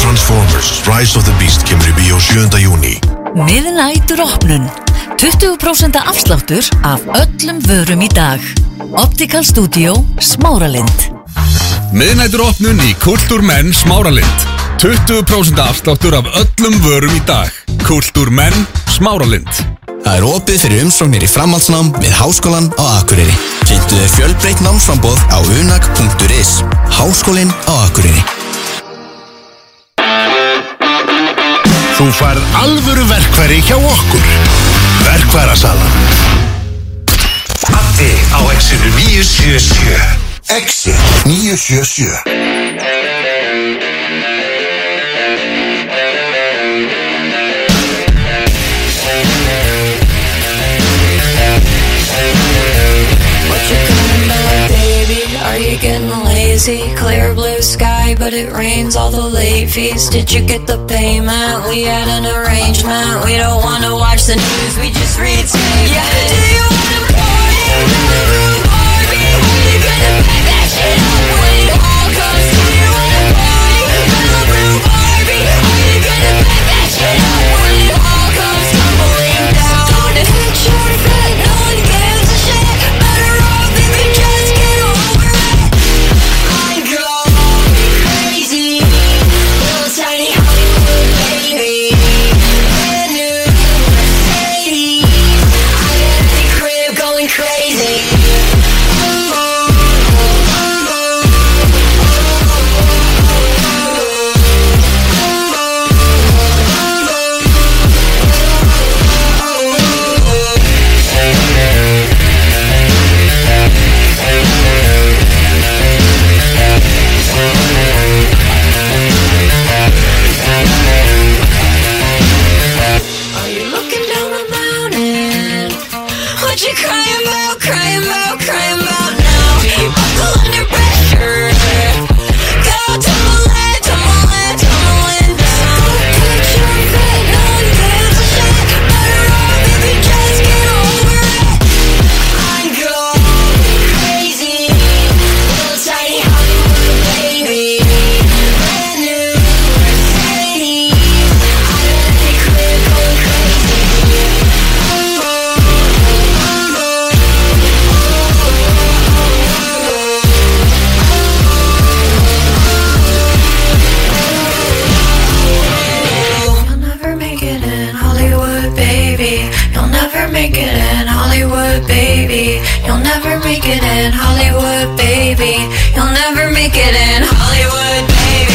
[SPEAKER 21] Transformers Rise of the Beast kemur í bíó 7. júni
[SPEAKER 10] Miðnætur opnun 20% afsláttur af öllum vörum í dag Optical Studio Smáralind
[SPEAKER 7] Miðnætur opnun í Kultúrmenn Smáralind 20% afsláttur af öllum vörum í dag Kultúrmenn Smáralind
[SPEAKER 26] Það er opið fyrir umsóknir í framhaldsnám við Háskólan á Akureyri. Kynntu þau fjölbreytt námsframboð á unag.is. Háskólinn á Akureyri.
[SPEAKER 11] Þú færð alvöru verkfæri hjá okkur Verkfærasalan Addi á exinu 977
[SPEAKER 21] Exit 977
[SPEAKER 27] What you gonna know, baby? Are you getting lazy? Clear blue sky, but it rains all the late fees. Did you get the payment? We had an arrangement. We don't wanna watch the news, we just read statements. Yeah. Do you wanna party? Another room party? Are you gonna pack that shit up when it all comes through? Do you wanna party? Another room party? Are you gonna pack that shit up when it all comes tumbling down? Don't picture that no one gives a shit. Better off if you just get over it. I go crazy, little tiny Hollywood baby. Brand new Mercedes. I got you crying about, crying about, crying about now? Buckle under pressure. Go tumble in, tumble in, tumble in down. Put your foot on down. Better off if you just get over it. I'm going crazy. Little tiny Hollywood baby. Brand new Mercedes. I'm gonna quit going You'll never make it in Hollywood, baby. You'll never make it in Hollywood, baby. You'll never make it in Hollywood, baby. You'll never make it in Hollywood, baby.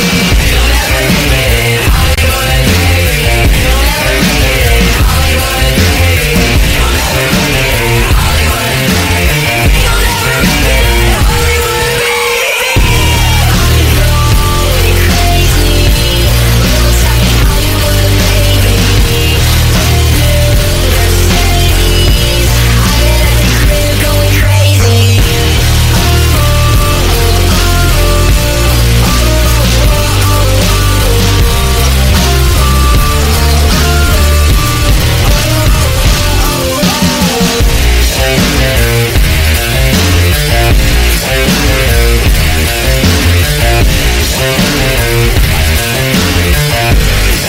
[SPEAKER 27] You'll never make it in Hollywood, baby. You'll never make it in Hollywood, baby. You'll never make it in Hollywood, baby. You'll never make it in Hollywood, baby. I'm going crazy, little tiny Hollywood baby.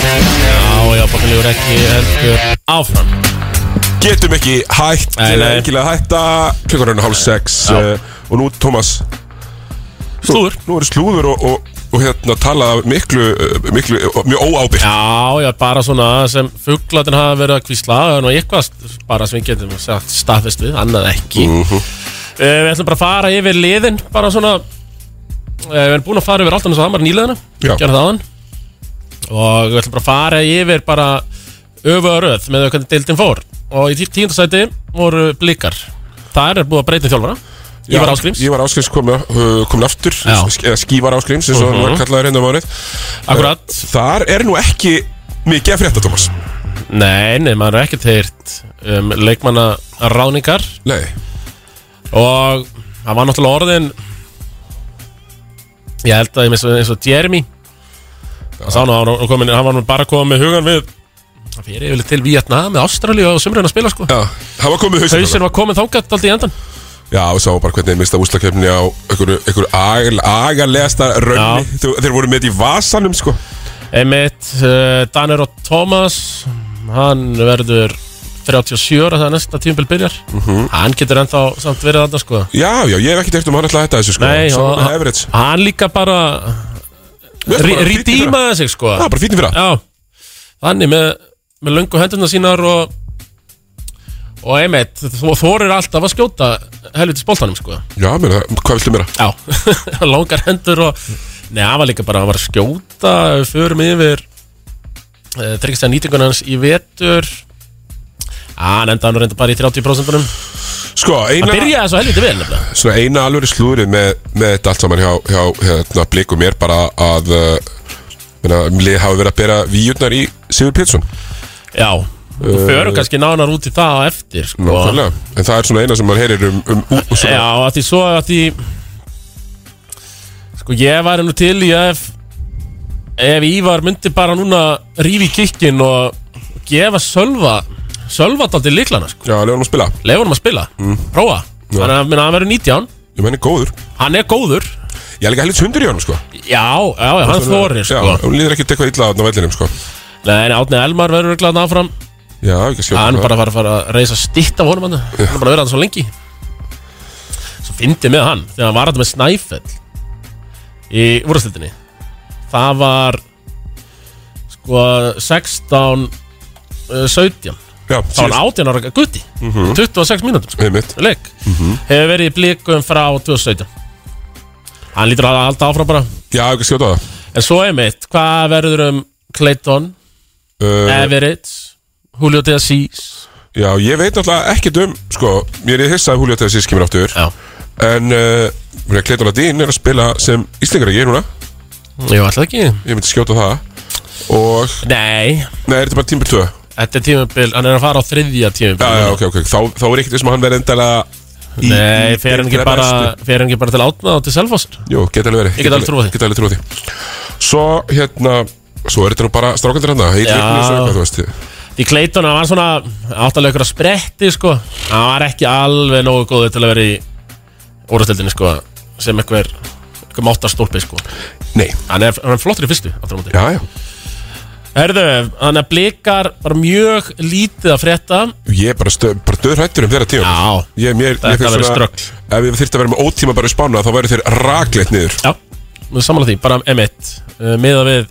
[SPEAKER 2] Já, já, bókinlegur ekki heldur áfram
[SPEAKER 1] Getum ekki hætt, eh,
[SPEAKER 2] Nei, nei.
[SPEAKER 1] engilega hætta Klukkan er hálf sex
[SPEAKER 2] Já.
[SPEAKER 1] uh, Og nú, Tómas
[SPEAKER 2] Slúður
[SPEAKER 1] Nú er slúður og, og, og hérna talað af miklu, uh, miklu og mjög óábyrgt
[SPEAKER 2] Já, já, bara svona sem fuglatin hafa verið að kvísla og eitthvað bara sem við getum sagt staðfest við, annað ekki
[SPEAKER 1] Mhm.
[SPEAKER 2] Eh, Við ætlum bara að fara yfir liðin bara svona uh, Við erum búin að fara yfir allt annars að hamar nýliðina
[SPEAKER 1] Já.
[SPEAKER 2] Gerða það hann Og við ætlum bara að fara yfir bara öfuga röð með hvernig deildin fór Og í tí- tíunda sæti voru blikar Þar er búið að breyta um þjálfara
[SPEAKER 1] Já,
[SPEAKER 2] Ívar Áskrims
[SPEAKER 1] Ívar Áskrims komin kom aftur sk- eða Skívar Áskrims eins og hann
[SPEAKER 2] Mhm.
[SPEAKER 1] var kallaður hérna um árið
[SPEAKER 2] Akkurat.
[SPEAKER 1] Eh, Þar er nú ekki mikið að frétta, Tómas
[SPEAKER 2] Nei, nei, maður er ekkert heyrt um, leikmanna ráningar
[SPEAKER 1] Nei
[SPEAKER 2] Og það var náttúrulega orðin Ég held að ég misst eins og Jeremy Það sá nú, hann var, komin, hann var nú bara komið með hugan við Það fyrir yfirleitt til Vietnam með Ástralíu og sumrinn að spila sko
[SPEAKER 1] Já, hann var komið hausinn
[SPEAKER 2] Hausin var komið þangað alltaf í endan
[SPEAKER 1] Já, við sáum bara hvernig þeir mista úslakefni á einhverju, einhverju agal, agalegasta raunni Þú- Þeir voru með þetta í vasanum, sko
[SPEAKER 2] Einmitt, uh, Danir og Thomas Hann verður 37 ára þegar næsta tímpil byrjar
[SPEAKER 1] Mhm.
[SPEAKER 2] Hann getur ennþá samt verið þarna sko
[SPEAKER 1] Já, já, ég hef ekki teirt um hann ætla að hætta þessu, sko
[SPEAKER 2] Nei,
[SPEAKER 1] Sá
[SPEAKER 2] og
[SPEAKER 1] með Everett.
[SPEAKER 2] hann líka bara
[SPEAKER 1] Mér finnst
[SPEAKER 2] rí-
[SPEAKER 1] bara fínn í
[SPEAKER 2] Redeemaði
[SPEAKER 1] fyrra.
[SPEAKER 2] sig sko
[SPEAKER 1] Já, bara fínn í fyrra.
[SPEAKER 2] Já Þannig með, með löngu hendurna sínar og og einmitt þú þorir alltaf að skjóta helvitis boltanum sko
[SPEAKER 1] Já, meina, hvað viltu meira?
[SPEAKER 2] Já, langar hendur og Nei, hann var líka bara, hann var að skjóta við Förum yfir uh, Tryggstæða nýtinguna hans í vetur Ah, hann enda hann reynda bara í 30%
[SPEAKER 1] Sko, eina
[SPEAKER 2] Það byrjaði svo helviti vel nefnilega
[SPEAKER 1] Svona eina alvöru slúrið með, með þetta allt saman hjá, hjá hérna, blikum er bara að uh, meina, um lið hafa verið að bera víjurnar í Sigur Pétursson
[SPEAKER 2] Já, Þú förum kannski nánar út í það á eftir sko.
[SPEAKER 1] Eh, Nákvæmlega, en það er svona eina sem maður heyrir um, um ú, og svona,
[SPEAKER 2] Já, að því svo að því Sko ég væri nú til í að ef Ef Ívar myndi bara núna Rífi kikkin og Gefa Sölva Sölva daldi líklana sko
[SPEAKER 1] Já, leifunum að spila
[SPEAKER 2] Leifunum að spila,
[SPEAKER 1] Mm.
[SPEAKER 2] prófa Þannig að minna, hann verður 19
[SPEAKER 1] Ég menn er góður
[SPEAKER 2] Hann er góður
[SPEAKER 1] Ég er líka helvits hundur í honum sko
[SPEAKER 2] Já, já, já, hann þorir sko
[SPEAKER 1] Já, hún líður ekki eitthvað illa á vellinum sko
[SPEAKER 2] Nei, en Átni Elmar verður glæðan áfram
[SPEAKER 1] Já, ekki að skjóta
[SPEAKER 2] Hann er
[SPEAKER 1] það.
[SPEAKER 2] bara að fara, fara að reysa stýtt af honum hann Hann er bara að vera hann svo lengi Svo fyndi með hann Þegar hann var hann með Snæfell Í úrstildinni Það var Sko 16 uh, 17
[SPEAKER 1] Já,
[SPEAKER 2] Það var hann 18 ára gutti
[SPEAKER 1] Mhm.
[SPEAKER 2] 26 mínútur sko
[SPEAKER 1] Einmitt.
[SPEAKER 2] Leik
[SPEAKER 13] Mm-hmm.
[SPEAKER 1] Mhm.
[SPEAKER 2] Hefur verið í blikum frá 2017 Hann lítur að halda áfram bara
[SPEAKER 1] Já, ekki að skjóta það
[SPEAKER 2] En svo einmitt, hvað verður um Clayton,
[SPEAKER 1] uh,
[SPEAKER 2] Everett Julio de Assis
[SPEAKER 1] Já, ég veit náttúrulega ekkert um sko, mér er hissað að Julio Tessis kemur aftur
[SPEAKER 2] Já.
[SPEAKER 1] En uh, Kleitona Dín er að spila sem Íslingar ekki núna
[SPEAKER 2] Jú, alltaf ekki
[SPEAKER 1] Ég myndi skjóta það Og
[SPEAKER 2] Nei
[SPEAKER 1] Nei, er þetta bara tímbil 2?
[SPEAKER 2] Þetta er tímabil, hann er að fara á þriðja tímabil
[SPEAKER 1] Já, já, ok, ok, þá, þá er ekkert sem að hann verið endalega í-
[SPEAKER 2] Nei,
[SPEAKER 1] í-
[SPEAKER 2] fer hann
[SPEAKER 1] þeirra
[SPEAKER 2] ekki bara
[SPEAKER 1] bestu.
[SPEAKER 2] Fer hann ekki bara til átna og til selfast
[SPEAKER 1] Jú, geta alveg verið
[SPEAKER 2] Ég get alveg trúað því.
[SPEAKER 1] Geta alveg trúið því Svo, hérna, svo er þetta nú bara strákandir hann Heitir ykkur og eitthvað, þú veist
[SPEAKER 2] Því Clayton, hann var svona áttalega ykkur að spretti sko Hann var ekki alveg nógu góðið til að vera í úrastildinni sko sem einhver, einhver máttastólpi sko
[SPEAKER 1] Nei
[SPEAKER 2] Hann er, hann er flottur í fyrstu aftur á móti
[SPEAKER 1] Já, já
[SPEAKER 2] Herðu, hann er blikar bara mjög lítið að frétta
[SPEAKER 1] Ég er bara, stöð, bara döðrættur um þeirra tíma
[SPEAKER 2] Já,
[SPEAKER 1] ég, mér,
[SPEAKER 2] Þetta
[SPEAKER 1] mér finnst
[SPEAKER 2] verður
[SPEAKER 1] svona-
[SPEAKER 2] ströggl.
[SPEAKER 1] Ef ég þyrfti að vera með ótíma bara í spána þá væri þeir rakleitt niður
[SPEAKER 2] Já, samanlega því, bara M1 uh, miða við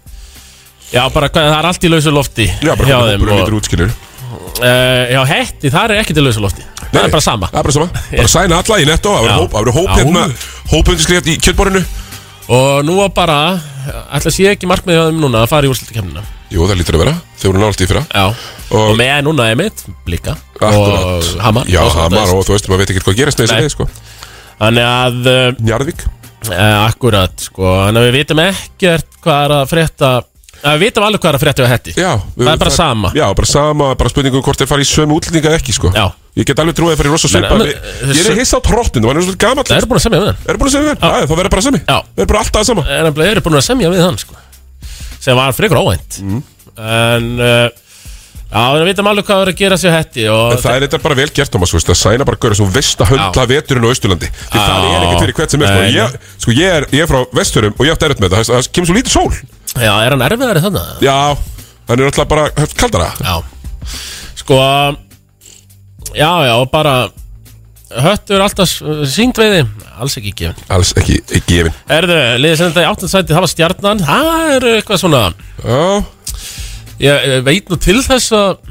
[SPEAKER 2] Já, bara hvað, það er allt í lausu lofti Já,
[SPEAKER 1] bara hvernig hópurinn lítur út, skilur
[SPEAKER 2] Eh, Já, hetti, það er ekki til lausu lofti Það er bara sama
[SPEAKER 1] Það er bara sama Bara sæna alla í netto
[SPEAKER 2] Já.
[SPEAKER 1] Það verður hóp, það verður hóp
[SPEAKER 2] Já.
[SPEAKER 1] hérna Hópundiskrift í kjöldborinu
[SPEAKER 2] Og nú var bara, ætla sé ekki markmiðið á þeim núna að fara í úrslutakefnina
[SPEAKER 1] Jú, það lítur að vera Þeir voru nált í fyrra
[SPEAKER 2] Já Og, með núna M1, blika
[SPEAKER 1] Akkurat.
[SPEAKER 2] Og Hamar
[SPEAKER 1] Já,
[SPEAKER 2] og svona
[SPEAKER 1] Hamar
[SPEAKER 2] þess.
[SPEAKER 1] og þú veist maður veit ekkert hvað gerist
[SPEAKER 2] Nei.
[SPEAKER 1] neðis sko.
[SPEAKER 2] Þannig að eh,
[SPEAKER 1] Njarðvík
[SPEAKER 2] Akkurat, sko Þannig að við vitum ekkert hvað er að frétta að Við vitum alveg hvað er að frétta við hetti
[SPEAKER 1] Já
[SPEAKER 2] Það er bara sama
[SPEAKER 1] Já, bara sama Bara spurningum hvort þeir fara í sömu útlendinga eða ekki sko.
[SPEAKER 2] Já
[SPEAKER 1] Ég get alveg trúið að fara í rosa
[SPEAKER 2] Men-
[SPEAKER 1] svipa
[SPEAKER 2] men-
[SPEAKER 1] Ég er hissa á trottinu Það er svolítið gamall
[SPEAKER 2] Það eru búin að semja við hann
[SPEAKER 1] Það eru búin að semja við hann Já, þá verður bara semja
[SPEAKER 2] Já
[SPEAKER 1] Það eru bara alltaf sama
[SPEAKER 2] En það eru búin að semja við hann, sko Sem var frekar óvænt
[SPEAKER 1] Mhm.
[SPEAKER 2] En uh, Já, við vitum alveg hvað er að gera sér hetti
[SPEAKER 1] En
[SPEAKER 2] og
[SPEAKER 1] það er þetta bara vel gert, Thomas, þú veist, að sæna bara gaur sem veist að höndla veturinn á Austurlandi Því það er ekkert fyrir hvert sem er, sko,
[SPEAKER 2] Nei.
[SPEAKER 1] ég, sko, ég, er, ég er frá vesturum og ég átt erut með þetta, það, það kemur svo lítið sól
[SPEAKER 2] Já, er hann erfiðari þannig?
[SPEAKER 1] Já, hann er alltaf bara höfð kaldara
[SPEAKER 2] Já Sko Já, já, og bara Höttur alltaf sínt veiði Alls ekki gefin
[SPEAKER 1] Alls ekki, ekki gefin
[SPEAKER 2] Erðu, liðið sem þetta í áttnarsæti, það var stjarnan Það eru eitthvað svona
[SPEAKER 1] Já
[SPEAKER 2] Ég ég veit nú til þess að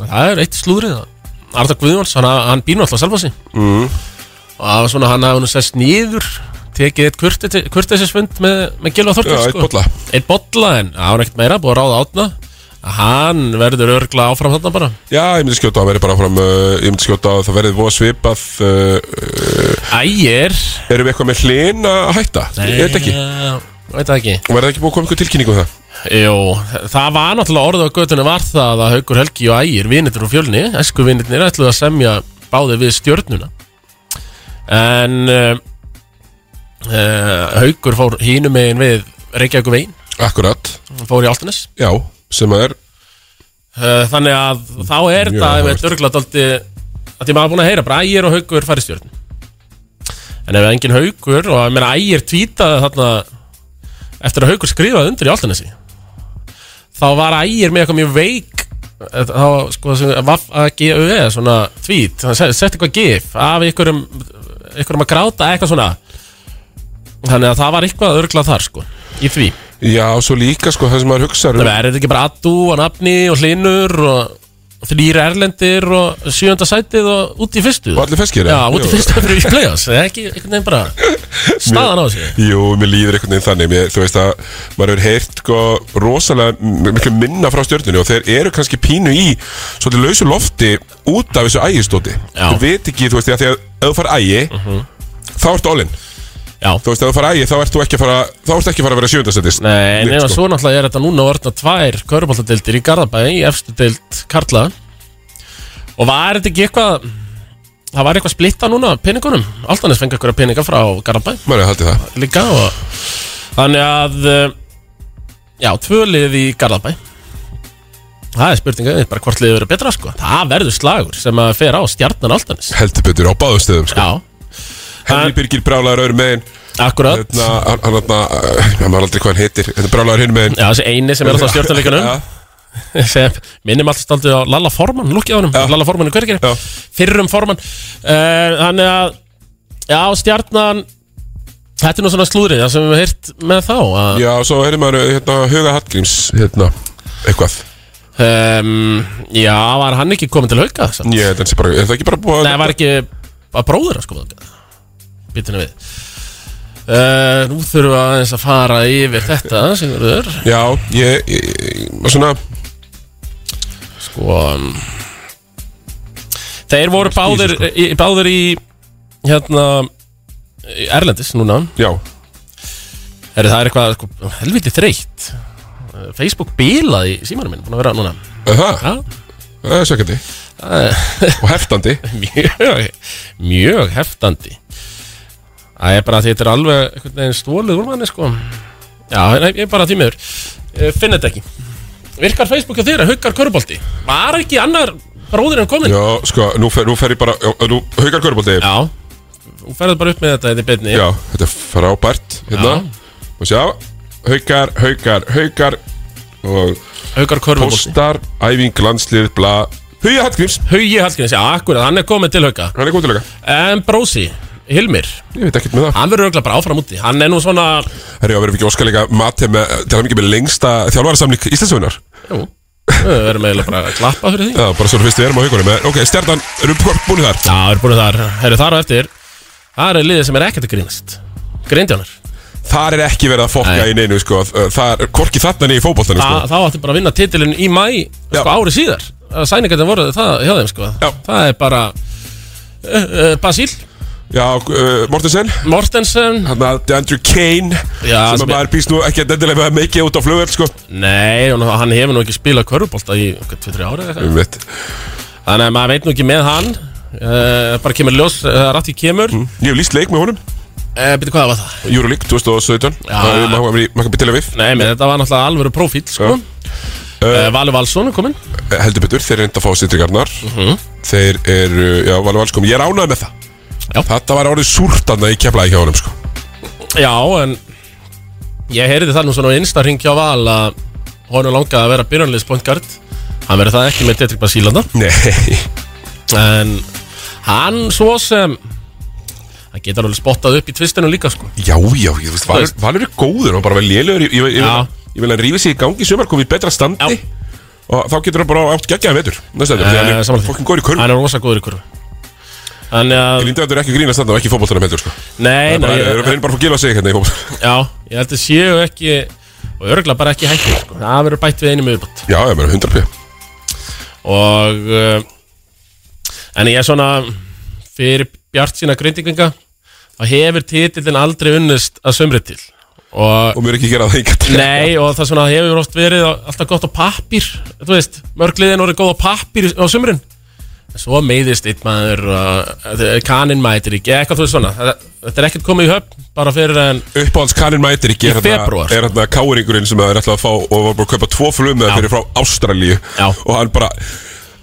[SPEAKER 2] Það er eitt slúðrið Arda Guðjóns, hann, hann býr nú alltaf sjálf á sig
[SPEAKER 1] mm.
[SPEAKER 2] Og það var svona, hann hafði nú sest nýður Tekið eitt kurteisisfund með, með Gilva Þorkins
[SPEAKER 1] Já, einn bolla.
[SPEAKER 2] Eitt bolla, en það var ekkert meira, búið að ráða átna Hann verður örgla áfram þarna bara
[SPEAKER 1] Já, ég myndi skjóta að það verði bara fram, uh, ég myndi skjóta að það verði voða svipað uh, uh,
[SPEAKER 2] Ægir
[SPEAKER 1] Erum við eitthvað með hlin að hætta? Nei, ég veit ekki
[SPEAKER 2] Já, Veit það ekki
[SPEAKER 1] Og verði ekki búið að koma einhver tilkynning um það?
[SPEAKER 2] Jó, það var náttúrulega orðið á götunni var það að Haukur Helgi og Ægir, vinnitur og fjölni, esku vinnitir, ætluðu að semja báði við stjörnuna. En uh, uh, Haukur fór hínum megin við Reykjavík veginn.
[SPEAKER 1] Akkurat.
[SPEAKER 2] Fór í Altanes.
[SPEAKER 1] Já, sem að er
[SPEAKER 2] Uh, þannig að þá er
[SPEAKER 1] Mjög
[SPEAKER 2] þetta, ég
[SPEAKER 1] áhugavert.
[SPEAKER 2] veit, örgulega dálti, að ég maður búin að heyra, bara Ægir og Haukur fari í stjörnuna. En ef engin Haukur, og ég meina Ægir tvítaði þarna eftir að Haukur skrifaði undir í Altanesi þá var ægir með eitthvað mjög veik eh, þá sko sem vaff að gefa eða svona tvít, þannig að setja eitthvað gif af einhverjum, einhverjum að gráta eitthvað svona þannig að það var eitthvað örglað þar sko í því,
[SPEAKER 1] Já, svo líka, sko, það sem maður hugsa
[SPEAKER 2] þannig að er þetta ekki bara Addu og Nafni og Hlinur og þrýra Erlendir og sjönda sætið og út í fyrstu og
[SPEAKER 1] allir feskir
[SPEAKER 2] já, út í fyrstu fyrir í play-offs, það er ekki einhvern veginn bara staðan á sig
[SPEAKER 1] Jú, mér líður einhvern veginn þannig mér, Þú veist að maður hefur heyrt sko, rosalega m- miklu minna frá stjörnunni og þeir eru kannski pínu í svolítið lausu lofti út af þessu ægistóti Þú veit ekki, þú veist, því að þegar ef þú fara ægi þá ertu allin
[SPEAKER 2] Mhm. Já.
[SPEAKER 1] Þú veist, ef þú fara ægi þá ertu ekki að fara þá ertu ekki að fara að vera sjöndastættist
[SPEAKER 2] Nei, nema
[SPEAKER 1] sko.
[SPEAKER 2] svo náttúrulega er þetta núna orðna tvær köruboltadeildir í Garðabæði í efstu deild Karla og var þetta ekki eitthvað það var eitthvað splitta núna peningunum Altanes fengi eitthvað peninga frá Garðabæði
[SPEAKER 1] Mæri, haldi það
[SPEAKER 2] líka og þannig að eh, já, tvö lið í Garðabæði það er spurninga bara hvort liðið verður betra sko það verður slagur sem að fer á stjarnan Altanes
[SPEAKER 1] Heldur betur á báðum stöðum sko.
[SPEAKER 2] Henry
[SPEAKER 1] Birgir brálaður öðrum megin
[SPEAKER 2] Akkurat
[SPEAKER 1] Hérna, hann, hann, hann, hann, hann aldrei hvað hann heitir Hérna brálaður hinn megin
[SPEAKER 2] Já, þessi eini sem er alltaf á stjórnuleikunum sem minnum alltaf staldið á Lalla Forman lukkið á honum, Lalla Forman er hvergir fyrrum Forman Eh, þannig að já, stjarnan þetta er nú svona slúðrið það sem við hefum heyrt með þá að
[SPEAKER 1] Já, svo heyrðum maður hérna, Huga Hallgríms hérna, eitthvað
[SPEAKER 2] um, Já, var hann ekki komin til hauka?
[SPEAKER 1] Ég held að hann sé bara, er það ekki bara búið
[SPEAKER 2] Nei, var ekki að bróður að sko Býtinu við uh, Nú þurfum við aðeins að fara yfir þetta Sigurður
[SPEAKER 1] Já, ég, ég, ég svona
[SPEAKER 2] Sko um, Þeir voru báðir,
[SPEAKER 1] sko.
[SPEAKER 2] í, báðir í Hérna í Erlendis núna
[SPEAKER 1] Já
[SPEAKER 2] Heru, Það er eitthvað sko, helviti þreytt Eh, Facebook bilaði í símanum minn Búin að vera núna
[SPEAKER 1] Það? Það
[SPEAKER 2] Eh,
[SPEAKER 1] er svekkandi Og heftandi
[SPEAKER 2] Mjög, mjög heftandi Það er bara því þetta er alveg einhvern veginn stólið úr manni sko Já, nei, ég er bara því miður Eh, Finn þetta ekki Virkar Facebook á þér að huggar körubolti Var ekki annar bróðir en komin
[SPEAKER 1] Já, sko, nú fer, nú fer ég bara já, Nú, haugar körbólti
[SPEAKER 2] Já Þú ferðu bara upp með þetta þetta er beinni
[SPEAKER 1] Já, þetta er frábært Hérna Og sjá Haugar, haugar, haugar Og
[SPEAKER 2] Haugar körfubolti.
[SPEAKER 1] Póstar, æfing, landslið, bla
[SPEAKER 2] Hugi Hallgríms Hugi Hallgríms, já, akkurat, hann er komin til hauga Hann er komin til hauga En Brósi, Hilmir Ég veit ekkert með það Hann verður auðvitað bara áfram úti Hann er nú svona
[SPEAKER 1] Herri, og verðum við ekki óskalega mati með Til það mikið með lengsta þjálfararsamling Íslandsvögnar
[SPEAKER 2] Jú Við verðum eiginlega bara að klappa fyrir því
[SPEAKER 1] Já, bara svona fyrst við erum á haugunum en, Ok, stjarnan, erum við búin þar?
[SPEAKER 2] Já, erum búin þar Herru, þar á eftir Það er liðið sem er ekkert að grínast Grindjánar
[SPEAKER 1] Þar er ekki verið að fokka í neinu, sko Það er korki þarna niður í fótboltanum, sko
[SPEAKER 2] Þa, Þá átti bara að vinna titilin í mæ sko, ári síðar Sæningarnir voru það hjá þeim sko. Það er bara uh, uh, Basíl
[SPEAKER 1] Já, uh, Mortensen
[SPEAKER 2] Mortensen
[SPEAKER 1] Þannig að Andrew Kane
[SPEAKER 2] Já,
[SPEAKER 1] Sem
[SPEAKER 2] sem
[SPEAKER 1] að
[SPEAKER 2] ég-
[SPEAKER 1] maður býst nú ekki að dendilega með að meikið út á flugvel sko.
[SPEAKER 2] Nei, og hann hefur nú ekki spilað körubólta í okkur 2-3 ára eða eitthvað
[SPEAKER 1] Einmitt.
[SPEAKER 2] Þannig að maður veit nú ekki með hann uh, Bara kemur ljós, uh, rætti kemur mm.
[SPEAKER 1] Ég hef líst leik með honum
[SPEAKER 2] uh, Býttu hvað var það?
[SPEAKER 1] Euroleague 2017 Það er Maccabi Tel Aviv
[SPEAKER 2] Nei, menn, þetta var náttúrulega alvöru profíl sko. uh, Valur Valsson er kominn
[SPEAKER 1] Eh,
[SPEAKER 2] Mhm.
[SPEAKER 1] Heldur betur, þeir eru enda að fá sýtringarnar Þeir eru, já, valið valskum Ég er ánægð með það
[SPEAKER 2] já.
[SPEAKER 1] Þetta var orðið súrtanna í keflaði hjá honum sko.
[SPEAKER 2] Já, en Ég heyrði það nú svona á einsta hring hjá Val að honum langaði að vera byrjanliðs point guard Hann verið það ekki með Detrik Basílanda
[SPEAKER 1] Nei
[SPEAKER 2] En hann svo sem Hann getur alveg spottað upp í tvistinu líka sko
[SPEAKER 1] Já, já, ég veist, Valur, Valur er góður og bara vel lélugur Ég, ég, ég,
[SPEAKER 2] Já.
[SPEAKER 1] ég, vil að hann rífi sig í gangi í sumar komið í betra standi Og þá getur hann bara átt geggjaðan vetur Næsta þetta,
[SPEAKER 2] Eh,
[SPEAKER 1] því hann er
[SPEAKER 2] sammála því.
[SPEAKER 1] fokkin góður í körfu
[SPEAKER 2] Hann er rosa góður í kurvu Þannig að
[SPEAKER 1] Grindavík er ekki að grínast þarna og ekki í fótboltanum heldur sko.
[SPEAKER 2] Nei,
[SPEAKER 1] Það
[SPEAKER 2] nei
[SPEAKER 1] er bara, bara, bara að fá gila sig hérna í fótboltanum
[SPEAKER 2] Já, ég held að séu ekki Og örgulega bara ekki hættir sko Það verður bætt við einu með viðbútt
[SPEAKER 1] Já, ég meina 100
[SPEAKER 2] Og uh, En ég er svona Fyrir bjart sína grindinginga þá hefur titillin aldrei unnist að sömrið til Og,
[SPEAKER 1] og mér ekki gera það einhvern
[SPEAKER 2] Nei, og það svona hefur oft verið á- alltaf gott á pappir Þú veist, mörgliðin orðið góð á pappir á sömrin Svo meiðist einn maður uh, Kaninn mætir ekki, eitthvað þú veist svona Þetta- Þetta er ekkert komið í höfn, bara fyrir en
[SPEAKER 1] Uppáhalds Kanin mætir ekki
[SPEAKER 2] Í febrúar.
[SPEAKER 1] Er hérna káringurinn sem það er ætlað að fá Og var bara að kaupa tvo flugmiða fyrir frá Ástralíu Já Og hann bara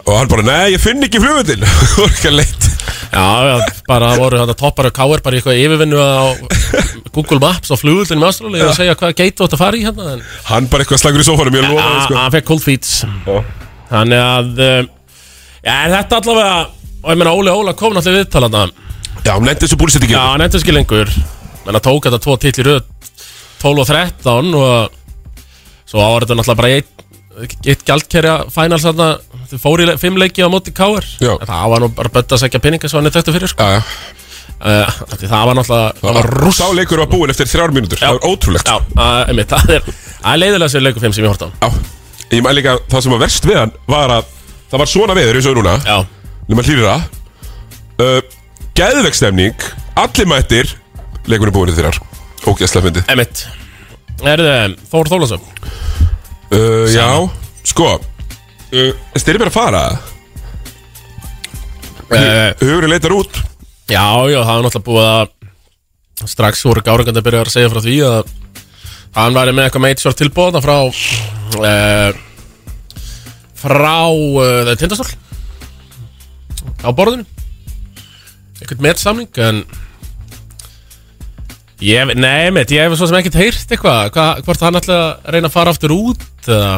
[SPEAKER 1] Og hann bara, nei, ég finn ekki flugmiðin Það var ekki leitt
[SPEAKER 2] Já, já, bara það voru þetta toppar og káir bara í eitthvað yfirvinnu á Google Maps og flugullinni með Ástralíu og segja hvað geit þú átt að fara í hérna en...
[SPEAKER 1] Hann bara eitthvað slagur í sófanum, ég lofa
[SPEAKER 2] það
[SPEAKER 1] það, sko.
[SPEAKER 2] Hann fekk cold feet Þannig að um, Já, en þetta allavega Og ég meina Óli Óla kom náttúrulega viðtalanda
[SPEAKER 1] Já, hann nefndi þessu búlsett ekki
[SPEAKER 2] Já, hann nefndi þessu ekki lengur Menna tók þetta tvo titli röð 12 og 13 og Svo var þetta náttúrulega bara í eitt Eitt gjaldkerja fænal þarna Þau fóru í le- fimm leiki á móti káir Það var nú bara bötta að segja peninga Svo hann er þetta fyrir sko
[SPEAKER 1] Já, já
[SPEAKER 2] Uh, það var náttúrulega það var
[SPEAKER 1] Sá leikur var búinn eftir þrjár mínútur Það var ótrúlegt
[SPEAKER 2] Já, að, einmitt, það er, það er leiðilega sér leikur 5 sem ég horta á
[SPEAKER 1] Ég mæl líka það sem var verst við hann Var að það var svona veður eins og er núna
[SPEAKER 2] Já
[SPEAKER 1] Nefnum að hlýra uh, Geðvegstemning Allir mættir Leikunum búinu þeirrar Ógæslega fyndið
[SPEAKER 2] Einmitt Er það Þór Þólasöf?
[SPEAKER 1] Uh, já, sko uh, Styrir mér að fara
[SPEAKER 2] uh,
[SPEAKER 1] Hugurinn leitar út
[SPEAKER 2] Já, já, það var náttúrulega búið að strax voru gárangandi að byrja að segja frá því að hann væri með eitthvað major tilbúðna frá uh, frá uh, tindastól á borðinu eitthvað metsamning en ég, nei, mitt, ég hef svo sem ekkert heyrt eitthvað, hva, hvort hann ætla að reyna að fara aftur út eða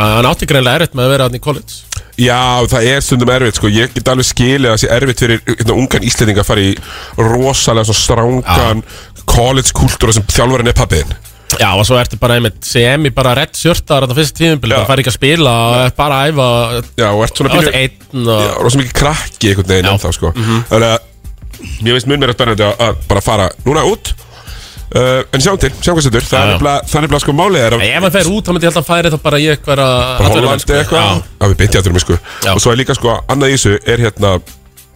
[SPEAKER 2] að hann átti greinlega erfitt með að vera hann í college
[SPEAKER 1] Já, það er stundum erfitt sko Ég get alveg skilið að það sé erfitt fyrir hérna, ungan Íslendinga að fara í rosalega svona strángan college-kultúra sem þjálfarinn er pappiðin
[SPEAKER 2] Já, og svo ertu bara einmitt sem í bara redd sjörtar þetta fyrsta tíðinbili, það fær ekki að spila og ert bara að æfa
[SPEAKER 1] Já, og ert svona
[SPEAKER 2] pínu einn og...
[SPEAKER 1] Já, rosa mikið krakki einhvern veginn ennþá sko
[SPEAKER 2] Mhm.
[SPEAKER 1] Þannig að ég veist mun mér að spennandi að- að bara fara núna út uh, En sjáum til, sjáum hvað setur Það
[SPEAKER 2] Já, já.
[SPEAKER 1] er nefnilega- það er nefnilega sko málið er að-
[SPEAKER 2] Ef hann fer út, þá myndi ég held að hann færi þá bara í eitthvað
[SPEAKER 1] bara Hollandi
[SPEAKER 2] sko,
[SPEAKER 1] eitthvað Já, við beinti aðdurum sko Og svo er líka sko, annað í þessu er hérna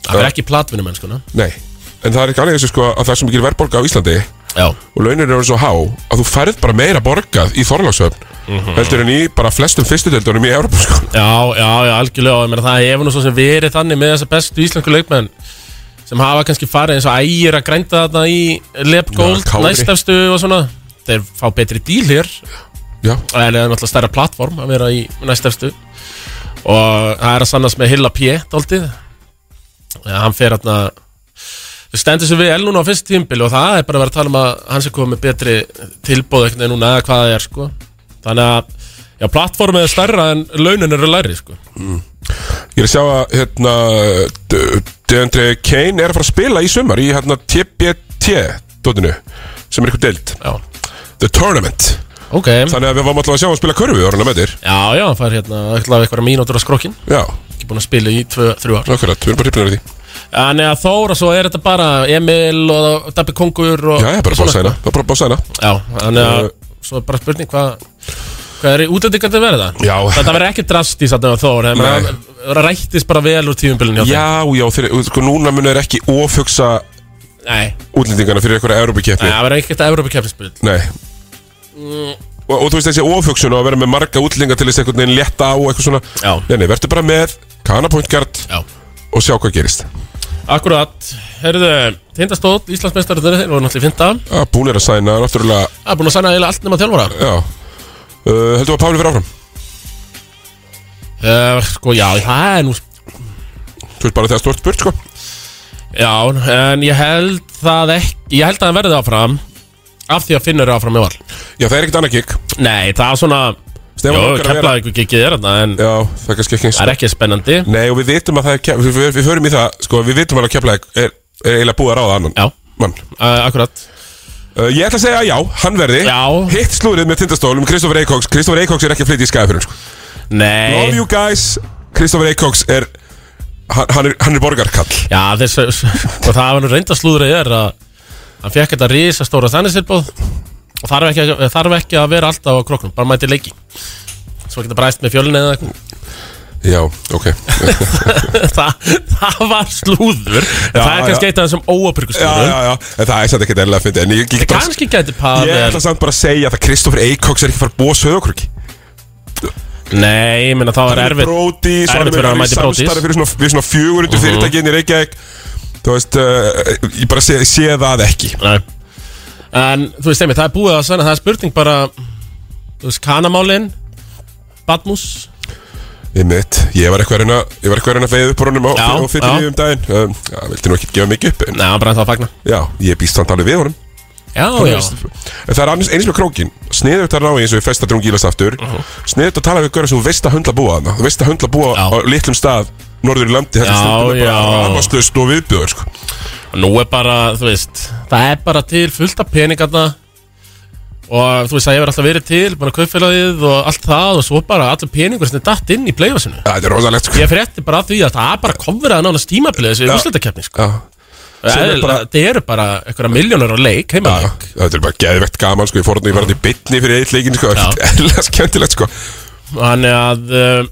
[SPEAKER 2] Það er ekki platvinum enn, sko
[SPEAKER 1] Nei, en það er ekki annað í þessu sko að það er svo mikil verðbólga á Íslandi
[SPEAKER 2] Já.
[SPEAKER 1] og launin eru svo há að þú færð bara meira borgað í Þorlákshöfn
[SPEAKER 2] Mhm.
[SPEAKER 1] heldur en í bara flestum fyrstudeldunum í Európa sko.
[SPEAKER 2] Já, já, já, algjörlega og ég meina, það hefur nú svo sem verið þannig með þessa bestu íslensku leikmenn sem hafa kannski farið eins og ægir að grænda þarna í
[SPEAKER 1] Já,
[SPEAKER 2] Lepgold,
[SPEAKER 1] Kári.
[SPEAKER 2] næstafstu og svona þeir fá betri díl hér
[SPEAKER 1] Já.
[SPEAKER 2] en það er náttúrulega stærra plattform að vera í næstafstu og það er að sannast með Hilla P. dálítið ja, hann fer þarna þau stendur sér vel núna á fyrst tímbil og það er bara að vera að tala um að hann sé komið með betri tilbóð ekkert en núna eða hvað það er sko þannig að já, plattformið er stærra en launin eru læri sko
[SPEAKER 1] Ég er að sjá að hérna, D- Deandre Kane er að fara að spila í sumar í hérna, TBT dotinu sem er eitthvað deild
[SPEAKER 2] já.
[SPEAKER 1] The Tournament
[SPEAKER 2] okay.
[SPEAKER 1] Þannig að við varum alltaf að sjá að spila körfu orðinlega með þér
[SPEAKER 2] Já, já, hann fær hérna eitthvað eitthvað mínútur á skrokkin
[SPEAKER 1] Já
[SPEAKER 2] Ekki búin að spila í tvö, þrjú ár
[SPEAKER 1] Akkurat, við erum bara hrypnir af því
[SPEAKER 2] Þannig að Þóra, svo er þetta bara Emil og Dabbi Kongur og
[SPEAKER 1] Já, ég er bara að bása hérna, bara að bása hérna
[SPEAKER 2] Já, Þannig að, svo er bara spurning hvað Hvað er í útlendingandi verið það?
[SPEAKER 1] Já.
[SPEAKER 2] Þetta verður ekki drastís að það Þóra en
[SPEAKER 1] Nei.
[SPEAKER 2] Það rættist bara vel úr tífumbilin hjá þeim
[SPEAKER 1] Já, já, þeir, sko, núna munið er ekki ofugsa
[SPEAKER 2] Nei.
[SPEAKER 1] útlendingana fyrir eitthvað
[SPEAKER 2] Nei,
[SPEAKER 1] Európa-keppni
[SPEAKER 2] Það verður ekkert að Európa keppnispil
[SPEAKER 1] Nei og, og þú veist þessi ofugsun og að vera með marga útlendinga til þess einhvern veginn létta á og eitthvað svona
[SPEAKER 2] Já
[SPEAKER 1] Nei, nei, verður bara með kanapointgard
[SPEAKER 2] Já
[SPEAKER 1] Og sjá hvað gerist
[SPEAKER 2] Akkurat, heyrðu, tindastótt, Íslandsmeistarður, þeir voru náttúrulega í finta
[SPEAKER 1] Já, búin er að sæna, náttúrulega
[SPEAKER 2] Það er búin að sæna eiginlega allt nema þjálfara
[SPEAKER 1] Já uh, Heldur þú að Páli fyrir áfram?
[SPEAKER 2] Uh, sko, já, það er nú
[SPEAKER 1] Þú veist bara þegar stort spurt, sko
[SPEAKER 2] Já, en ég held það ekki Ég held að hann verði áfram Af því að Finnur er áfram með val
[SPEAKER 1] Já, það er ekkert annað gig
[SPEAKER 2] Nei, það er svona
[SPEAKER 1] Stefán
[SPEAKER 2] Jó,
[SPEAKER 1] langar að vera-
[SPEAKER 2] kemlaði ykkur gigið er þarna en
[SPEAKER 1] Já, það er kannski ekki eins
[SPEAKER 2] Það er ekki spennandi
[SPEAKER 1] Nei, og við vitum að það er ke- við, við, við förum í það, sko, við vitum alveg að Keflæk er, er eiginlega búið að ráða annan
[SPEAKER 2] Já
[SPEAKER 1] Mann
[SPEAKER 2] uh, Akkurat
[SPEAKER 1] uh, Ég ætla að segja að já, hann verði
[SPEAKER 2] Já
[SPEAKER 1] Hitt slúrið með tindastólum, Kristoffer Eikóks Kristoffer Eikóks er ekki að flytja í skæðafyrir, sko
[SPEAKER 2] Nei
[SPEAKER 1] Love you guys Kristoffer Eikóks er hann, hann er, hann er borgarkall
[SPEAKER 2] Já, þess að Það var nú reynda slúðrið er að Hann fekk þetta risa stóra þannistilbóð Og þarf ekki, að- þarf ekki að vera alltaf á kroknum Bara mæti leiki Svo geta bræst með fjölinni eða eitthvað
[SPEAKER 1] Já, ok
[SPEAKER 2] það, það var slúður Það er kannski eitt af þessum óapyrku
[SPEAKER 1] Já,
[SPEAKER 2] slúðurum
[SPEAKER 1] já, já, en það er satt ekkert erlega að fyndi En ég, ég, bara-
[SPEAKER 2] Kannski gæti
[SPEAKER 1] ég
[SPEAKER 2] Pavel
[SPEAKER 1] ætla samt bara að segja að Kristoffer Eikóks er ekki að fara að búa söðokröki
[SPEAKER 2] Nei, ég meina þá er
[SPEAKER 1] Hann er
[SPEAKER 2] erfitt
[SPEAKER 1] Brodís og hann
[SPEAKER 2] Erfitt
[SPEAKER 1] er
[SPEAKER 2] fyrir hann
[SPEAKER 1] með
[SPEAKER 2] mæti Brodís
[SPEAKER 1] samstarf fyrir svona, fyrir svona 400 uh
[SPEAKER 2] Mhm.
[SPEAKER 1] fyrirtækiðin í Reykjavík Þú veist, uh, ég bara sé, sé það ekki
[SPEAKER 2] Nei. En þú veist, einmitt, það er búið að sanna Það er spurning bara Þú veist, kanamálin Badmus
[SPEAKER 1] Ég mitt, ég var eitthvað að reyna Ég var eitthvað að reyna að fegja upp úr honum á,
[SPEAKER 2] Já,
[SPEAKER 1] á fyrir
[SPEAKER 2] já.
[SPEAKER 1] nýjum daginn um, Já, vildi nú ekki gefa mikið upp en,
[SPEAKER 2] Nei, hann bara ennþá að fagna
[SPEAKER 1] Já, ég býst samt alveg við honum
[SPEAKER 2] Já,
[SPEAKER 1] Þú
[SPEAKER 2] já.
[SPEAKER 1] veist, En það er annars eins með krókin Sniður þetta rái eins og við festa drungi ílast aftur uh
[SPEAKER 2] Mhm.
[SPEAKER 1] Sniður þetta tala við görðum sem þú veist að höndla búa þarna Þú veist að höndla búa á litlum stað Norður í landi, þetta
[SPEAKER 2] Já,
[SPEAKER 1] stundur
[SPEAKER 2] já.
[SPEAKER 1] bara Ramaslust og viðbjöður sko.
[SPEAKER 2] Nú er bara, þú veist Það er bara til fullt af peningarna Og þú veist, það hefur alltaf verið til Bara kaupfélagið og allt það Og svo bara allur peningur sem er datt inn í playfassinu
[SPEAKER 1] Það er rosalegt sko.
[SPEAKER 2] Ég frétti bara af því að það er bara kofverað Nána stímabilið þessi úsletakefni sko.
[SPEAKER 1] Sem er bara-
[SPEAKER 2] Það eru bara einhverja miljónur á leik Heima
[SPEAKER 1] Já, þetta er bara geðvegt gaman sko, ég fór hann ég var hann í bytni fyrir eitt leikin sko, erlega skemmtilegt sko
[SPEAKER 2] Þannig að uh,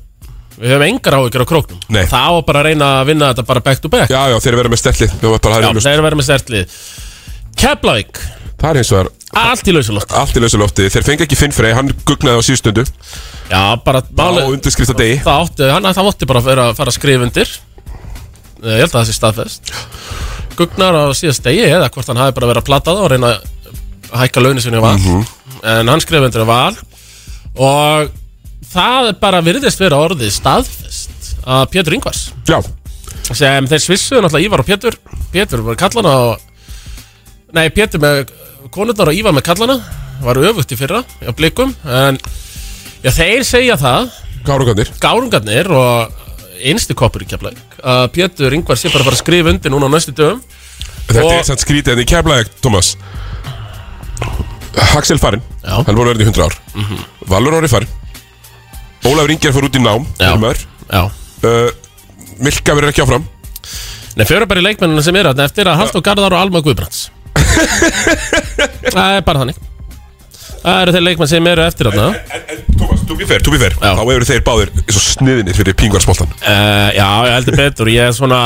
[SPEAKER 2] við höfum engar áhyggjur á króknum
[SPEAKER 1] Nei.
[SPEAKER 2] Það á bara að reyna að vinna þetta bara back to back
[SPEAKER 1] Já, já, þeir verða með stertlið, það var bara
[SPEAKER 2] Já,
[SPEAKER 1] það er
[SPEAKER 2] þeir eru verið með stertlið Keflavík,
[SPEAKER 1] Það er eins og það
[SPEAKER 2] allt í lausulótt
[SPEAKER 1] Allt í lausulótti, þeir fengi ekki Finn Frey, hann gugnaði á síðstundu
[SPEAKER 2] Já, bara
[SPEAKER 1] Á undirskrifta degi
[SPEAKER 2] það átti, hann, það átti bara að fara, fara að skrifa undir Eh, Ég held að það sé staðfest Gugnar á síðast degi eða hvort hann hafi bara verið að plata það og reyna að hækka launin sinni á val
[SPEAKER 1] Mhm.
[SPEAKER 2] En hann skrifa undir á val Og það er bara virðist vera orðið staðfest að Pétur Ingvars
[SPEAKER 1] Já
[SPEAKER 2] sem þeir svissuðu náttúrulega Ívar og Pétur Pétur var kallana og nei, Pétur með konundar og Ívar með kallana var öfugt í fyrra á blikum en já, þeir segja það
[SPEAKER 1] Gárungarnir
[SPEAKER 2] Gárungarnir og einstu koppur í keflæk að Pétur Ingvar sé bara að fara að skrifa undir núna á næstu dögum
[SPEAKER 1] Þetta
[SPEAKER 2] Og-
[SPEAKER 1] er samt skrítið en í keflaðið, Thomas Axel farinn, hann voru verðin í 100 ár
[SPEAKER 2] Mhm.
[SPEAKER 1] Valur orði farinn Ólafur Ingjar fór út í nám Já,
[SPEAKER 2] já.
[SPEAKER 1] Uh, Milka verður ekki áfram
[SPEAKER 2] Nei, fjöra bara í leikmennina sem er að eftir að Halldór Garðar og Alma Guðbrands Það er bara þannig Það eru þeir leikmenn sem eru eftir þarna
[SPEAKER 1] To be fair, to be fair Þá hefur þeir báðir svo sniðinir fyrir pingvarsmoltan
[SPEAKER 2] Uh, já, ég heldur betur Ég er svona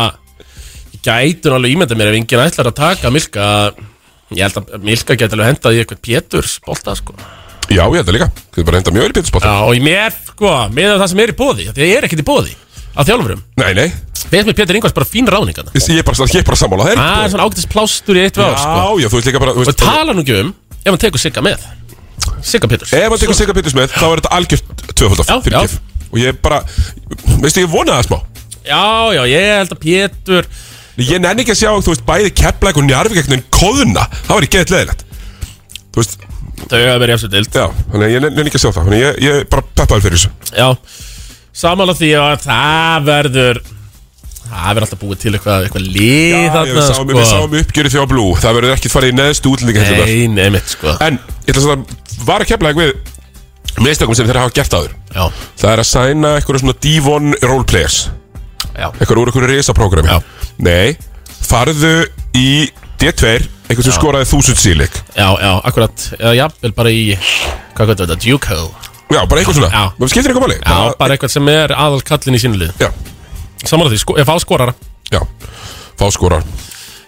[SPEAKER 2] Ég gætur alveg ímynda mér ef enginn ætlar að taka Milka að Ég held að Milka geti alveg hendað í eitthvað Péturs bolta sko
[SPEAKER 1] Já, ég held það líka Getur bara enda mjög vel í pétursbólta
[SPEAKER 2] Já, og í mér, sko, með það sem er í bóði Því það er ekkert í bóði að þjálfurum
[SPEAKER 1] Nei, nei
[SPEAKER 2] Veist með Pétur Ingvars bara fín ráning þarna.
[SPEAKER 1] Ég er bara, ég er bara sammála þeir
[SPEAKER 2] Það er Ah, svona ágætis plástur í eitt við ár, sko
[SPEAKER 1] Já, já, þú veist líka bara þú
[SPEAKER 2] Og tala nú ekki um ef hann tekur Sigga með Sigga Péturs
[SPEAKER 1] Ef hann tekur Sigga Péturs með þá er þetta algjört tvöfald
[SPEAKER 2] Já,
[SPEAKER 1] af fyrir kef Og ég bara, veistu, ég vonaði það smá
[SPEAKER 2] Já, já, ég held að Pétur
[SPEAKER 1] Ég nenni ekki að sjá, þú veist, bæði keppleik og njarfi gegn enn kóðuna Það var í geðt leðilegt Þú veist
[SPEAKER 2] Þau hafa verið eftir dild
[SPEAKER 1] Já, þannig að ég nenni ekki að sjá það Þannig að ég, ég bara peppaði fyrir þessu
[SPEAKER 2] Já, samanlega því að það verður Það verður alltaf búið til eitthvað, eitthvað lið sko.
[SPEAKER 1] Já, ég, við, sáum, við sáum uppgjöru þjá Blú Það verður ekkert farið í neðstu útlendingahellunar
[SPEAKER 2] Nei, nei, mitt sko
[SPEAKER 1] En ég ætla að segja það var að kemla við mistökum sem þeir hafa gert áður
[SPEAKER 2] Já.
[SPEAKER 1] Það er að sæna eitthvað svona divon roleplayers
[SPEAKER 2] Já.
[SPEAKER 1] Eitthvað úr eitthvað risaprógrami Nei, farðu í D2 Eitthvað sem
[SPEAKER 2] Já.
[SPEAKER 1] skoraði þúsund sílik
[SPEAKER 2] Já, já, akkurat Eða jafnvel bara í, hvað hvað þetta, Duco
[SPEAKER 1] Já, bara eitthvað svona.
[SPEAKER 2] Já
[SPEAKER 1] Það skiptir eitthvað máli
[SPEAKER 2] Já, bara, eitthvað sem er aðal kallin í sínu lið
[SPEAKER 1] Já
[SPEAKER 2] Samanlega því, sko, ef á skorara
[SPEAKER 1] Já, fá skorar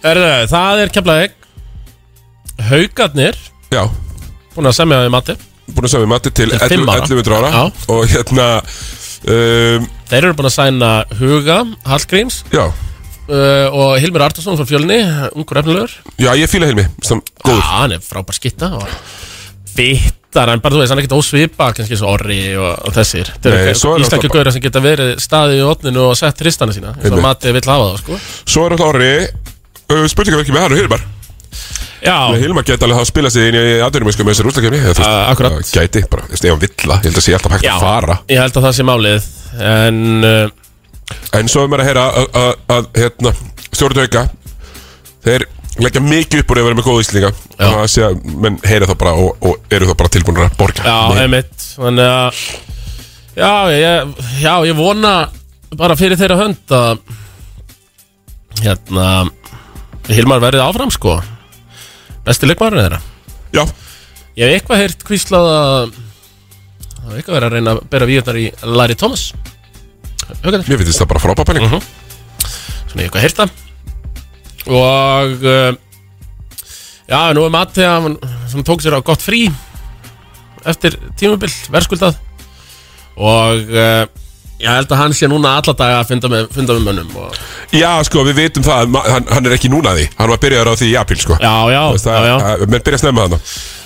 [SPEAKER 2] Erðu, það er kemlaðeg Haukarnir
[SPEAKER 1] Já
[SPEAKER 2] Búin að semja við mati
[SPEAKER 1] Búin að semja mati til 11
[SPEAKER 2] fimm ára.
[SPEAKER 1] 1100 ára
[SPEAKER 2] Já.
[SPEAKER 1] Og hérna um,
[SPEAKER 2] Þeir eru búin að sæna Huga Hallgríms
[SPEAKER 1] Já
[SPEAKER 2] uh, Og Hilmir Artarsson frá fjölni Ungur efnilegur
[SPEAKER 1] Já, ég fíla Hilmi sem góður
[SPEAKER 2] Já, hann er frábær skitta og Fittar, en bara þú veist, hann er ekkert ósvipa Kannski svo orri og, og þessir Þetta
[SPEAKER 1] Nei,
[SPEAKER 2] eru
[SPEAKER 1] svo er
[SPEAKER 2] Íslenskir
[SPEAKER 1] náttúrulega-
[SPEAKER 2] gauðra sem geta verið staðið í opninu og sett tristana sína eins og
[SPEAKER 1] Einmitt.
[SPEAKER 2] matið vill hafa það, sko
[SPEAKER 1] Svo er alltaf orri uh, Spurningaverki með hann og Hilmar
[SPEAKER 2] Já
[SPEAKER 1] Með Hilmar geti alveg hafa spilað sig inn í aðverjumösku með þessar úrslakefni uh, Akkurat Gæti, bara, þú veist, ef hann vill það Ég held að sé alltaf hægt að fara
[SPEAKER 2] Ég held að það sé málið En eh,
[SPEAKER 1] En svo er maður að heyra að- að- að hérna, stjórnir auka Þeir leggja mikið upp úr að vera með góða íslendinga og það sé að menn heyra það bara og, og eru það bara tilbúinur að borga
[SPEAKER 2] Já,
[SPEAKER 1] Nei.
[SPEAKER 2] einmitt Þannig að já ég, já, ég vona bara fyrir þeirra hönd að hérna Hilmar verðið áfram sko Besti leikmaðurinn þeirra
[SPEAKER 1] Já
[SPEAKER 2] Ég hef eitthvað heyrt hvíslað að Það hef eitthvað verið að reyna að bera víðunar í Larry Thomas Haukarnir.
[SPEAKER 1] Mér finnst það bara frábær pæling
[SPEAKER 2] Mhm. Svona ég hef eitthvað heyrt það Og uh, Já, nú er Matti að hann sem tók sér á gott frí Eftir tímabil, verðskuldað Og uh, Ég held að hann sé núna alla daga að funda með, funda með mönnum og,
[SPEAKER 1] Já, sko, við vitum það, að ma- hann, hann er ekki núna að því Hann var byrjaður á því í apríl, sko
[SPEAKER 2] Já, já,
[SPEAKER 1] það,
[SPEAKER 2] já, já.
[SPEAKER 1] Að, Menn byrja að snemma þarna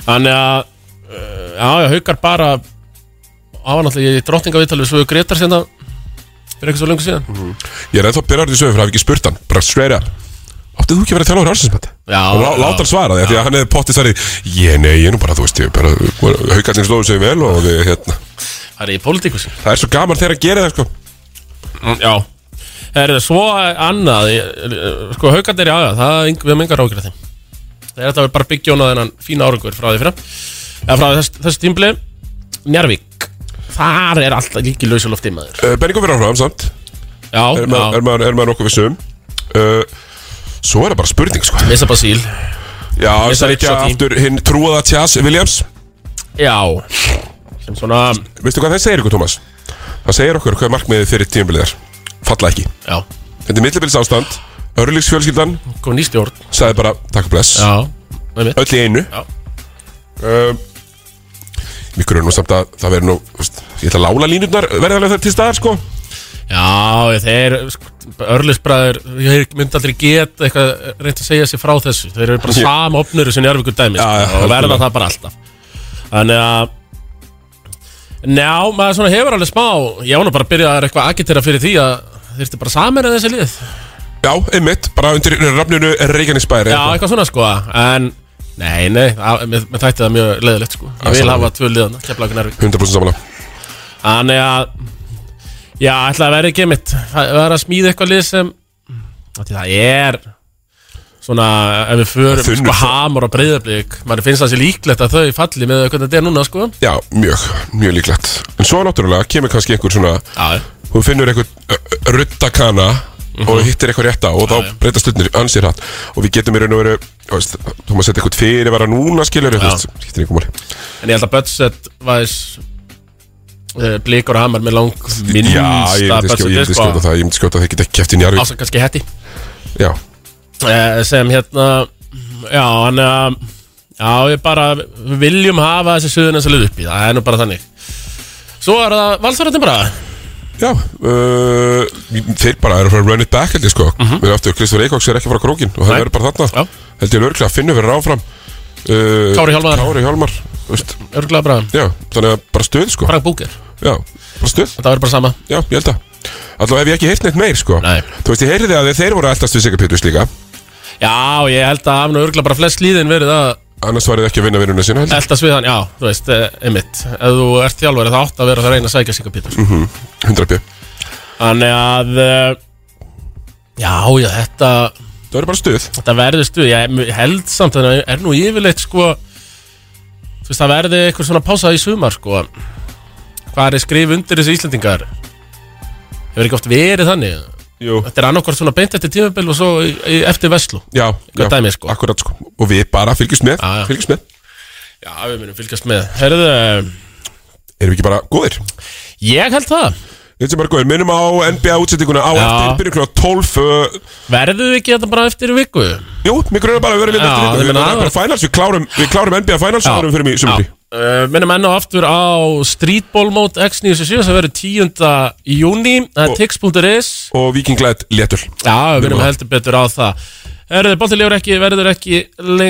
[SPEAKER 2] Þannig að uh, Já, já, haukar bara Það var náttúrulega í drottningavitalið Svo við Gretar sérna Fyrir eitthvað svo lengur síðan
[SPEAKER 1] Ég er ennþá byrjaður því sögur fyrir að hafa ekki spurt hann Bara straight up Áttu þú ekki að vera þjálfur ársins,
[SPEAKER 2] Já,
[SPEAKER 1] Og
[SPEAKER 2] já.
[SPEAKER 1] láta hann svara því, af því að hann hefði pottið svarið Ég, nei, ég er nú bara, þú veist, ég bara Haukarnir slóðu sig vel og við, hérna
[SPEAKER 2] Það er í pólitíkus
[SPEAKER 1] Það er svo gaman þegar hann gerir það, sko
[SPEAKER 2] Mm, Já Herðu, svo annað ég- eh, Sko, haukarnir, já, já, það er yng- við höfum engar ágjur af þeim Það er þetta að bara byggja honað þennan fína árangur frá því fyrra Eða frá þess, þessu tímbli Njarvík Þar er alltaf líki lausa lofti maður
[SPEAKER 1] uh, Benningum fyrir áfram samt
[SPEAKER 2] Já,
[SPEAKER 1] Er maður,
[SPEAKER 2] já.
[SPEAKER 1] er maður, er maður nokkuð vissum uh, Svo er það bara spurning sko
[SPEAKER 2] Missa Basíl
[SPEAKER 1] Já,
[SPEAKER 2] Missa
[SPEAKER 1] það er ekki
[SPEAKER 2] Rizzotti.
[SPEAKER 1] aftur hinn trúaða Tjás Williams
[SPEAKER 2] Já Sem svona
[SPEAKER 1] Veistu hvað það segir ykkur, Tómas? Það segir okkur hvað markmiðið fyrir tímabilið er Falla ekki
[SPEAKER 2] Já
[SPEAKER 1] Þetta er millibils ástand Örlíks fjölskyldan
[SPEAKER 2] Kom ný stjórn
[SPEAKER 1] Sæði bara takk og bless
[SPEAKER 2] Já
[SPEAKER 1] Öll í einu
[SPEAKER 2] Já
[SPEAKER 1] um, Mikur er nú samt að það verður nú þú veist, Ég ætla að lála línurnar verðarlega þar til staðar sko
[SPEAKER 2] Já, þeir sko, örlisbræður, ég myndi aldrei geta eitthvað reynt að segja sér frá þessu þeir eru bara
[SPEAKER 1] Ég-
[SPEAKER 2] sama opnur sem Njárvíkur dæmi
[SPEAKER 1] Já, já,
[SPEAKER 2] sko, og verða
[SPEAKER 1] algjörlega.
[SPEAKER 2] það bara alltaf þannig að Njá, maður svona hefur alveg smá ég var nú bara að byrja að eitthvað agitera fyrir því að þurfti bara saman en þessi lið
[SPEAKER 1] Já, einmitt, bara undir rafninu Reykjanesbæri
[SPEAKER 2] Já, eitthvað svona sko en nei, nei, að, með, með þætti það mjög leðilegt sko
[SPEAKER 1] Já,
[SPEAKER 2] ég vil
[SPEAKER 1] sammála.
[SPEAKER 2] hafa tvö liðan, kemla okkur Njárvík
[SPEAKER 1] 100% samanlega
[SPEAKER 2] Þannig að Já, ætla að vera ekki mitt Það vera að smíða eitthvað lið sem af því Það er Svona, ef við förum
[SPEAKER 1] Þunnur
[SPEAKER 2] sko
[SPEAKER 1] fó-
[SPEAKER 2] hamar og breyðablík Maður finnst það sér líklegt að þau falli með hvernig þetta er núna sko
[SPEAKER 1] Já, mjög, mjög líklegt En svo náttúrulega kemur kannski einhver svona
[SPEAKER 2] Já Mhm.
[SPEAKER 1] Þú finnur einhver ruttakana mm Og hittir eitthvað rétt á Og þá breytast stundin ansið hratt Og við getum í raun og veru þú veist, Þú maður setja eitthvað fyrir vera núna skilur
[SPEAKER 2] Já.
[SPEAKER 1] Hittir einhver máli
[SPEAKER 2] En ég held að budget væs Blíkur og hamar með lang
[SPEAKER 1] Já, ég
[SPEAKER 2] minnsta sko,
[SPEAKER 1] myndi skjóta, ég myndi skjóta það Ég myndi skjóta að það geta keft í njárvík
[SPEAKER 2] Ása kannski hetti
[SPEAKER 1] Já,
[SPEAKER 2] eh, sem hérna já, hann um, Já, við bara við viljum hafa þessi suðun eins og lið upp í Það er nú bara þannig Svo er það valsaröndin bara
[SPEAKER 1] Já uh, Þeir bara eru að fara að run it back held ég sko
[SPEAKER 2] Mhm.
[SPEAKER 1] mm -hmm. aftur, Kristofur Eikóks er ekki að fara krókin og það verður bara þarna Já. held ég lögreglega að finna verður áfram uh,
[SPEAKER 2] Kári Hjálmar.
[SPEAKER 1] Kári Hjálmar
[SPEAKER 2] Örgulega bara
[SPEAKER 1] Já, þannig að bara stuð sko
[SPEAKER 2] Frank Búker
[SPEAKER 1] Já, bara stuð
[SPEAKER 2] Það verður bara sama
[SPEAKER 1] Já, ég held að Alltaf hef ég ekki heyrt neitt meir sko Nei Þú veist, ég heyrði að þeir voru að eldast við Sigur Péturs líka
[SPEAKER 2] Já, ég held að hafna örgulega bara flest líðin verið að
[SPEAKER 1] Annars var þið ekki að vinna vinnuna sína held ég
[SPEAKER 2] Eldast við hann, já, þú veist, eh, einmitt Ef þú ert þjálfari þá átt að vera það reyna að sækja Sigga Pítur
[SPEAKER 1] Mhm, 100 p
[SPEAKER 2] Þannig að eh, Já, já, þetta
[SPEAKER 1] Það verður bara stuð
[SPEAKER 2] Þetta verður stuð, ég ég held samt Þannig að er nú yfirleitt sko Þú veist, það verði eitthvað svona pása í sumar sko Hvað er skrif undir þessi Íslendingar Hefur ekki oft verið þannig
[SPEAKER 1] Jú.
[SPEAKER 2] Þetta er annarkvort svona beint eftir tímabil og svo í, í, eftir Veslu
[SPEAKER 1] Já,
[SPEAKER 2] Hvað dæmi, sko.
[SPEAKER 1] Akkurat sko Og við bara fylgjumst með
[SPEAKER 2] já.
[SPEAKER 1] Fylgjumst með
[SPEAKER 2] Já, við munum fylgjast með Herðu
[SPEAKER 1] Erum við ekki bara góðir?
[SPEAKER 2] Ég held það
[SPEAKER 1] Við erum bara góðir Minnum á NBA útsettinguna á
[SPEAKER 2] Já.
[SPEAKER 1] eftir Byrjum klokka 12 uh,
[SPEAKER 2] Verðum við ekki þetta bara eftir viku?
[SPEAKER 1] Jú, mér grunar bara að vera við
[SPEAKER 2] Já,
[SPEAKER 1] hérna eftir viku
[SPEAKER 2] ég
[SPEAKER 1] Við
[SPEAKER 2] meina,
[SPEAKER 1] verðum bara
[SPEAKER 2] það-
[SPEAKER 1] finals Við klárum, við klárum NBA finals Og verðum fyrir mig í sumri
[SPEAKER 2] Uh, minnum enn og aftur á Streetball Mode X97 sem verður 10. í júni Það er tix.is
[SPEAKER 1] Og vikinglæð léttul
[SPEAKER 2] Já, við erum heldur betur á það Herðu, Bóttilegur ekki, verður ekki lengra